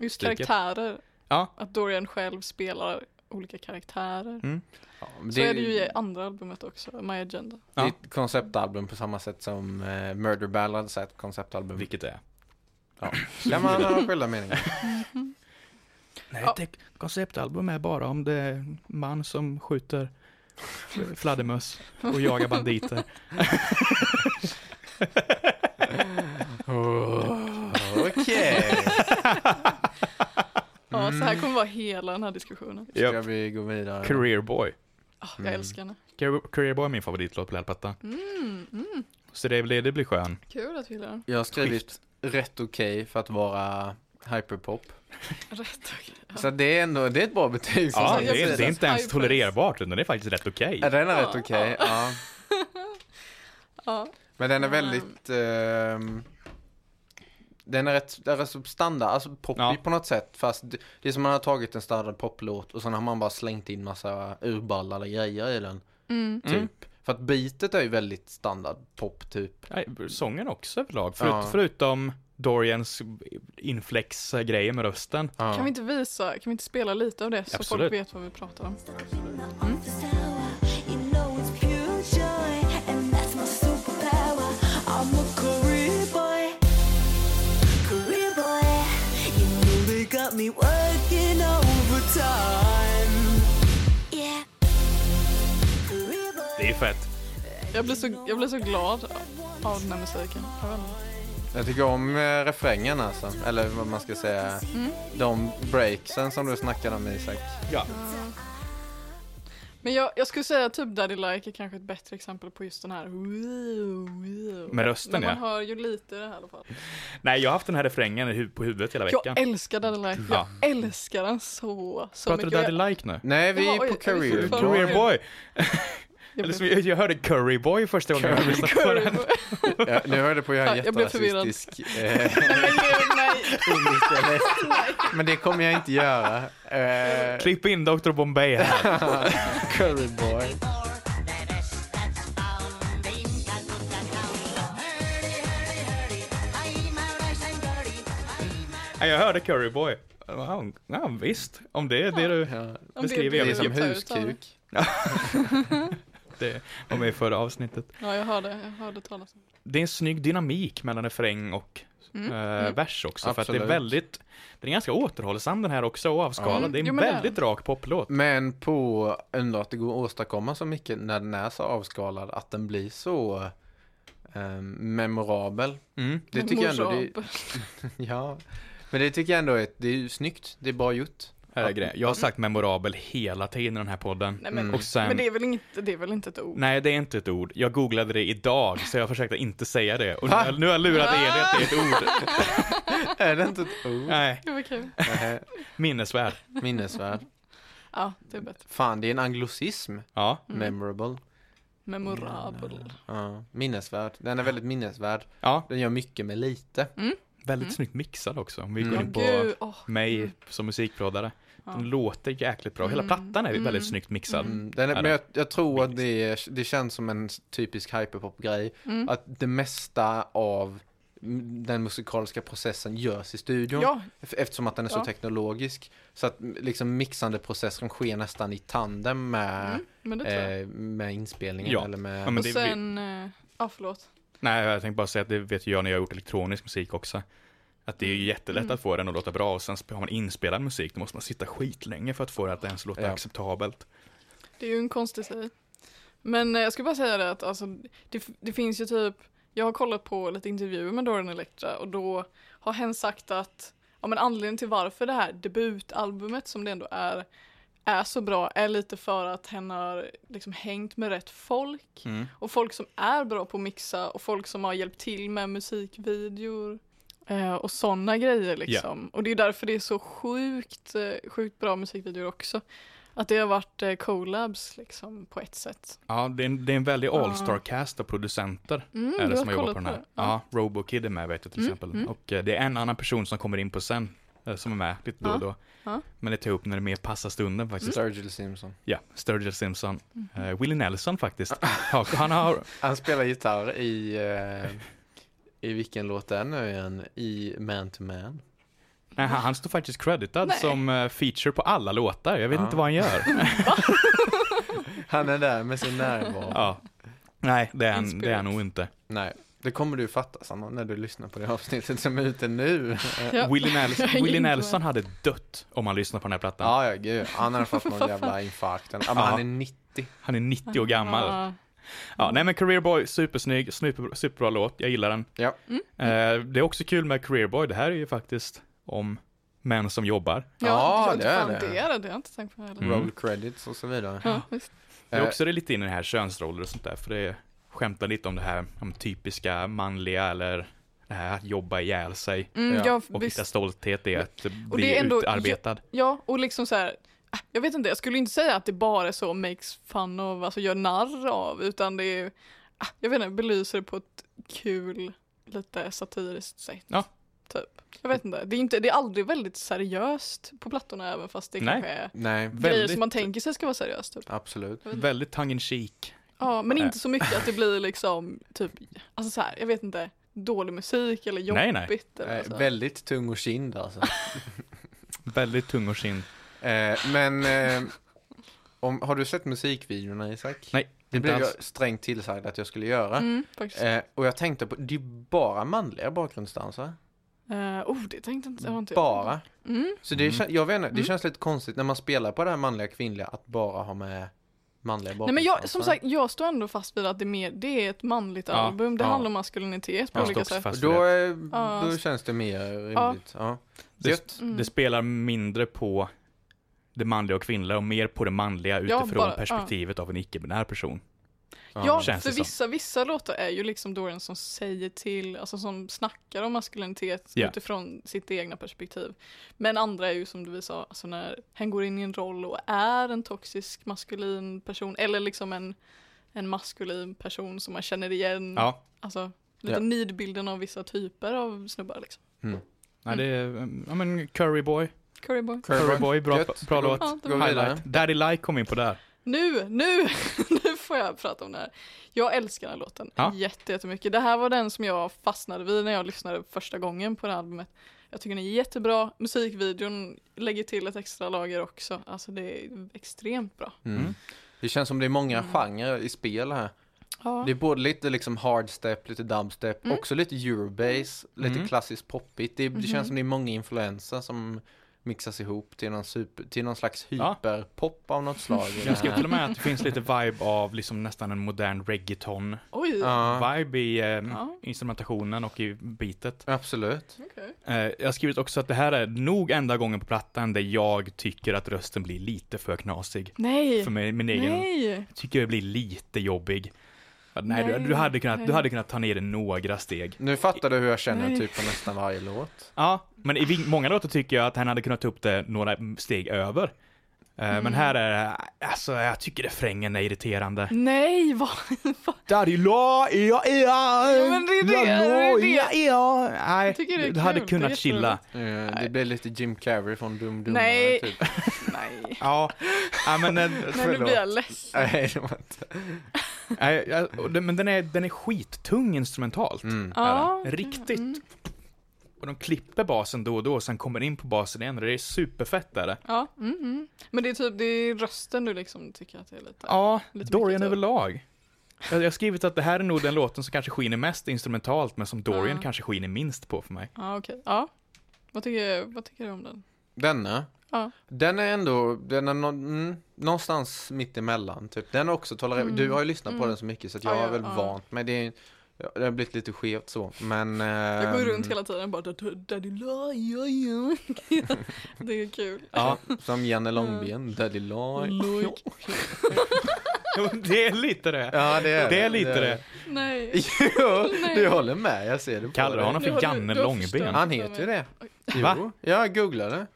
Just
Stryket.
karaktärer.
Ja. Mm.
Att Dorian själv spelar olika karaktärer.
Ja,
Så är det ju i andra albumet också, My Agenda.
Det är
Ja.
ett konceptalbum på samma sätt som eh, Murder Ballads är ett konceptalbum.
vilket det är.
Kan man ha skilda meningar?
Nej,
Ja.
tänk, konceptalbum är bara om det är en man som skjuter fladdermöss och jagar banditer.
Oh.
Så
Mm.
här kommer vara hela den här diskussionen.
Ska
Japp.
vi gå vidare?
Career Boy.
Ah, jag
Mm.
älskar henne.
Career- Career Boy är min favoritlåt på Lärpetta.
Mm, mm.
Så det blir, det blir skön.
Kul att vi gillar den.
Jag har skrivit rätt okej för att vara hyperpop.
Rätt okej.
Så det är ändå, det är ett bra betyg som
Ja,
sagt.
jag
det, är,
ser
det
det.
är inte ens
High
tolererbart, utan det är faktiskt rätt okej.
Ja, Den är
Ja,
rätt okej,
ja.
ja.
Ja.
Men den är
Mm.
väldigt... ehm, den är rätt, den är så standard, alltså poppig
Ja.
på något sätt. Fast det, det är som man har tagit en standard poplåt och sen har man bara slängt in massa urballade grejer i den.
Mm.
Typ. För att beatet är ju väldigt standard pop typ.
Nej, sången också överlag, förut,
Ja.
förutom Dorians inflex-grejer med rösten.
Ja.
Kan vi inte visa, kan vi inte spela lite av det så
Absolut.
folk vet vad vi pratar om?
Office hour, you know it's pure joy, and that's my superpower. I'm a career boy, career boy. You know they got me working overtime. Yeah, career boy.
Det är fett.
Jag blir så, jag blir så glad av den här musiken. Jag vet inte.
Jag tycker om eh, refrängen alltså. Eller vad man ska säga.
Mm.
De breaksen som du snackade om Isak.
Ja.
Men jag, jag skulle säga typ Daddy Like är kanske ett bättre exempel på just den här
Med rösten,
Men man
ja.
hör ju lite i det här i alla fall.
Nej, jag har haft den här refrängen i hu- på huvudet hela veckan.
Jag älskar Daddy Like.
Ja.
Jag älskar den så, så
Pratar du
mycket. Och
Daddy Like nu?
Nej, vi
Jaha,
är
oj,
på
är vi
career.
fortfarande-
Boy.
Career Boy!
jag,
Eller som
jag,
jag, jag hörde Curry Boy första gången jag lyssnade på den.
Ja, nu hörde jag på att göra en
Ja, jag blev förvirrad.
jätterasistisk eh,
nej,
engelsk dialekt. Men det kommer jag inte göra. Eh,
Klipp in Dr. Bombay här.
Curry boy.
Nej, jag hörde Curry Boy. Ja, ja, visst. Om det är det du...
Ja,
om
Beskriv
det
det
Jag
är
vet
som
du tar ut av-
huskuk.
Det var med i förra avsnittet.
Ja, jag hörde, jag hörde talas om det.
Det är en snygg dynamik mellan refräng och
Mm,
eh, vers också. För att det
Absolut.
är väldigt... Den är ganska återhållsam den här också och avskalad.
Mm,
Det är en
jo, men det är
väldigt rak poplåt.
Men på ändå att det går att åstadkomma så mycket när den är så avskalad att den blir så eh, memorabel.
Mm.
Det
Men
tycker jag
morsan
ändå, det,
hoppar.
ja. Men det tycker jag ändå är, det är ju snyggt, det är bra gjort.
Här är grejen. Jag har sagt
Mm.
memorabel hela tiden i den här podden.
Nej, men,
Mm. Och sen...
men det är väl inte, det är väl inte ett ord?
Nej, det är inte ett ord. Jag googlade det idag, så jag försökte inte säga det. Och nu,
Va?
har- nu har jag lurat Elin att det är ett ord.
Är det inte ett ord?
Nej,
Det var kul.
Nej.
minnesvärd.
Minnesvärd.
Ja, det är bättre.
Fan, det är en anglicism.
Mm.
Ja.
Memorable.
Memorabel.
Ja, minnesvärd. Den är väldigt minnesvärd.
ja.
Den gör mycket med lite.
Mm.
Väldigt snyggt mixad också. Om vi går
Ja,
in på
gud. Mm. Mm. åh.
mig som musikproddare. Den låter jäkligt bra. Hela plattan är väldigt snyggt mixad.
Mm, Den är,
Ja,
men jag, jag tror att det, är- det känns som en typisk hyperpop-grej.
Mm.
Att det mesta av mm, den musikaliska processen görs i studion.
Ja.
Ef- Eftersom att den är så
Ja.
teknologisk. Så att mm, liksom mixandeprocessen sker nästan i tandem med,
Men Mm, det tror jag.
eh, med inspelningen.
Ja.
Eller med,
Ja, men
och
det,
sen, eh, ja förlåt.
Nej, jag tänkte bara säga att det vet ju jag när jag har gjort elektronisk musik också. Att det är
Mm.
ju jättelätt att få den att låta bra och sen har man inspelad musik, då måste man sitta skitlänge för att få det att ens låta
Ja.
acceptabelt.
Det är ju en konstig stil. Men eh, jag skulle bara säga det att alltså, det, f- det finns ju typ, jag har kollat på lite intervjuer med Dorian Electra och då har hen sagt att ja, men anledningen till varför det här debutalbumet som det ändå är är så bra är lite för att hen har liksom hängt med rätt folk och folk som är bra på att mixa och folk som har hjälpt till med musikvideor eh, och sådana grejer liksom. Och det är därför det är så sjukt, eh, sjukt bra musikvideor också. Att det har varit eh, collabs liksom på ett sätt.
Ja, det är en, det är en väldig all-star-cast av producenter.
Ah. Mm,
är
du
det
har
som har jobbat
kollat
på den
på
här.
det? Mm,
Ja, Robokid är med vet jag till exempel. Och eh, det är en annan person som kommer in på sen, eh, som är med lite då och då.
Ja. Mm.
Men det tar jag upp när det mer passar stunden faktiskt.
Sturgill Simpson.
Ja, Sturgill Simpson.
Mm-hmm.
Eh, Willie Nelson faktiskt. Ja, han har,
Han spelar gitarr i, eh, i vilken låt är det nu igen? I Man to Man.
nej, han han står faktiskt creditad
Nej.
som eh, feature på alla låtar. Jag vet
Ja.
inte vad han gör.
Han är där med sin närvaro.
Ja. Nej, det är, han,
Inspirerat.
det är han nog inte.
Nej, det kommer du fatta Sanna när du lyssnar på det avsnittet som är ute nu.
Ja.
Willie
Jag hänger
Nelson, Willie
inte med.
Nelson hade dött om han lyssnade på den här plattan.
Ja, ja, gud. Han har fått någon jävla infarkt. Ja, men
Ja.
han är 90.
Han är 90 år gammal.
Ja.
Ja, nej men Career Boy, supersnygg, super, superbra låt, jag gillar den.
Mm.
Ja.
Eh, det är också kul med Career Boy, det här är ju faktiskt om män som jobbar.
Ja,
klart
det är
fan
det.
Det är det, det har jag inte tänkt på heller.
Mm.
Roll credits och så vidare.
Ja, visst.
Jag
Eh,
är också det lite in i det här könsroller och sånt där, för det skämtar lite om det här om typiska manliga eller det här att jobba ihjäl sig.
Mm,
Ja,
ja,
Och
visst.
hitta stolthet i att
Och
bli
det är ändå-
utarbetad.
Ja, och liksom så här. ah, Jag vet inte, jag skulle inte säga att det bara är så makes fun av, alltså gör narr av, utan det är, ah, jag vet inte, belyser det på ett kul, lite satiriskt sätt.
Ja.
Typ. Jag vet inte, det är, inte, det är aldrig väldigt seriöst på plattorna även fast det
Nej.
kanske är
Nej,
grejer
Väldigt,
som man tänker sig ska vara seriöst. Typ.
absolut.
väldigt tongue in cheek.
Ja, men
Nej.
inte så mycket att det blir liksom, typ, alltså så här, jag vet inte, dålig musik eller
Nej, nej.
jobbigt eller
Eh,
så.
väldigt tung och kind alltså.
Väldigt tung och skinn.
Eh, men eh, om, har du sett musikvideorna Isak?
Nej,
Det
inte
blev
alls.
jag strängt tillsagd att jag skulle göra.
Mm, faktiskt.
Eh, och jag tänkte på, det är bara manliga bakgrundsdansare.
Eh, oh, det tänkte inte, det var inte jag.
Bara.
Mm.
Så det, kän- jag vet inte, det känns lite konstigt när man spelar på det här manliga kvinnliga att bara ha med manliga
Nej men
bakgrundsdansare.
jag, som sagt, jag står ändå fast vid att det är, mer, det är ett manligt
Ja,
album. Det
ja.
handlar om maskulinitet på
Jag står
olika
också
sätt.
fast vid
Då,
det.
eh,
Ja.
då känns det mer rimligt. Ja. Gött.
Mm.
Det spelar mindre på det manliga och kvinnliga och mer på det manliga
Ja,
utifrån
bara- ja. Mm.
perspektivet av en icke-binär person.
Ja,
känns
för
det som.
vissa, vissa låtar är ju liksom då den som säger till, alltså som snackar om maskulinitet
Ja.
utifrån sitt egna perspektiv. Men andra är ju som du sa, alltså när han går in i en roll och är en toxisk maskulin person, eller liksom en, en maskulin person som man känner igen,
Ja,
alltså lite
Ja.
nidbilden av vissa typer av snubbar liksom.
Nej, det är,
mm,
um, ja men Curry Boy.
Curryboy.
Curry Boy, bra,
Gött.
bra
Går-
låt.
Ja, det
Går
var-
vidare.
Highlight.
Daddy Like kom in på där.
Nu, nu, nu får jag prata om det här. Jag älskar den här låten
Ja.
jätte, jättemycket. Det här var den som jag fastnade vid när jag lyssnade första gången på det här albumet. Jag tycker den är jättebra. Musikvideon lägger till ett extra lager också. Alltså det är extremt bra.
Mm. Det känns som det är många genrer i spel här.
Mm. Ja,
Det är både lite liksom hardstep, lite dubstep,
Mm.
också lite eurobase, lite
Mm.
klassiskt poppigt. Det, det
Mm-hmm.
känns som det är många influenser som mixas ihop till någon, super, till någon slags
Ja.
hyperpop av något slag. i
Jag
det
skrev
här.
till och med att det finns lite vibe av liksom nästan en modern reggaeton
oj.
Ja,
vibe i eh,
Ja.
instrumentationen och i beatet.
absolut.
okej.
Eh, jag har skrivit också att det här är nog enda gången på plattan där jag tycker att rösten blir lite för knasig.
Nej,
För mig, min egen
nej.
tycker jag blir lite jobbig. Ja, nej,
Nej,
du, du, hade kunnat,
nej.
du hade kunnat ta ner det några steg.
Nu fattar du hur jag känner
Nej.
typ på nästan varje låt.
Ja, men i ving- många låtar tycker jag att han hade kunnat ta upp det några steg över. Eh,
Mm.
Men här är det- alltså jag tycker refrängen är irriterande.
Nej, vad? vad-
Daddy la, ja, ja,
Ja, men det är det, det är det.
ja, ja. Nej,
tycker det är
du hade
kul, det är
kunnat chilla.
jätteroligt.
Eh, Det blir lite Jim Carrey från Dum Dummare
Nej.
typ.
Nej.
Ja, ja men den,
Nej, nu
förlåt.
blir jag ledsen.
Nej, det var inte.
Nej, ja, och den- men den är, den är skittung instrumentalt.
Mm.
Ja,
Är det? Riktigt. Och de klipper basen då och då, och sen kommer in på basen igen och det är superfett där.
Ja, mm, mm. Men det är typ, det är rösten du liksom tycker att det är lite...
Ja,
Lite mycket
Dorian
så.
överlag. Jag jag har skrivit att det här är nog den låten som kanske skiner mest instrumentalt, men som Dorian
Ja.
kanske skiner minst på för mig.
Ja, okej. Ja. Vad tycker, vad tycker du om den?
Denna.
Ja.
Den är ändå, den är nå, mm, någonstans mitt emellan typ. Den är också tolerabel. Du har ju lyssnat på den så mycket så att jag
Mm. Ja,
har
ja,
väl
ja.
vant mig. Det, är, ja, det har blivit lite skevt så. Men...
Jag går ju runt
ehm,
hela tiden och bara "Daddy- Daddy la, ja, ja. Det är kul.
Ja, som Janne
Mm.
Långben, Daddy Laj.
Jo, det är lite det.
Ja, det är
Det är lite det.
Nej.
Jo, du
Nej.
håller med. Jag ser det på
Kallar du
dig.
honom
Nu
för
har du-
Janne
du har
Långben?
förstört.
Han heter ju det. Jo,
Va?
jag googlade.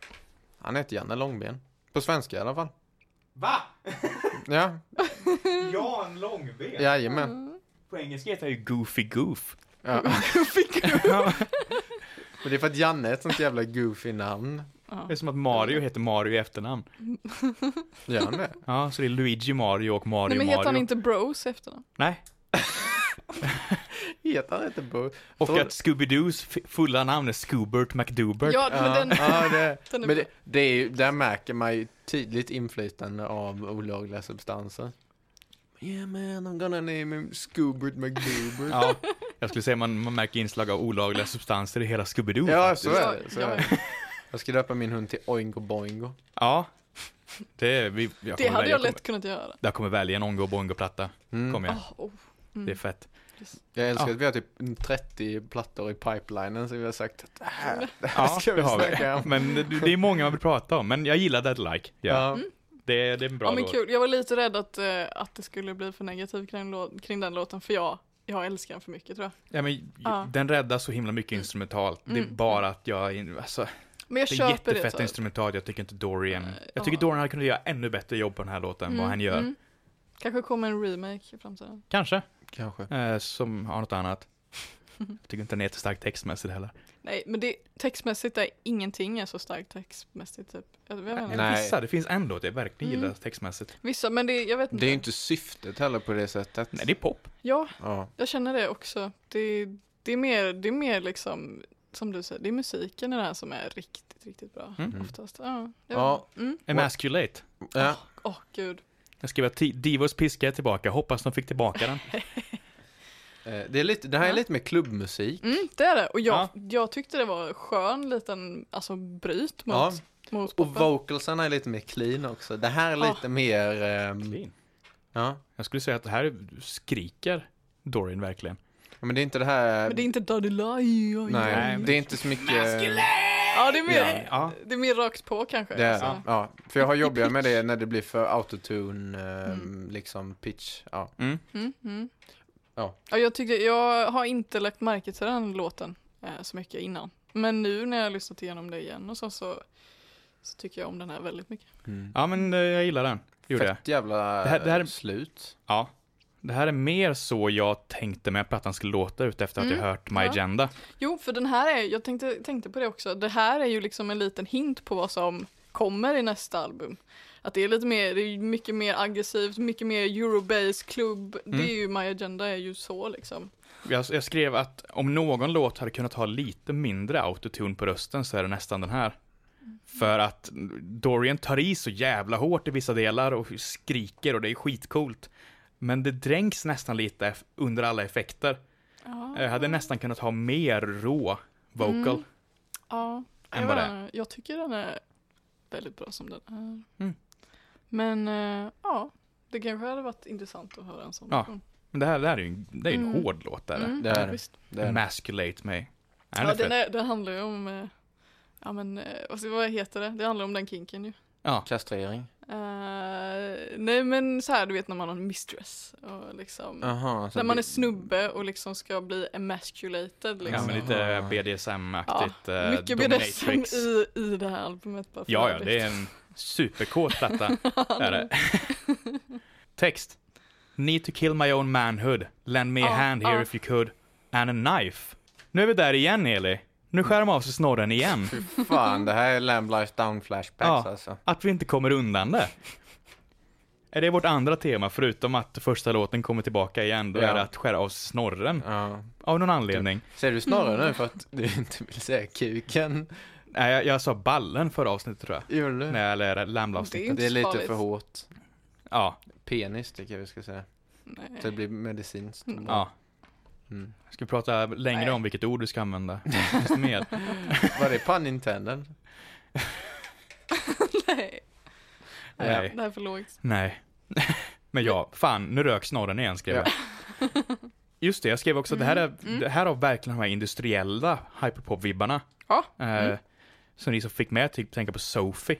Han heter Janne Långben. På svenska i alla fall.
Va?
Ja,
Jan Långben?
jajamän.
På engelska heter han ju Goofy Goof.
Ja.
Fick du?
Men det är för att Janne är ett sånt jävla goofy namn.
Det är som att Mario heter Mario i efternamn.
Gör han det?
Ja, så det är Luigi Mario och Mario
Nej men
Mario.
heter han inte Bros i efternamn?
Nej.
Heter han inte Bo?
Och
Tror-
att Scooby-Doos f- fulla namn är Scoobert McDoobert.
Ja, men
Ja,
den...
ja, det,
den är
men
bra.
det, det är ju, där märker man ju tydligt inflytande av olagliga substanser. Yeah man, I'm gonna name him Scoobert McDoobert.
Ja, jag skulle säga man, man märker inslag av olagliga substanser i hela Scooby-Doo.
ja,
faktiskt.
så är det. Så
Ja,
är
ja.
det. Jag ska döpa min hund till Oingo Boingo.
Ja. Det, vi, jag
Det
kommer
hade
välja-
jag
kommer-
lätt kunnat göra. Ah,
Jag kommer välja en Ongo Bongo-platta.
Mm.
Kommer jag.
Åh, oh.
Det är fett.
kompis.
Jag älskar
Ja.
att vi har typ 30 plattor i pipelinen som vi har sagt att det här, det här
Ja,
ska vi
det har
snacka
vi.
om.
Men det, det är många man vill prata om, men jag gillar Dead Like.
Ja.
Mm.
Det, det är en bra
ja men
låt.
kul, jag var lite rädd att, eh, att det skulle bli för negativt kring, lå- kring den låten för jag, jag älskar den för mycket tror jag.
Ja, men,
Ja.
Den räddar så himla mycket instrumentalt. Det är
Mm.
bara att jag, in- alltså,
Men jag
det är
köper det.
jättefett instrumentalt. Jag tycker inte Dorian,
Nej,
jag tycker
ja. Mm.
Dorian hade kunnat göra ännu bättre jobb på den här låten än vad han gör.
Kanske kommer en remake i framtiden.
Kanske.
Kanske.
Eh, som har något annat. Jag tycker inte den är jättestark textmässigt heller.
Nej men det, textmässigt är ingenting är så starkt textmässigt typ. Jag, jag vet inte.
Nej.
Vissa, det finns en låt jag verkligen gillar textmässigt.
Vissa men det, jag vet inte.
Det är ju inte syftet heller på det sättet.
Nej, det är pop.
Ja,
Ja.
jag känner det också. Det, det, är mer, det är mer liksom som du säger, det är musiken i det här som är riktigt, riktigt bra. Oftast. Ja, jag vet
Mm. Ja.
inte. Mm.
Emasculate.
ja.
Åh gud.
Jag skrev att Ti- Divos piska är tillbaka, hoppas de fick tillbaka den.
Eh, Det, är lite, det här är
Ja.
lite mer klubbmusik.
Mm, det är det. Och jag,
Ja.
jag tyckte det var en skön liten alltså, bryt mot,
Ja.
mot
Och
poppen.
vocalsarna är lite mer clean också. Det här är
Ja.
lite mer... ehm,
Clean.
ja.
Jag skulle säga att det här skriker Dorin verkligen.
Ja, Men det är inte det här...
Men det är inte Daddy Lie.
Nej,
oj, oj.
men-
det är inte så mycket...
Ja, det är, mer,
Ja.
det är mer rakt på kanske.
Det är,
alltså.
ja. för jag har jobbigare med det när det blir för autotune, ehm, liksom pitch. Ja.
Mm, mm.
Ja.
jag, tyckte, jag har inte lagt märke till den låten eh, så mycket innan. Men nu när jag har lyssnat igenom det igen och så, så, så tycker jag om den här väldigt mycket.
ja, men eh, jag gillar den. Gjorde jag.
Fett jävla eh,
Det här- det här är-
slut.
Ja.
Det här är mer så jag tänkte mig att plattan skulle låta ut efter att jag hört My
ja.
Agenda.
Jo, för den här är, jag tänkte, tänkte på det också, det här är ju liksom en liten hint på vad som kommer i nästa album. Att det är lite mer, det är mycket mer aggressivt, mycket mer eurobase klubb.
Mm.
Det är ju My Agenda är ju så liksom.
Jag, jag skrev att om någon låt hade kunnat ha lite mindre autotune på rösten så är det nästan den här. För att Dorian tar i så jävla hårt i vissa delar och skriker och det är skitcoolt. Men det dränks nästan lite eff- under alla effekter. Jag hade nästan kunnat ha mer rå vocal.
Mm. Ja, jag,
Än vad
vet
det
inte, jag tycker den är väldigt bra som den är.
Mm.
Men eh, ja, det kanske hade varit intressant att höra en sån
Ja.
version.
Men det här, det här är ju en, det är ju en
Mm.
hård låt. Där.
Mm.
Det är det.
Visst.
det. Är det.
Emasculate mig. Är
Ja,
det
den,
fett?
är, den handlar ju om, eh, ja men eh, vad ska- vad heter det? Det handlar om den kinken ju.
Kastrering.
Eh, nej men så här du vet när man har en mistress och liksom
Aha, så
När man
det-
är snubbe och liksom ska bli emasculated
Ja,
liksom.
men lite BDSM-aktigt. eh,
Mycket
dominatrix.
BDSM i, i det här albumet bara för
Ja, ja,
övrigt.
det är en superkåt platta. är det.
Text. Need to kill my own manhood. Lend me a
Ja,
hand here
ja.
if you could. And a knife. Nu är vi där igen Eli. Nu skär de av sig snorren igen.
liksom-
Fan, det här är Lamblight Down Flashbacks
Ja.
alltså.
Att vi inte kommer undan det. Är det vårt andra tema, förutom att första låten kommer tillbaka igen, då
Ja.
är det att skära av sig snorren.
Ja.
Av någon anledning.
Ser du snarare
Mm.
nu för att du inte vill säga kuken?
Nej, jag, jag sa ballen förra avsnittet tror jag.
Gör du?
Nej, eller
Det är
lamlavsnittet.
inte
Det är
så
lite
farligt.
för hårt.
Ja,
Penis tycker jag vi ska säga.
Nej.
Så det blir medicinskt.
ja.
Mm.
Ska vi prata längre
Nej.
om vilket ord du ska använda? Finns det mer?
Var det pun intended?
Nej.
Nej.
Det här är för lågt.
Nej. Men ja, fan, nu rök snorren igen skrev jag. Just det, jag skrev också att det här,
Mm.
är, det här har verkligen de här industriella hyperpop-vibbarna.
Ja. Mm.
Eh, Så ni som fick med typ tänka på Sophie.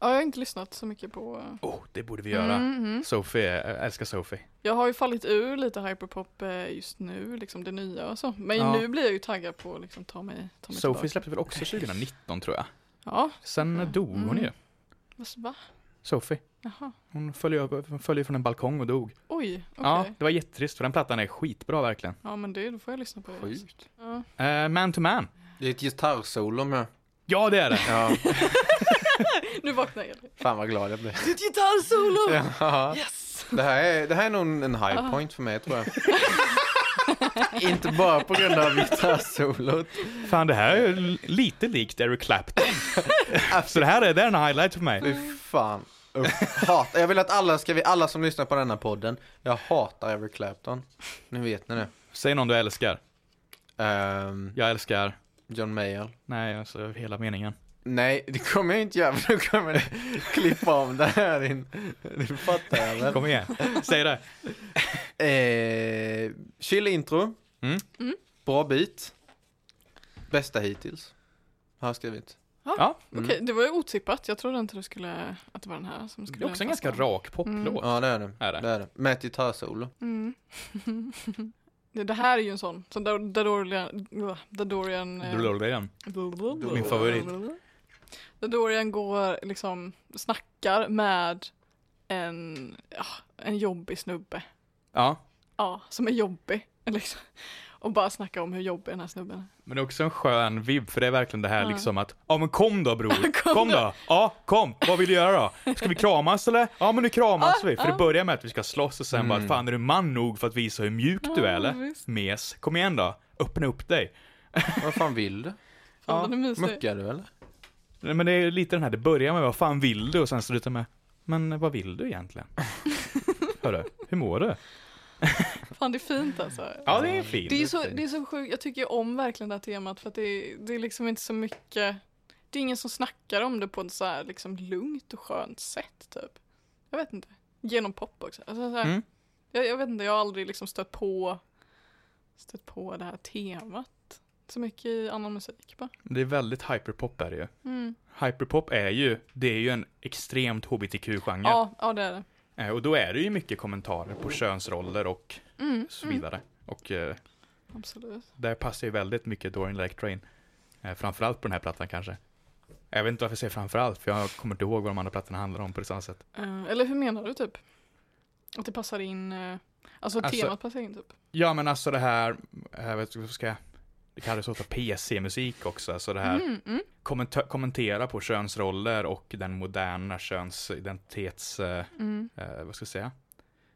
Ja, jag har inte lyssnat så mycket på... eh, Mhm.
Oh, det borde vi göra.
Mm.
Sophie, jag älskar Sophie.
Jag har ju fallit ur lite hyperpop eh, just nu, liksom det nya och så. Men
Ja.
nu blir jag ju taggad på att liksom ta mig, ta
Sophie
mig tillbaka.
släppte väl också 2019 tror jag.
Ja, Mm.
Sen dog hon ju,
vad- va?
Sophie.
Jaha.
Hon följer, upp- hon följer från en balkong och dog.
Oj, okej.
Ja,
Ja.
det var jättetrist för den plattan är skitbra verkligen.
men det, då får jag lyssna på det. också.
Sjukt.
Ja.
Eh, man to man.
Det är ett gitarrsolo med.
Ja, det är det.
Ja,
Nu vaknar jag.
fan vad glad jag blev.
Ditt gitarrsolo!
Ja.
Yes!
Det här, är, det här är nog en high point för mig tror jag. Inte bara på grund av gitarrsolot.
Fan, det här är l- lite likt Eric Clapton. Så det här är, det är en highlight för mig.
Fy fan. Usch, Hat. Jag vill att alla, ska vi, alla som lyssnar på denna podden, jag hatar Eric Clapton. Nu vet ni det.
Säg någon du älskar.
Ehm,
Jag älskar...
John Mayer.
Nej, alltså hela meningen.
Nej, det kommer jag inte göra för då kommer jag klippa om det här in. Det fattar jag väl.
Kom igen, säg det.
Eh, chill intro.
Mm.
Mm.
Bra bit. Bästa hittills. Har jag skrivit.
Ja,
Okej, det var ju otippat. Jag trodde inte du skulle, att det var den här som skulle
Mm. Det är också en ganska
fastna.
rak poplåt.
Ja, det är det.
Är det?
Det är det. Med ett gitarrsolo.
Mm. det, det här är ju en sån, som Dor- Dadorian... Dadorian... eh,
Blå, blå, igen.
Min
favorit.
Där Dorian går, liksom, snackar med en, ja, en jobbig snubbe.
ja.
Ja, som är jobbig. Liksom. Och bara snackar om hur jobbig den här snubben är.
Men det är också en skön vibb, för det är verkligen det här
Ja.
liksom att Ja men kom då bror,
Kom
kom, då! Ja, kom! Vad vill du göra då? Ska vi kramas eller? Ja men nu kramas vi! För det börjar med att vi ska slåss och sen bara Fan är du man nog för att visa hur mjuk du är
Ja,
eller?
visst.
Mes, kom igen då! Öppna upp dig!
Vad fan vill du?
Fan, den är mysig.
Muckar du eller?
Nej, Men det är lite den här, det börjar med vad fan vill du? Och sen slutar med Men vad vill du egentligen? Hörru, hur mår du?
Fan, det är fint alltså.
Ja det är fint.
Det är, ju så, det är så sjukt, jag tycker ju om verkligen det här temat för att det, är- det är liksom inte så mycket Det är ingen som snackar om det på ett så här liksom lugnt och skönt sätt typ Jag vet inte, genom pop också alltså, så här,
Mm.
jag, jag vet inte, jag har aldrig liksom stött på Stött på det här temat så mycket i annan musik bara
Det är väldigt hyperpop är det ju.
mm.
Hyperpop är ju, det är ju en extremt hbtq-genre.
ja. ja, det är det
Eh, Och då är det ju mycket kommentarer på könsroller och
mm,
så vidare. Och eh,
Absolut
där passar ju väldigt mycket Dorian Lake Train. Eh, framförallt på den här plattan kanske. Jag vet inte varför jag säger framförallt, för jag kommer inte ihåg vad de andra plattorna handlar om på samma sätt.
Eh, Eller hur menar du typ? Att det passar in eh, Alltså,
Alltså-
temat passar in typ
Ja men alltså det här, jag vet inte vad ska jag... Det kallas ofta PC-musik också, alltså det här
mm, mm.
kommenta- kommentera på könsroller och den moderna könsidentitets, eh,
Mm.
eh, vad ska jag säga,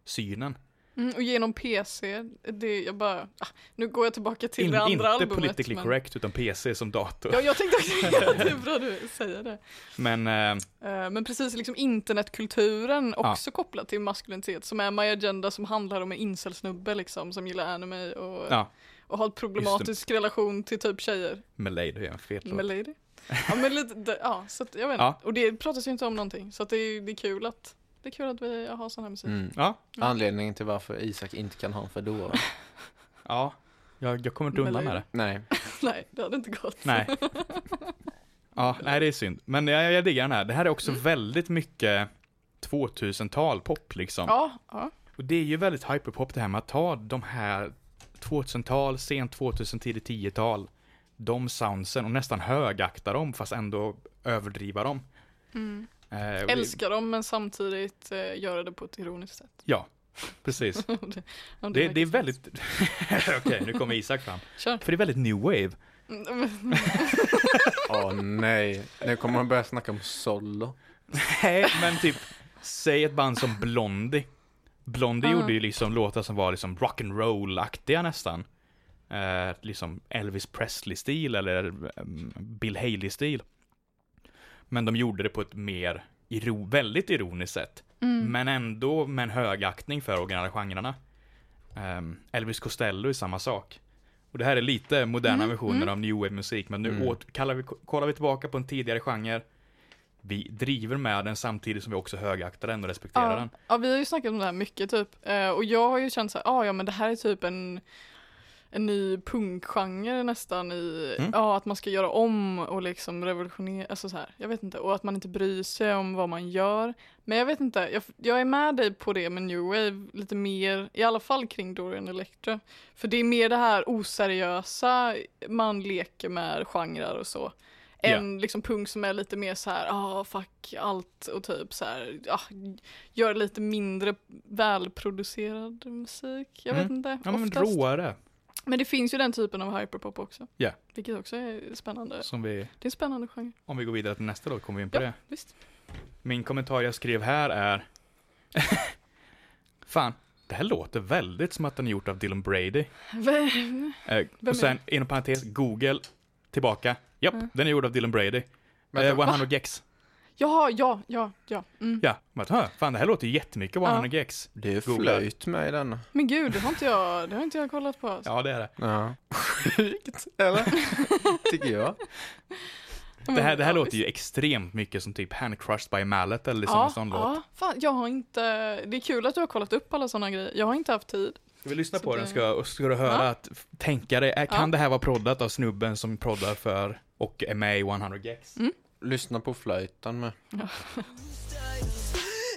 synen.
Mm, och genom PC, det, jag bara, ah, nu går jag tillbaka till
In,
det andra
inte
albumet.
politically
men-
correct utan PC som dator.
Ja, jag tänkte också, ja, det är bra du säger det.
Men eh,
Eh, men precis, liksom internetkulturen
Ja.
också kopplad till maskulinitet, som är My Agenda som handlar om en incelsnubbe liksom, som gillar anime och,
Ja.
och har en problematisk relation till typ tjejer.
Malay, det är en fet låt.
Melody. Ja, men lite, det- ja, så att, jag vet inte.
Ja.
Och det pratas ju inte om någonting, så att det, är, det är kul att det är kul att vi har sån här musik.
Mm.
Ja,
Anledningen till varför Isak inte kan ha en Fedora.
ja. Jag, jag kommer inte undan med
Malay.
det.
Nej.
Nej, det hade inte gått.
Nej. Ja, nej det är synd. Men jag, jag diggar den här. Det här är också väldigt mycket 2000-tal pop liksom.
Ja, ja.
Och det är ju väldigt hyperpop det här med att ta de här 2000-tal, sent 2000, tidigt 10-tal, de soundsen och nästan högakta dem fast ändå överdriva dem. Eh, och det-
Älska dem men samtidigt eh, göra det på ett ironiskt sätt. liksom-
Ja, precis.
Om det, om
Det,
verkar
det är
så.
väldigt... Okej, nu kommer Isak fram.
Kör.
För det är väldigt new wave.
Mm,
Åh nej. Nu kommer man börja snacka om solo.
Nej, men typ, säg ett band som Blondie. Blondie gjorde ju liksom låtar som var liksom rock'n'roll-aktiga nästan. Eh, liksom Elvis Presley-stil eller ehm, Bill Haley-stil. Men de gjorde det på ett mer, iro- väldigt ironiskt sätt. Men ändå med en högaktning för originella genrerna. Ehm, Elvis Costello är samma sak. Och det här är lite moderna versioner av new wave-musik, men nu åt, kallar vi, kollar vi tillbaka på en tidigare genre. Vi driver med den samtidigt som vi också högaktar den och respekterar
ja.
den.
ja, vi har ju snackat om det här mycket typ. Eh, och jag har ju känt så här, ah, ja men det här är typ en, en ny punkgenre nästan i, ja att man ska göra om och liksom revolutionera, alltså så här, jag vet inte. Och att man inte bryr sig om vad man gör. Men jag vet inte, jag, jag är med dig på det med New Wave lite mer, i alla fall kring Dorian Electra. För det är mer det här oseriösa, man leker med genrer och så. Än liksom punk som är lite mer så här, ah fuck allt och typ så här, ah, gör lite mindre välproducerad musik. Jag vet
Mm.
inte,
Ja, men
oftast.
råare,
Men det finns ju den typen av hyperpop också.
Ja.
Vilket också är spännande.
Eh, som vi,
Det är en spännande genre.
om vi går vidare till nästa låt kommer vi in på
Ja,
det.
visst.
Min kommentar jag skrev här är... Fan, det här låter väldigt som att den är gjort av Dylan Brady. Eh,
är Mm.
och sen, inom parentes, Google, tillbaka. Japp, den är gjord av Dylan Brady.
Men-
eh, 100 Gex.
Jaha, ja, ja, ja. Mm.
Ja, men, hö, fan det här låter ju jättemycket 100 Gex.
Det är
Googla.
flöjt med i den.
Men gud, det har inte jag, det har inte jag kollat på. Alltså.
Ja, det är det.
Ja. Sjukt, eller? Tycker jag.
Det här, det här
Ja,
låter
visst.
ju extremt mycket som typ Hand Crushed by Mallet eller liksom en
Ja,
sån låt.
ja, fan, jag har inte, det är kul att du har kollat upp alla sådana grejer. Jag har inte haft tid.
Ska vi lyssna
Så på det- den?
Ska, ska du höra
Ja.
att f- tänka dig, är- kan
Ja.
det här vara proddat av snubben som proddar för och är med i 100 Gex?
Mm.
Lyssna på flöjten med.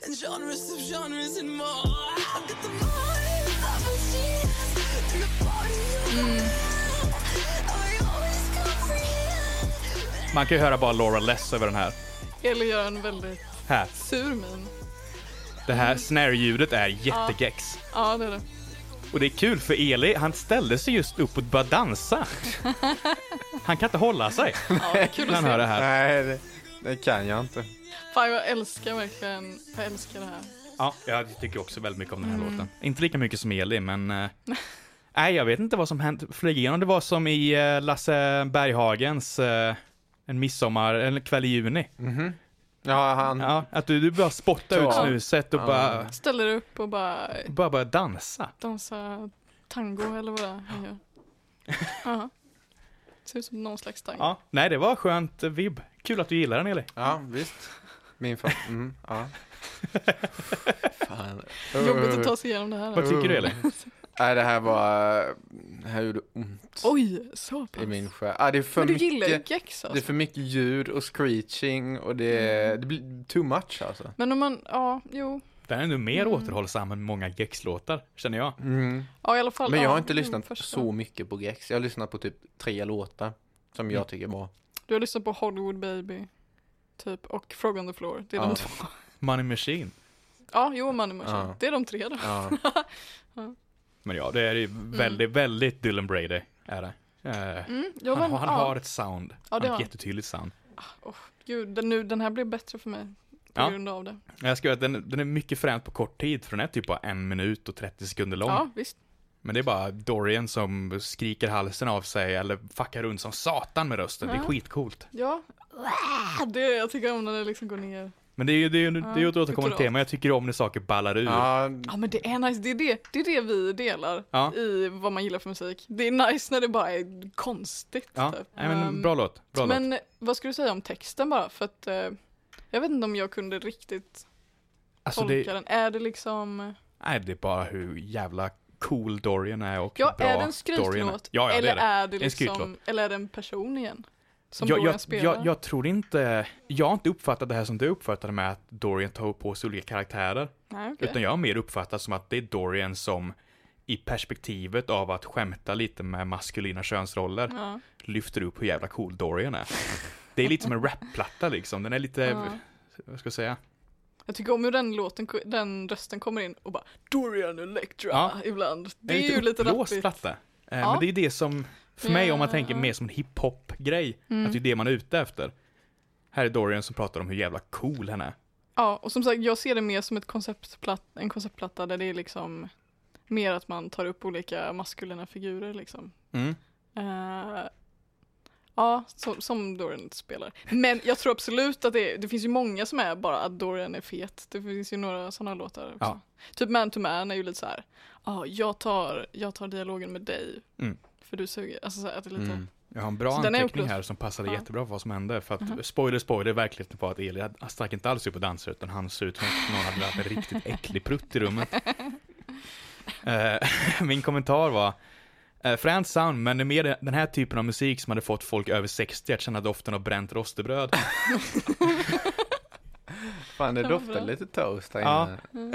and genres of genres and more. I've got the mind of a genius and the body of a man. I always comprehend.
Man kan ju höra bara Laura Less över den här.
Eller gör en väldigt
Här.
sur min.
Det här snare-ljudet är jättegex.
Mm. Ja, det är det.
Och det är kul för Eli, han ställde sig just upp och började dansa. Han kan inte hålla sig
Ja, det är kul
när
att
han hör det
se.
Nej,
här.
det, det kan jag inte.
Fan, jag älskar verkligen, jag älskar det här.
Ja, jag tycker också väldigt mycket om den här låten. Inte lika mycket som Eli, men... eh, nej, jag vet inte vad som hänt. Flög igenom. Det var som i eh, Lasse Berghagens eh, En midsommar, en kväll i juni.
Ja, han...
Ja, att du, du bara spottade
Ja.
ut snuset och
Ja.
bara,
Ställer upp och bara
bara började dansa.
dansa tango eller vad det är han gör. Ja. Ser ut som någon slags tango.
Ja, nej, det var skönt eh, vibb. Kul att du gillar den, Eli.
Ja, visst. Min far... Mm, ja. Fan.
Jobbigt att ta sig igenom det här.
Vad tycker du, Eli?
Nej, det här var... Det här gjorde ont
Oj, så pass.
i min själ. Ah, det är för
Men du gillar ju
mycket...
gex
Det är
alltså.
för mycket ljud och screeching och det, det blir too much alltså.
Men om man, ja, jo.
Den är nu mer återhållsam än många Gex-låtar, känner jag.
Ja, i alla fall.
Men jag har
ja,
inte
mm,
lyssnat
förstår.
så mycket på Gex. Jag har lyssnat på typ tre låtar som
Mm.
jag tycker är bra.
Du har lyssnat på Hollywood Baby, typ, och Frog on the Floor. Det är
Ja.
de två.
Money Machine.
Ja, jo, Money Machine.
Ja.
Det är de tre då.
Ja.
Men ja, det är ju väldigt, väldigt Dylan Brady, är det. Eh,
Mm, ja,
han
men,
han
ja.
har ett sound.
Ja, det
han har
har
ett
han.
jättetydligt sound.
Gud, den, nu, den här blev bättre för mig på
Ja.
grund av det.
Jag skrev att den, den är mycket fränt på kort tid, för den är typ bara en minut och 30 sekunder lång.
Ja, visst.
Men det är bara Dorian som skriker halsen av sig, eller fuckar runt som satan med rösten. Det är
Ja.
skitcoolt.
Ja. Det, jag tycker om när det liksom går ner.
Men det är ju det är, ju- det är ju ett återkommande
kulturellt.
tema. Jag tycker om när saker ballar ur.
Ja,
Ja men det är nice, det är det, det, är det vi delar
Ja.
i vad man gillar för musik. Det är nice när det bara är konstigt.
Ja,
typ.
nej, men
Ehm,
bra låt. Bra låt.
men vad skulle du säga om texten bara? För att eh, jag vet inte om jag kunde riktigt
Alltså
tolka
det,
den. Är det liksom,
nej, det är bara hur jävla cool Dorian är och
ja
bra
är det en
Dorian
skrytlåt?
Ja, ja, det
eller
är det.
det
En
liksom,
skrytlåt.
eller är det en person igen? Som
jag,
Dorian
jag,
spelar?
jag, jag tror inte, jag har inte uppfattat det här som du uppfattade med att Dorian tar på sig olika karaktärer.
Nej, okej.
Utan jag har mer uppfattat som att det är Dorian som i perspektivet av att skämta lite med maskulina könsroller
Ja.
lyfter upp hur jävla cool Dorian är. Det är lite som en rapplatta liksom, den är lite,
Ja.
vad ska jag säga?
Jag tycker om hur den låten, den rösten kommer in och bara Dorian Electra
Ja.
ibland. Det
en
är ju lite
uppblåst
rappigt.
platta. Eh,
Ja.
Men det är det som, för mig om man
Ja, Mm.
tänker
ja.
mer som en hiphop-grej, att det är det man är ute efter. Här är Dorian som pratar om hur jävla cool han är.
Ja, och som sagt, jag ser det mer som ett konceptplatt, en konceptplatta där det är liksom mer att man tar upp olika maskulina figurer liksom.
Mm.
Eh, ja, som, som Dorian spelar. Men jag tror absolut att det, det finns ju många som är bara att Dorian är fet. Det finns ju några sådana låtar också.
Ja.
Typ Man to Man är ju lite så här, ja, jag tar, jag tar dialogen med dig.
Mm.
För du suger. Alltså så här, att det är lite,
mm.
Jag har en bra
Så den är
anteckning
uppblåst.
här som passade
Ja. Mm.
jättebra för vad som hände. För att, spoiler, spoiler, verkligheten var att Eli hade- han stack inte alls upp och dansade utan han såg ut som att någon hade lagt en riktigt äcklig prutt i rummet. Eh, Min kommentar var eh, Fränt sound, men det är mer den här typen av musik som hade fått folk över 60 att känna doften av bränt rostebröd.
fan det doftar lite toast här
Ja.
inne.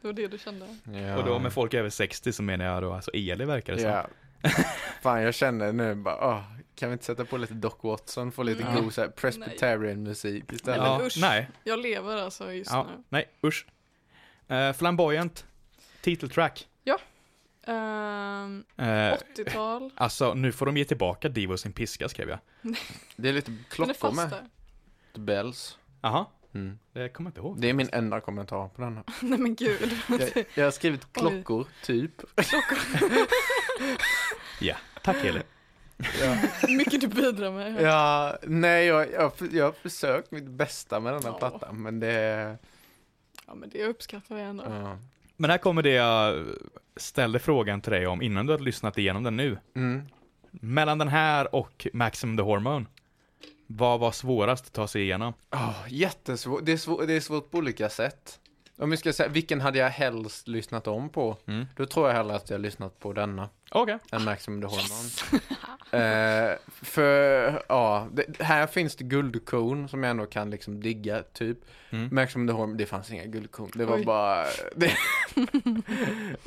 det var det du kände.
Ja.
Och då med folk över 60 så menar jag då alltså Eli verkar det som.
Ja. liksom. Fan jag känner nu bara, åh, kan vi inte sätta på lite Doc Watson, få lite
Mm.
Ja.
god så här Presbyterian musik istället?
Nej,
Ja,
men usch.
nej,
Jag lever alltså just
ja,
nu.
nej, usch. Eh, flamboyant, titeltrack.
Ehm,
Eh,
80-tal.
alltså, nu får de ge tillbaka Divo sin piska skrev jag.
Det är lite
Den är
klockor
fast
med.
där.
Bells.
Jaha,
Mm.
det kommer jag inte ihåg.
Det är min enda kommentar på den här.
Nej men gud.
Jag, jag har skrivit klockor, typ.
Ja, tack Eli.
Ja.
Mycket du bidrar med.
Ja, nej jag, jag, jag har försökt mitt bästa med den här
Ja.
plattan men det...
Ja men det uppskattar jag ändå.
Ja.
Men här kommer det jag ställde frågan till dig om innan du hade lyssnat igenom den nu.
Mm.
Mellan den här och Maximum the Hormone. Vad var svårast att ta sig igenom?
Oh, jättesvårt. Det är, svår, det är svårt på olika sätt. Om jag ska säga, vilken hade jag helst lyssnat om på?
Mm.
Då tror jag hellre att jag lyssnat på denna.
Okej.
än Maximum the Hormone. eh, för, ja, det, här finns det guldkorn som jag ändå kan liksom digga, typ.
Mm.
Maximum the Hormone, det fanns inga guldkorn. Det var
Oj.
bara, det,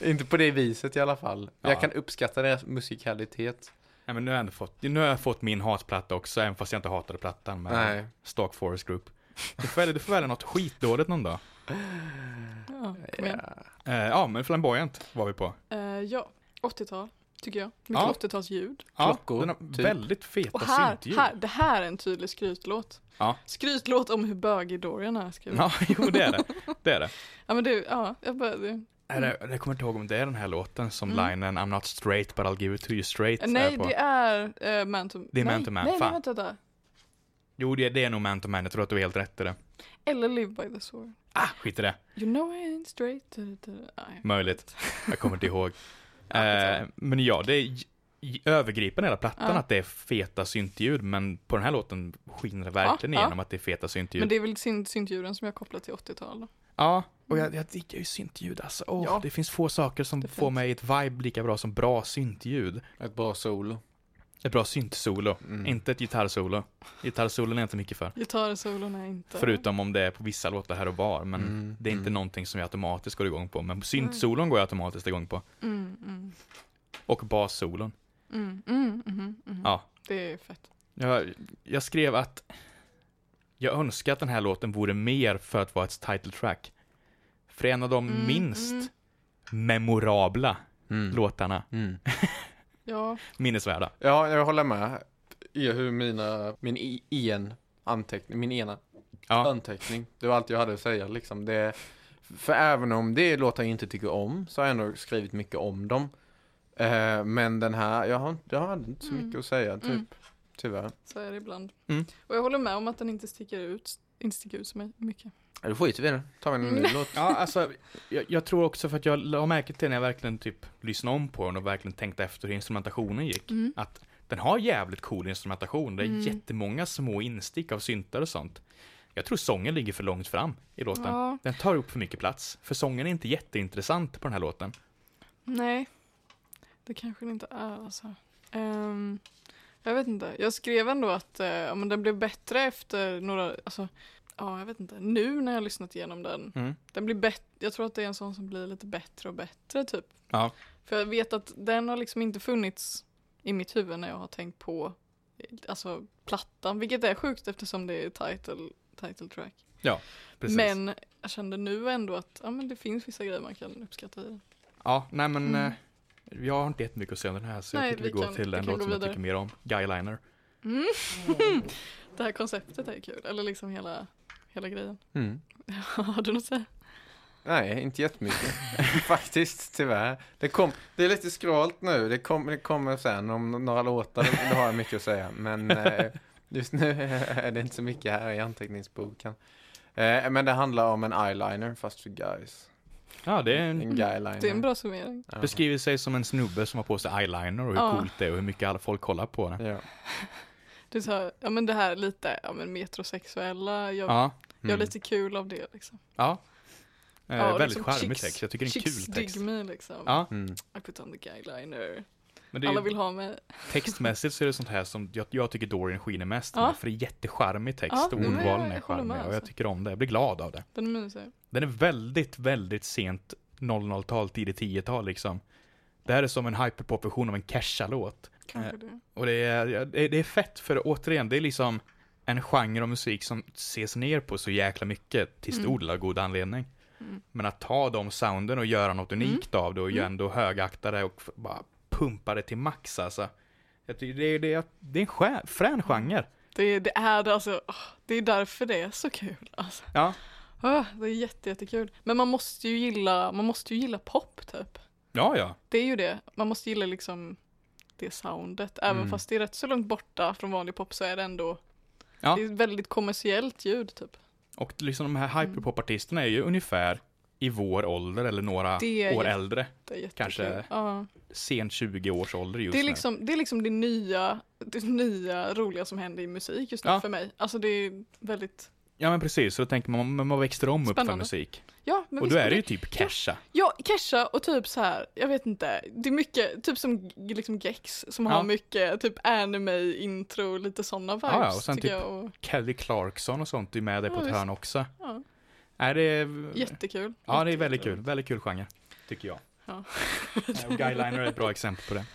inte på det viset i alla fall.
Ja.
Jag kan uppskatta deras musikalitet.
Nej, men nu har jag ändå fått, nu har jag fått min hatplatta också, även fast jag inte hatade plattan med
Nej.
Stark Forest Group. Du får välja, du får välja något skitdåligt någon dag.
Ja, kom igen.
Ja.
Eh, ja, men Flamboyant var vi på.
Eh, ja, 80-tal tycker jag. Mycket
Ja.
80-talsljud.
Klockor,
ja, den har
typ.
väldigt feta
Och här,
syntljud.
här, det här är en tydlig skrytlåt.
Ja.
Skrytlåt om hur bögig Dorian är skriven.
Ja, jo det är det. Det är det.
Ja men du, ja, jag bara, det.
Är
Mm.
det- Jag kommer inte ihåg om det är den här låten som linen I'm not straight but I'll give it to you straight
Nej
är på.
det är eh, Man to Man.
Det är Man
nej,
to Man,
Nej, nej
fan.
vänta, vänta.
Jo det, det är nog Man to Man, jag tror att du är helt rätt i det.
Eller Live by the Sword.
Ah, skit i det.
You know I ain't straight. Da, da, da. Nej.
Möjligt. Jag kommer inte ihåg.
skitsamma.
eh, men ja, det är j- j- övergripande hela plattan
Ja.
att det är feta syntljud, men på den här låten skiner det verkligen
Ja, ja.
igenom att det är feta syntljud.
Men det är väl synt, syntdjuren som jag kopplar till 80-tal. då.
Ja, och jag, jag diggar ju syntljud alltså. Åh,
Mm. Ja.
Det finns få saker som
Det
får
finns.
mig i ett vibe lika bra som bra syntljud.
Ett bra solo.
Ett bra syntsolo,
Mm.
inte ett gitarrsolo. Gitarrsolon är jag inte mycket för.
Gitarrsolorna är inte...
Förutom om det är på vissa låtar här och var, men
Mm,
det är inte
mm.
någonting som jag automatiskt går igång på. Men syntsolon går jag automatiskt igång på.
Mm, mm,
Och bassolon.
mm, mm, mhm, mhm.
Ja.
Det är fett.
Jag, jag skrev att jag önskar att den här låten vore mer för att vara ett title track. För en av de
Mm,
minst
mm.
memorabla
Mm.
låtarna,
Mm.
Ja,
minnesvärda.
Ja, jag håller med. I hur mina, min i- en anteckning, min ena
Ja.
anteckning. Det var allt jag hade att säga liksom. Det, för även om det är låtar jag inte tycker om så har jag ändå skrivit mycket om dem. Eh, men den här, jag har, inte- jag har inte så
Mm.
mycket att säga typ.
Mm.
Tyvärr.
så är det ibland.
Mm.
Och jag håller med om att den inte sticker ut, inte sticker ut så mycket.
Ja, då skiter vi i det. Tar vi en
Mm.
ny låt.
Ja, alltså, jag, jag tror också för att jag la märke till när jag verkligen typ lyssnade om på den och verkligen tänkte efter hur instrumentationen gick.
Mm.
Att den har jävligt cool instrumentation. Det är
Mm.
jättemånga små instick av syntar och sånt. Jag tror sången ligger för långt fram i låten.
Ja.
Den tar upp för mycket plats. För sången är inte jätteintressant på den här låten.
Nej, det kanske det inte är alltså. Ehm, jag vet inte. Jag skrev ändå att eh, ja, men den blev bättre efter några, alltså, ja jag vet inte. Nu när jag har lyssnat igenom den.
Mm.
den blir bättre. jag tror att det är en sån som blir lite bättre och bättre typ.
Ja.
För jag vet att den har liksom inte funnits i mitt huvud när jag har tänkt på eh, alltså, plattan, vilket är sjukt eftersom det är title, title track.
Precis.
Men jag kände nu ändå att ja, men det finns vissa grejer man kan uppskatta i den.
Ja, nej men
Mm.
eh, jag har inte jättemycket att säga om den här så
Nej,
jag tycker vi,
vi
går
kan-
till
vi
en
kan
låt
gå
som jag
vidare.
tycker mer om. Guyliner.
Mm. det här konceptet är kul, eller liksom hela, hela grejen.
Mm.
har du något att säga?
Nej, inte jättemycket. Faktiskt, tyvärr. Det, kom, det är lite skralt nu. Det, kom, det kommer sen om några låtar. Då har jag mycket att säga. Men eh, just nu är det inte så mycket här i anteckningsboken. Eh, men det handlar om en eyeliner, fast för guys.
Ja, det är
En
en
guyliner.
Det är en bra summering.
Ja.
beskriver sig som en snubbe som har på sig eyeliner och hur
Ja.
coolt det är och hur mycket alla folk kollar på den.
Ja.
Det är så här, ja men det här lite, ja men metrosexuella, jag,
Ja,
jag är lite kul av det liksom.
ja. Eh,
ja,
väldigt
liksom
charmig
chicks-
text. Jag tycker det är en
chicks
kul text.
dig me liksom.
Ja,
Mm.
I put on the guyliner.
men det är
Alla
ju,
vill ha mig.
textmässigt så är det sånt här som jag, jag tycker Dorian skiner mest
Ja.
med, för det är jättecharmig text
Ja,
och
nej, men jag-
ordvalen
jag
är
håller med,
charmiga och jag
alltså.
tycker om det. Jag blir glad av det.
Den är mysig.
Den är väldigt, väldigt sent 00-tal, tidigt 10-tal liksom. Det här är som en hyperpop-version av en Kesha-låt.
Kanske
Eh,
det.
Och det är, ja, det är- det är fett, för återigen, det är liksom en genre av musik som ses ner på så jäkla mycket, till stor
Mm.
del av god anledning.
Mm.
Men att ta de sounden och göra något unikt av det och ju ändå högakta det och f- bara pumpa det till max alltså. Jag tycker det, är- det, är- det är en skär, frän
Mm.
genre.
Det, det är det alltså. åh, Det är därför det är så kul alltså.
Ja.
Åh, det är jätte, jättekul. Men man måste ju gilla, man måste ju gilla pop typ.
Ja, ja.
Det är ju det. Man måste gilla liksom det soundet. Även
Mm.
fast det är rätt så långt borta från vanlig pop så är det ändå
Ja.
Det är ett väldigt kommersiellt ljud typ.
Och liksom de här hyperpopartisterna är ju ungefär i vår ålder eller några
Det är
år
jätte-
äldre.
Det är jättekul.
Kanske
Ja.
Sent 20 års ålder just
Det är,
nu.
liksom, det är liksom det nya, det nya roliga som händer i musik just nu
Ja.
för mig. Alltså det är väldigt,
Ja men precis, så då tänker man, men vad växte de upp för
Spännande.
musik?
ja men
Och
visst
då är
men
det ju typ Kesha.
Ja, Kesha och typ så här, jag vet inte, det är mycket, typ som g- liksom Gex som
Ja.
har mycket typ anime-intro, lite sådana vibes
ja, och sen
tycker
typ-
jag och
Kelly Clarkson och sånt är med där
Ja,
på ett
visst.
hörn också.
Ja.
Är det...
jättekul.
Ja, det är väldigt kul. Väldigt kul genre. Tycker jag.
Ja.
Guyliner är ett bra exempel på det.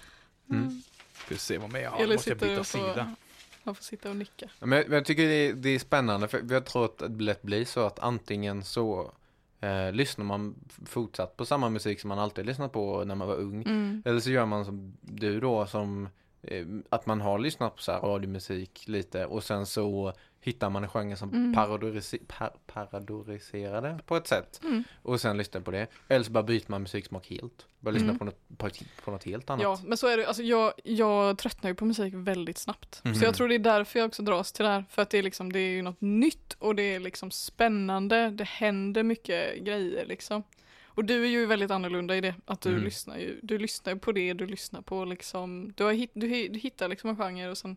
Mm.
Ska vi se vad med jag
Eller
har. Måste jag
sitter
byta
och får-
sida?
Man får sitta och nicka.
Men, jag- men jag tycker det är, det är spännande för jag tror att det lätt blir så att antingen så eh, lyssnar man f- fortsatt på samma musik som man alltid lyssnat på när man var ung.
Mm.
Eller så gör man som du då som eh, att man har lyssnat på så här radiomusik lite och sen så hittar man en genre som
Mm.
parodorisi- par- parodoriserar det på ett sätt
Mm.
och sen lyssnar på det. Eller så bara byter man musiksmak helt. Bara lyssna
Mm.
på, något, på, på något helt annat.
Ja, men så är det, alltså jag, jag tröttnar ju på musik väldigt snabbt.
Mhm.
Så jag tror det är därför jag också dras till det här, för att det är liksom, det är ju något nytt och det är liksom spännande, det händer mycket grejer liksom. Och du är ju väldigt annorlunda i det, att du
Mhm.
Mm.
lyssnar ju, du lyssnar ju på det du lyssnar på liksom, du, har hit, du, hi- du hittar liksom en genre och sen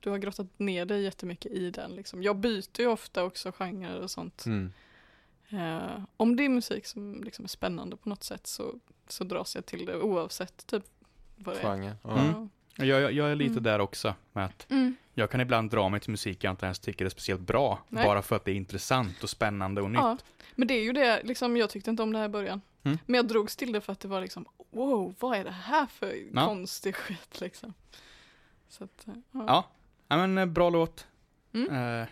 du har grottat ner dig jättemycket i den liksom. Jag byter ju ofta också genrer och sånt.
Mm.
Eh, om det är musik som liksom är spännande på något sätt så, så dras jag till det oavsett typ vad det är.
Genre. Ja.
Mm.
Ja.
Jag, jag, jag är lite
Mm.
där också med att
Mm.
jag kan ibland dra mig till musik jag inte ens tycker är speciellt bra.
Nej.
Bara för att det är intressant och spännande och nytt.
Ja. Men det är ju det, liksom, jag tyckte inte om det här i början.
Mm.
Men jag drogs till det för att det var liksom, wow, vad är det här för
Ja.
konstig skit liksom. Så att, eh, ja.
Ja. Ja, men eh, bra låt.
Mm.
Eh,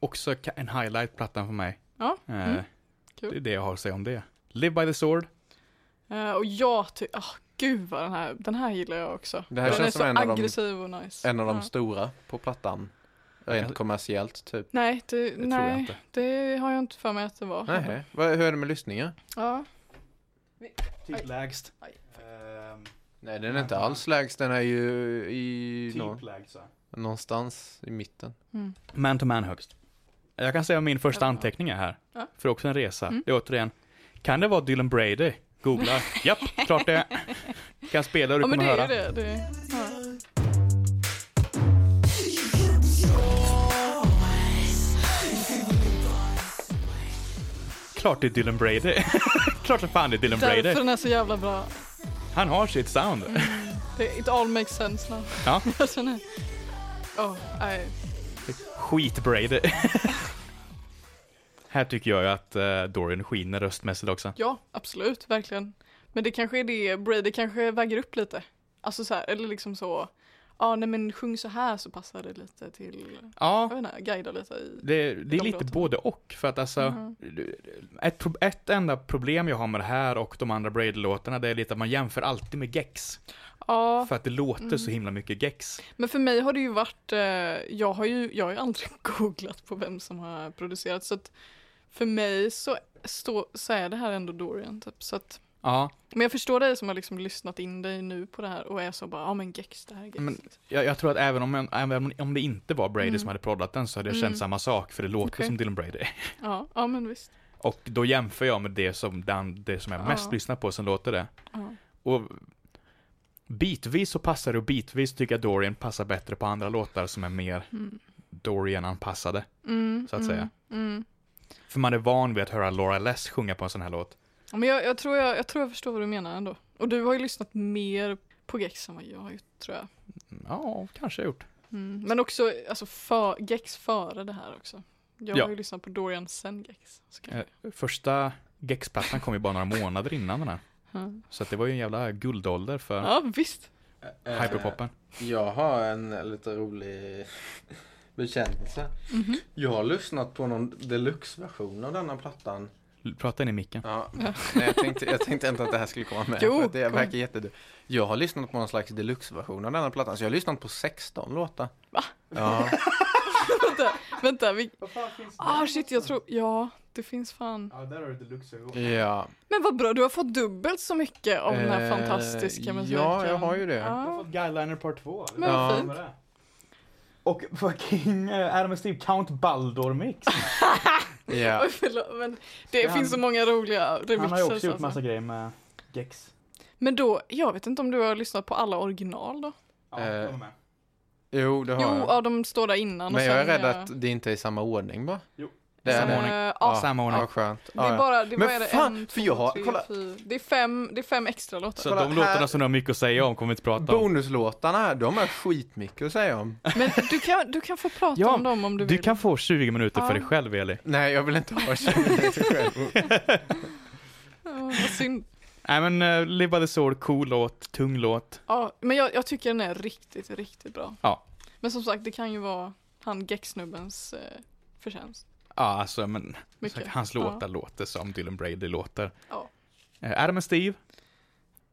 också ka- en highlight-plattan för mig.
Ja,
Eh,
mm. Kul.
Det är det jag har att säga om det. Live by the sword.
Eh, och jag tycker, ah gud vad den här, den här gillar jag också.
Det här
den
känns
är
som
så
en av de-
aggressiv och nice.
En av de
Ja.
stora på plattan. Rent kommersiellt typ.
Nej, det,
Det tror jag
nej
inte.
det har jag inte för mig att det var.
Nej, vad, hur är det med lyssningar?
Ja. Aj.
Typ lägst.
Aj.
Nej, den är inte alls lägst. Den är ju i nå-
lägst.
någonstans i mitten.
Mm.
Man to man högst. Jag kan säga min första
Ja.
anteckning är här.
Ja.
För också en resa.
Mm.
Det är återigen. Kan det vara Dylan Brady? Googlar. Japp, klart det. Kan spela och du
Ja men det
kommer höra.
är ju det. det ja.
Klart det är Dylan Brady. klart det fan det är Dylan
Därför
Brady.
den är så jävla bra.
Han har sitt sound.
Mm. Det, it all makes sense now.
Ja.
alltså, nej. Oh, nej.
Skit-Brady. Här tycker jag ju att eh, Dorian skiner röstmässigt också.
Ja, absolut, verkligen. Men det kanske är det, Brady kanske väger upp lite. Alltså så här, eller liksom så, ja nej men sjung så här så passar det lite till,
Ja, Mm.
jag vet inte, guida lite i.
det, det är
De
lite
låtarna.
både och. För att alltså,
Mhm.
ett, pro- ett enda problem jag har med det här och de andra Brady-låtarna, det är lite att man jämför alltid med Gex.
Ja, Mm.
För att det låter så himla mycket Gex.
men för mig har det ju varit, eh, jag har ju, jag har ju aldrig googlat på vem som har producerat så att för mig så, stå, så är det här ändå Dorian typ. Så att,
Ja,
men jag förstår dig som har liksom lyssnat in dig nu på det här och är så bara, ja men Gex, det här är Gex.
Men-
liksom.
jag, jag tror att även om, även om det inte var Brady
Mm.
som hade proddat den så hade jag
Mm.
känt samma sak, för det låter
Okej.
som Dylan Brady.
Ja, ja men visst.
Och då jämför jag med det som, den, det som jag
Ja.
mest lyssnar på, som låter det.
Ja.
Och bitvis så passar det och bitvis tycker jag Dorian passar bättre på andra låtar som är mer
Mm.
Dorian-anpassade.
Mm,
Så att
mm,
säga.
Mm.
För man är van vid att höra Laura Less sjunga på en sån här låt.
Ja, Men jag, jag, tror jag, jag tror jag förstår vad du menar ändå. Och du har ju lyssnat mer på Gex än vad jag har gjort tror jag.
Ja, kanske jag gjort.
Mm. Men också alltså, för, Gex före det här också. Jag
Ja.
har ju lyssnat på Dorian sen Gex. Så kan
Eh, Första Gex-plattan kom ju bara några månader innan den här.
jag.
Så att det var ju en jävla guldålder för
Ja visst.
hyperpoppen.
Jag har en lite rolig bekännelse.
Mhm.
Jag har lyssnat på någon deluxe-version av denna plattan.
Prata in i micken.
Ja, nej, jag, tänkte, jag tänkte inte att det här skulle komma med.
Jo,
för att det
kom.
verkar jättedumt. Jag har lyssnat på någon slags deluxe-version av denna plattan. Så jag har lyssnat på 16 låtar. Va? Ja.
vänta, vänta. Vi... Ah shit jag tror, ja det finns fan.
Ja, där har du deluxe-version.
ja.
Men vad bra, du har fått dubbelt så mycket av den här
Eh,
fantastiska musiken.
Ja, jag har ju det.
Ja,
Guyliner Part 2.
men
Ja.
vad fint.
Och fucking Adam Steve Count Baldur-mix.
Ja.
Förlåt, men det
Ja, han-
finns så många roliga remixer.
Han har ju också gjort
alltså.
massa grejer med Gex.
Men då, jag vet inte om du har lyssnat på alla original då?
Ja,
Eh,
jag var med.
Jo, det har
Jo,
jag.
ja, de står där innan.
Men
och
jag är
sen,
rädd
eh,
att det inte är i samma ordning va?
Jo.
Det är
Samma
eh,
det.
ordning.
Ja,
Samma ordning.
Ja, skönt.
det är
Ja,
bara, det
Men
vad är det,
fan,
en,
för
två,
jag har-
tre,
kolla.
fyra. Det är fem, det är fem extra låtar.
Så
Kolla,
de låtarna
här-
som du har mycket att säga om kommer vi inte
ja.
prata om.
Bonuslåtarna här, de är skitmycket att säga om.
Men du kan, du kan få prata
Ja,
om dem om du
Du
vill.
kan få 20 minuter
Ja.
för dig själv Eli.
Nej, jag vill inte ha 20 minuter själv.
Ja, vad synd.
Nej men uh, Live by the Sword, cool låt, tung låt.
Ja, men jag, jag tycker den är riktigt, riktigt bra.
Ja.
Men som sagt, det kan ju vara han Gex-snubbens eh, förtjänst.
Ja alltså men
Mycket.
sagt, hans
Ja.
låtar låter som Dylan Brady låter.
Ja.
Eh, Adam and Steve.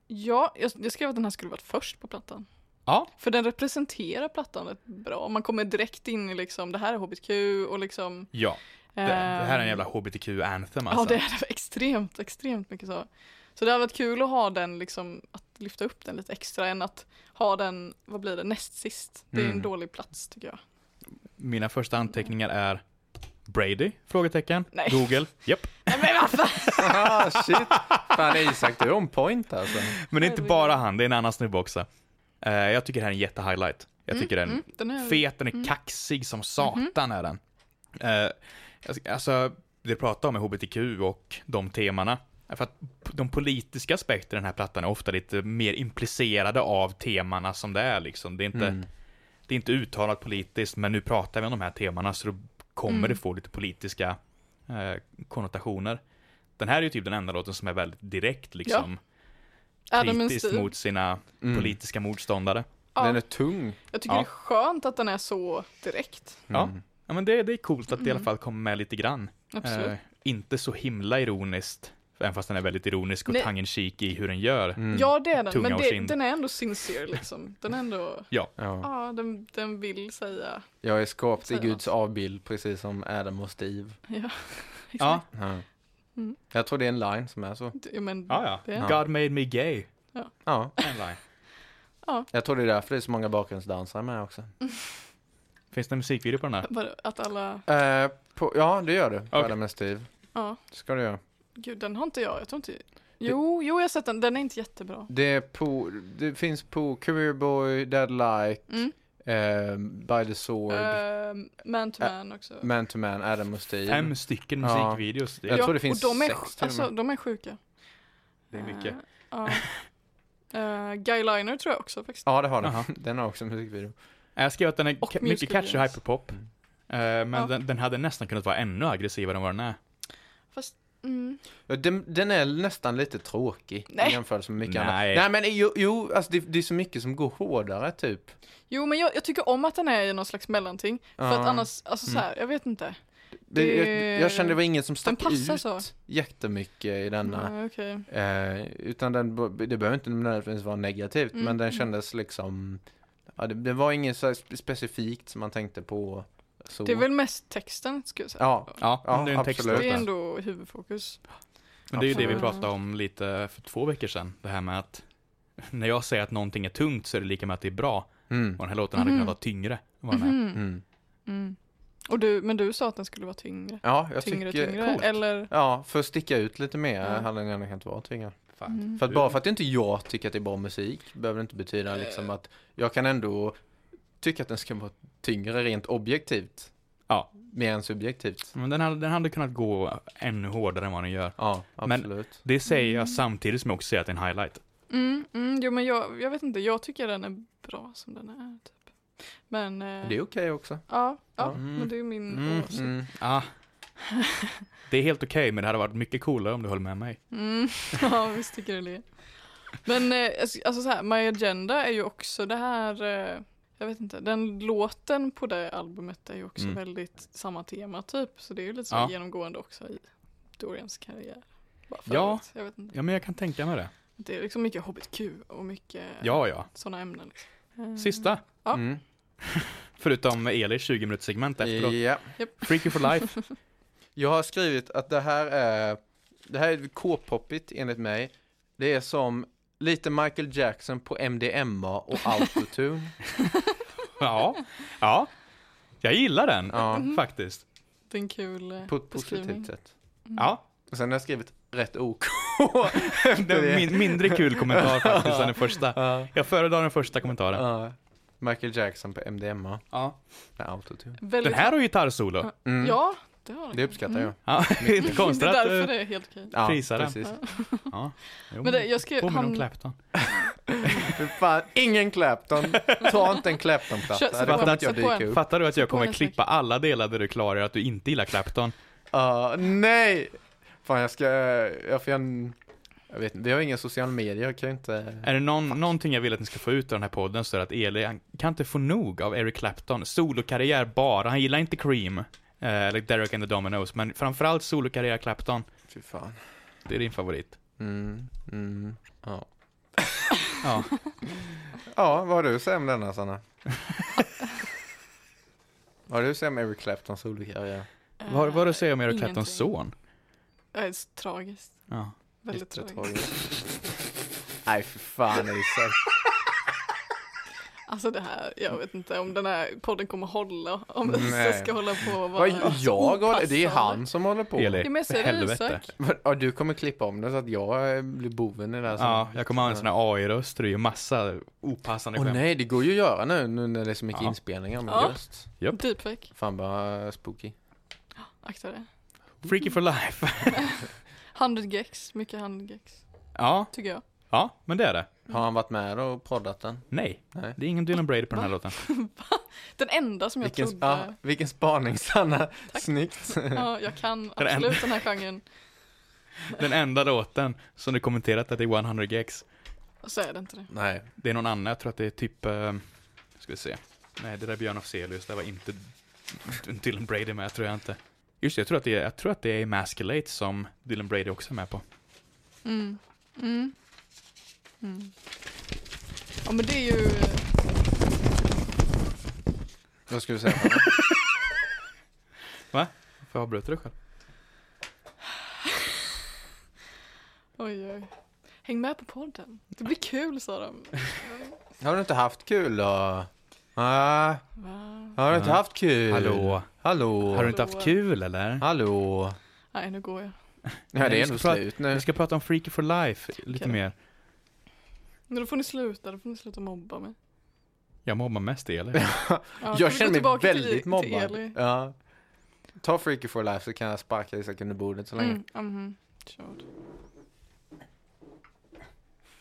Ja, jag, jag skrev att den här skulle varit först på plattan.
Ja.
För den representerar plattan rätt bra. Man kommer direkt in i liksom, det här är HBTQ och liksom...
Ja. Det, det här är en
ehm,
jävla HBTQ-anthem
Ja,
alltså.
det är det. extremt, extremt mycket så. Så det har varit kul att ha den liksom, att lyfta upp den lite extra än att ha den, vad blir det, näst sist. Det är en
Mm.
dålig plats tycker jag.
Mina första anteckningar är Brady? Frågetecken.
Nej.
Google. Japp.
Nej men vad fan!
ah, shit. Fan Isak, du är on point alltså.
Men det är inte bara han, det är en annan snubbe också. Eh, jag tycker det här är en jättehighlight. Jag tycker den
Mm, Mhm. den är...
fet, den är kaxig som satan är den. Eh, jag ska- alltså, det pratar om är HBTQ och de temana. För att p- de politiska aspekterna i den här plattan är ofta lite mer implicerade av temana som det är liksom. Det är inte, det är inte uttalat politiskt, men nu pratar vi om de här temana så då kommer
Mm.
det få lite politiska eh, konnotationer. Den här är ju typ den enda låten som är väldigt direkt liksom.
Adam and
Kritisk
Steve.
mot sina politiska motståndare.
Ja.
Den är tung.
Jag tycker
Ja.
det är skönt att den är så direkt.
Ja.
Mm.
ja, men det, det är coolt att det i alla fall kommer med lite grann.
Mm. Absolut.
Eh, inte så himla ironiskt, även fast den är väldigt ironisk och
Nej.
tongue in cheek i hur den gör.
Mm.
Ja det är den,
mm. Tunga
men
och
det,
kind.
den är ändå sincere liksom. Den är ändå,
Ja,
Ja.
ja den, den vill säga.
Jag är skapt i
Säger
Guds avbild, precis som Adam och Steve.
Ja,
ja,
Ja.
Mm.
Jag tror det är en line som är så.
ja men
ja. ja.
Det,
God made me gay.
Ja.
En line.
Jag tror det är därför det är så många bakgrundsdansare med också.
Finns det en musikvideo på den här?
Vadå, Att alla,
Eh, på, ja, det gör du. På
Okej.
Adam och Steve.
ja.
Det ska du göra.
Gud den har inte jag, jag tror inte. Jo, jo jag har sett den, den är inte jättebra.
Det, är på, det finns på Career Boy, Dead Like,
Mm.
eh, By the Sword,
Ehm, man to man också.
Man to Man, Adam och Steve.
Fem stycken
Ja.
musikvideos. Det
jag
Ja,
tror det finns
och de är,
sex
sj-
till och
alltså,
med.
de är sjuka.
det är mycket.
Eh, Ja. Eh, Guy Liner tror jag också faktiskt.
Ja, det har den.
Jaha.
Den har också musikvideo.
Jag skrev att den är
Och
ka-
musical
mycket catchy
videos.
hyperpop.
Mm.
Eh, men
Ja.
den, den hade nästan kunnat vara ännu aggressivare än vad den är.
Fast, mm.
Ja, Den, den är nästan lite tråkig
Nej.
i jämförelse med mycket
Nej.
annat. Nej, men jo, jo alltså det, det är så mycket som går hårdare typ.
Jo men jag, jag tycker om att den är i någon slags mellanting. För att
Ja. Mm.
annars, alltså så här, jag vet inte.
Det,
Det-
jag, jag kände det var ingen som
Den
stack
passar
ut
så. Mm.
jättemycket i denna.
Ja, okej.
Eh, utan den, det behöver inte nödvändigtvis vara negativt,
Mm.
men den kändes liksom, ja, det, det var inget så här spe- specifikt som man tänkte på. Så.
Det är väl mest texten skulle jag säga.
Ja,
Ja,
Ja,
det är en text.
absolut.
Det är ändå huvudfokus.
Men det är ju det vi
Absolut.
pratade om lite för två veckor sedan. Det här med att när jag säger att någonting är tungt så är det lika med att det är bra.
Mm.
Och den här låten hade kunnat vara tyngre. än vad den är.
Mm.
Och du, men du sa att den skulle vara tyngre.
Ja, jag
tyngre,
tycker,
tyngre. Eller,
Ja, för att sticka ut lite mer
Ja. Mm.
hade den gärna kunnat vara tycker jag.
Fan.
För att bara för att inte jag tycker att det är bra musik behöver det inte betyda liksom att jag kan ändå tycka att den ska vara tyngre rent objektivt.
Ja.
Mer än subjektivt.
Men den hade, den hade kunnat gå ännu hårdare än vad den gör.
Ja,
Men-
absolut.
Det säger jag samtidigt som jag också säger att det är en highlight.
mm, mm, jo men jag, jag vet inte, jag tycker den är bra som den är. Typ. Men, eh,
Det är okej också.
ja, ja
Ja.
men det är min
Mm,
åsikt.
mm.
Ah. Det är helt okej, men det hade varit mycket coolare om du höll med mig.
Mm. Ja, visst tycker jag det. Men eh, alltså- alltså så här, My Agenda är ju också det här, eh, jag vet inte, den låten på det albumet är ju också
Mm.
väldigt samma tema typ. Så det är ju lite så
Ja.
genomgående också i Dorians karriär. Bara för
Ja.
att, Jag vet inte.
Ja, men jag kan tänka mig det.
Det är liksom mycket HBTQ och mycket
Ja, ja.
sådana ämnen. Liksom.
Sista.
Ja.
Mm.
Förutom Elis 20 minuters segment efteråt.
Ja.
Freaky for life.
Jag har skrivit att det här är Det här är K-poppigt enligt mig Det är som lite Michael Jackson på MDMA och autotune
Ja. Ja. Jag gillar den,
Ja.
faktiskt.
Det är en kul eh,
På ett
beskrivning.
positivt sätt.
Ja,
Och sen har jag skrivit rätt OK.
det är en min, mindre kul kommentar faktiskt än den första.
Ja.
Jag föredrar den första kommentaren.
Ja. Michael Jackson på MDMA.
Ja.
Med autotune.
Väldigt...
Den här har gitarrsolo.
Mm.
Ja, det har
Det uppskattar jag.
Ja, det är inte konstigt
Det är
att...
därför
eh,
det är helt okej.
Ja,
Prisar Mm. den.
precis.
jo,
Men det, jag skrev,
Påminner om
han,
Clapton.
Fy fan, ingen Clapton. Ta inte en
Kör-
Clapton-platta.
sätt
Det
på
kommer
en,
inte jag
sätt på
dyka
en.
upp.
Fattar du att jag
på
kommer
en
klippa alla delar där du klarar att du inte gillar Clapton?
Ja, nej! Fan, jag ska... Jag får en... Jag vet inte, vi har inga sociala medier, jag kan ju inte...
Är det någon, någonting jag vill att ni ska få ut av den här podden så är det att Eli, han kan inte få nog av Eric Clapton. Solokarriär bara. Han gillar inte Cream. eh, Eller Derek and the Dominoes, men framförallt solokarriär Clapton.
Fy fan.
Det är din favorit.
Mm, mm, ja.
Ja.
Ja, vad har du att säga om denna, Sanna? vad har du att säga om Eric Claptons solokarriär?
eh,
Vad vad har du att säga om Eric Claptons
ingenting.
son?
Ja, Det Eh, är tragiskt.
Ja.
Väldigt
Yttre
tragiskt.
tragiskt. Nej, för fan Isak.
Alltså det här, jag vet inte om den här podden kommer hålla. Om
Nej.
Isak ska hålla på och vara
Vad jag håller, det är han som håller på.
Eli,
Det mesta är det
helvete.
Isak.
Vad- Ja, du kommer klippa om det så att jag eh, blir boven i det här.
Ja,
sammanhanget.
jag kommer använda såna här AI-röster. Det är ju massa opassande
Åh
skämt.
nej, det går ju att göra nu, nu när det är så mycket
Ja.
inspelningar. Men
Ja.
just.
Deepfake,
Fan bara spooky.
akta det.
Freaky for life.
100 gex, mycket 100 gex.
Ja,
Tycker jag.
ja, men det är det.
Har han varit med och poddat den?
Nej.
Nej.
Det är ingen Dylan Brady på den här låten.
Den enda som jag
Vilken,
trodde.
ja, vilken spaning Sanna. Snyggt.
Ja, jag kan
Den enda.
absolut den här genren.
Den enda låten som du kommenterat att det är 100 gigs.
Och så är det inte det.
Nej.
Det är någon annan, jag tror att det är typ... eh, ska vi se. Nej, det där är Björn Afzelius, det var inte Dylan Brady med, tror jag inte. Just det, jag tror att det är, jag tror att det är Emasculate som Dylan Brady också är med på.
Mm. Mm. Mm. Ja men det är ju, eh,
Vad ska du säga?
Får jag avbryta dig själv?
oj oj. Häng med på podden. Det blir kul sa de.
har du inte haft kul då? Nej,
Va?
har du inte
Nej.
haft kul?
Hallå?
Hallå?
Har du inte haft kul eller?
Hallå?
Nej nu går jag.
Ja, det
vi
är
ska
ändå
prata-
slut nu.
Vi ska prata om Freaky for Life lite
Okej.
mer.
Men då får ni sluta, då får ni sluta mobba mig.
Jag mobbar mest Eli.
Ja, ska vi gå
Jag känner mig
tillbaka till-
väldigt
till
mobbad.
Eli?
Ja. Ta Freaky for Life så kan jag sparka Isak under bordet så länge.
Mm, mhm. Körd.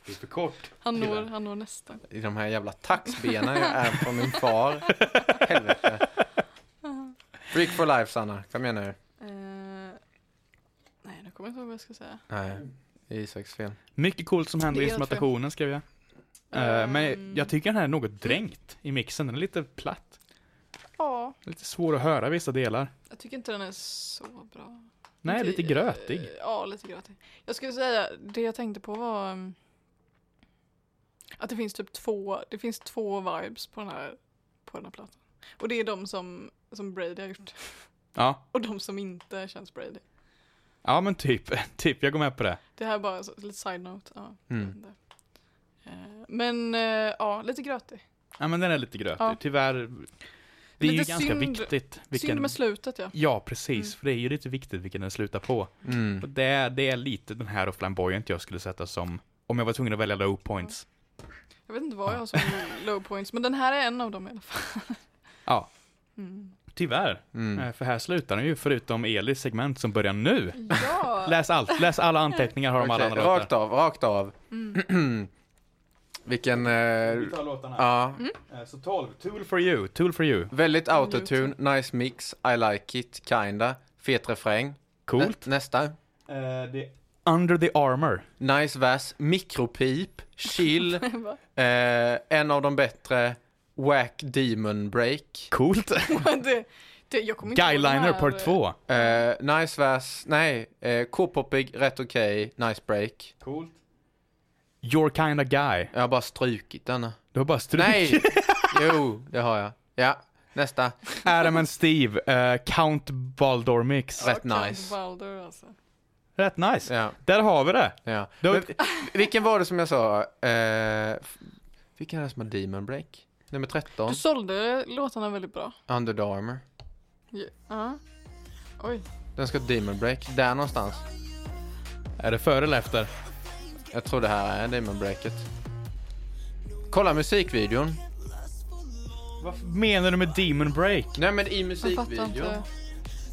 Det är för kort.
Han når,
Gillar.
han når nästa.
I de här jävla taxbenen jag är från min far. Helvete. Freak for Life Sanna, kom igen nu.
Eh, nej, nu kommer jag inte ihåg vad jag ska säga.
Nej, det är Isaks fel.
Mycket coolt som händer i
Det är helt fel.
instrumentationen skrev jag. Eh, men
Ehm,
jag tycker den här är något dränkt i mixen. Den är lite platt.
Ja,
Lite svår att höra vissa delar.
jag tycker inte den är så bra.
Nej,
Inte-
lite grötig.
eh, Ja, lite grötig. Jag skulle säga, det jag tänkte på var mm, att det finns typ två, det finns två vibes på den här, på den här plattan. Och det är de som, som Brady har gjort
Ja,
och de som inte känns Brady.
ja men typ, typ, jag går med på det.
Det här är bara så, lite side-note. Ja, jag vet
Mm.
inte. Eh, Men eh, ja, lite grötig.
Ja men den är lite grötig,
Ja.
tyvärr. Det är ju
Lite
ganska
synd-
viktigt.
Synd med slutet ja.
Ja, precis.
Mm.
För det är ju lite viktigt vilken den slutar på.
Mm.
Och det, är- det är lite den här och flamboyant jag skulle sätta som, om jag var tvungen att välja low points.
Jag vet inte vad jag har som low points, men den här är en av dem i alla fall.
Ja,
Mm.
tyvärr.
Mm.
Eh, För här slutar den ju, förutom Elis segment som börjar nu.
Mm. Ja!
Läs allt, läs alla anteckningar har de alla
Okej,
andra
rakt av, rakt av.
Mm.
Vilken, eh,
tar låtarna. Eh,
ja,
Mm.
Så 12, Tool for you, Tool for you.
väldigt autotune, nice mix, I like it, kinda, fet refräng.
Coolt.
Nä, nästa.
Eh,
Under the armor.
Nice vers, mikropip, chill, eh,
Va?
en av de bättre, Wack Demon Break.
Coolt.
det, det, jag kommer inte ihåg den
Guyliner
här, eh,
part 2.
Eh, nice vers, nej, eh, K-popig, rätt okej, nice break.
Coolt.
Your kinda guy.
Jag har bara strukit denna.
Du har bara stryk.
Nej! Jo, det har jag. Ja, nästa.
Adam and Steve, eh, Count Baldor Mix.
Rätt
Count
nice.
Balder, alltså.
Rätt nice.
Ja,
Där har vi det.
ja.
Då-
Men, vilken var det som jag sa? Eh, f- vilken är det som har Demon Break? Nummer 13,
Du sålde låtarna väldigt bra.
Under the Armour.
Ja. Ja. Oj.
Den ska Demon Break. Där någonstans.
Är det före eller efter?
Jag tror det här är Demon Breaket. Kolla musikvideon.
Vad menar du med Demon Break?
Nej men i
Jag fattar inte.
musikvideon.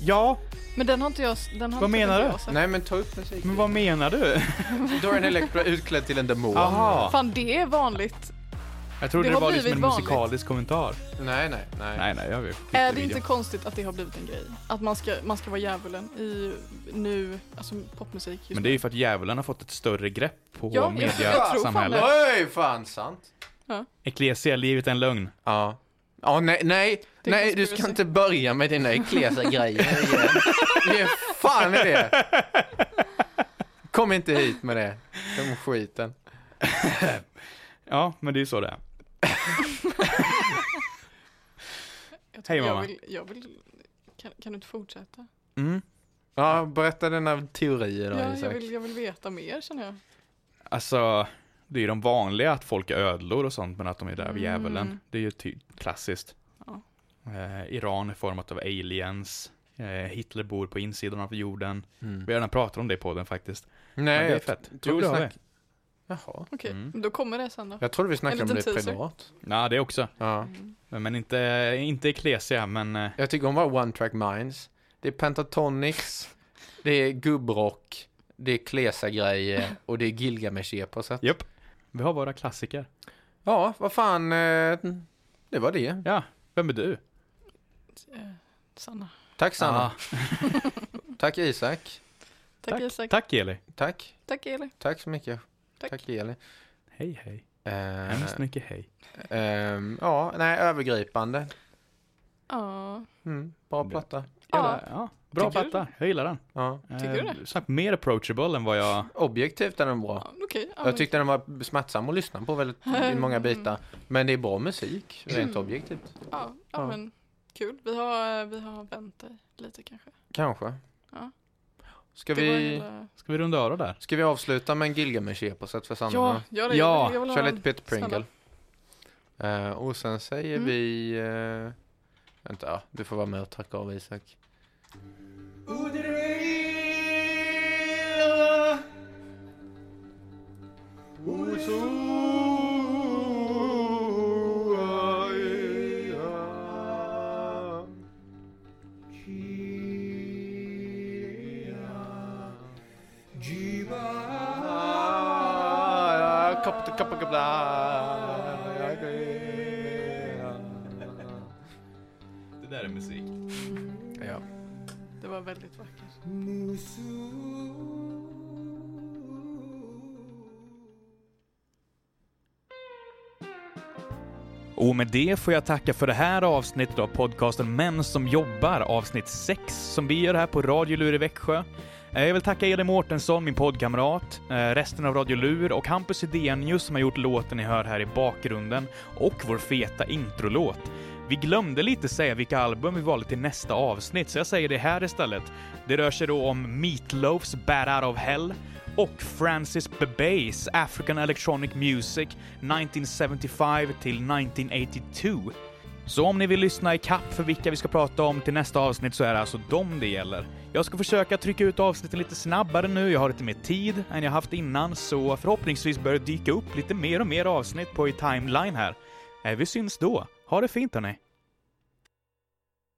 Ja,
Men den har inte jag den har
Vad
inte
menar
jag
du?
sett.
Nej men ta upp musik.
men vad menar du?
Dorian Electra utklädd till en demon.
Aha.
Fan det är vanligt.
Jag trodde
Det
det,
har
var liksom en
blivit vanligt.
musikalisk kommentar.
Nej, nej, nej.
Nej, nej, jag vet. skit i
Är det
videon.
inte konstigt att det har blivit en grej? Att man ska, man ska vara djävulen i nu, alltså popmusik just
Men det är ju för att djävulen har fått ett större grepp på
Ja, jag- jag tror fan
mediasamhället.
det.
Oj, fan sant.
Ecclesia, livet är en lögn.
Ja. Ja, nej, nej,
Det
nej,
kan
du
spela
ska
sig.
inte börja med dina Ecclesia-grejer igen. Ge fan i det. Kom inte hit med det. De skiten.
Ja, men det är ju så det är.
Jag tror-
Hej, mamma.
Jag vill, jag vill, kan, kan du inte fortsätta?
Mm.
Ja, berätta dina teorier då,
Ja, jag,
Isak.
vill, jag vill veta mer känner jag.
Alltså, det är ju de vanliga att folk är ödlor och sånt, men att de är där vid
Mm.
djävulen. Det är ju ty- klassiskt.
Ja.
Eh, Iran är format av aliens. Eh, Hitler bor på insidan av jorden.
Mm.
Vi har redan pratat om det på den faktiskt.
Nej,
Men det är
jag
fett.
tror
Jo,
vi
det har vi.
snack... Jaha.
Okej,
Mm.
men då kommer det sen då.
Jag trodde vi snackade
En
om det
liten teaser.
privat.
Nej, det också.
Ja.
Mm.
Men men inte, inte Ecclesia, men... eh,
Jag tycker om bara One Track Minds. Det är Pentatonics, det är gubbrock, det är Klesa-grejer och det är Gilgamesh-eposet.
Japp. Vi har våra klassiker.
Ja, vad fan. eh, Det var det.
Ja, vem är du?
Eh, Sanna.
Tack Sanna.
Ah,
Tack Isak.
Tack, Isak.
Tack Eli.
Tack.
Tack Eli.
Tack så mycket.
Tack.
Tack Eli.
Hej hej.
Eh,
Hemskt mycket hej.
ehm, ja, nej, övergripande.
Ja,
Mm, bra
Bra.
platta.
Ja.
Ja, ja, bra
Tycker du
platta. Jag gillar den.
Ja.
Tycker du det?
Snabbt mer approachable än vad jag...
Objektivt är den bra.
ja, okej. Ja, men-
Jag tyckte den var smärtsam att lyssna på väldigt i många bitar. Men det är bra musik,
Mm.
rent objektivt.
Ja, ja,
Ja.
men kul. Vi har, eh, vi har vänt dig lite kanske.
Kanske.
Ja.
Ska
Det var
vi,
hela-
Ska vi runda av där?
ska vi avsluta med en Gilgamesh-eposet för Sanna?
Ja, gör det.
Ja,
jag vill, jag vill
Kör
ha
lite
en.
Pit Pringle.
snälla.
Eh, och sen säger
Mm.
vi... eh, vänta, ja, du får vara med och tacka av Isak.
Det där är musik.
Ja.
Det var väldigt vackert.
Och med det får jag tacka för det här avsnittet av podcasten Män som jobbar, avsnitt 6, som vi gör här på Radio Lur i Växjö. Eh, Jag vill tacka Elin Mårtensson, min poddkamrat, eh, resten av Radio Lur och Hampus Idenius som har gjort låten ni hör här i bakgrunden och vår feta introlåt. Vi glömde lite säga vilka album vi valde till nästa avsnitt, så jag säger det här istället. Det rör sig då om Meatloafs Bad Out of Hell och Francis Bebays African Electronic Music 1975 till 1982. Så om ni vill lyssna i kapp för vilka vi ska prata om till nästa avsnitt så är det alltså dem det gäller. Jag ska försöka trycka ut avsnitten lite snabbare nu, jag har lite mer tid än jag haft innan, så förhoppningsvis börjar det dyka upp lite mer och mer avsnitt på i timeline här. Eh, Vi syns då. Ha det fint hörni!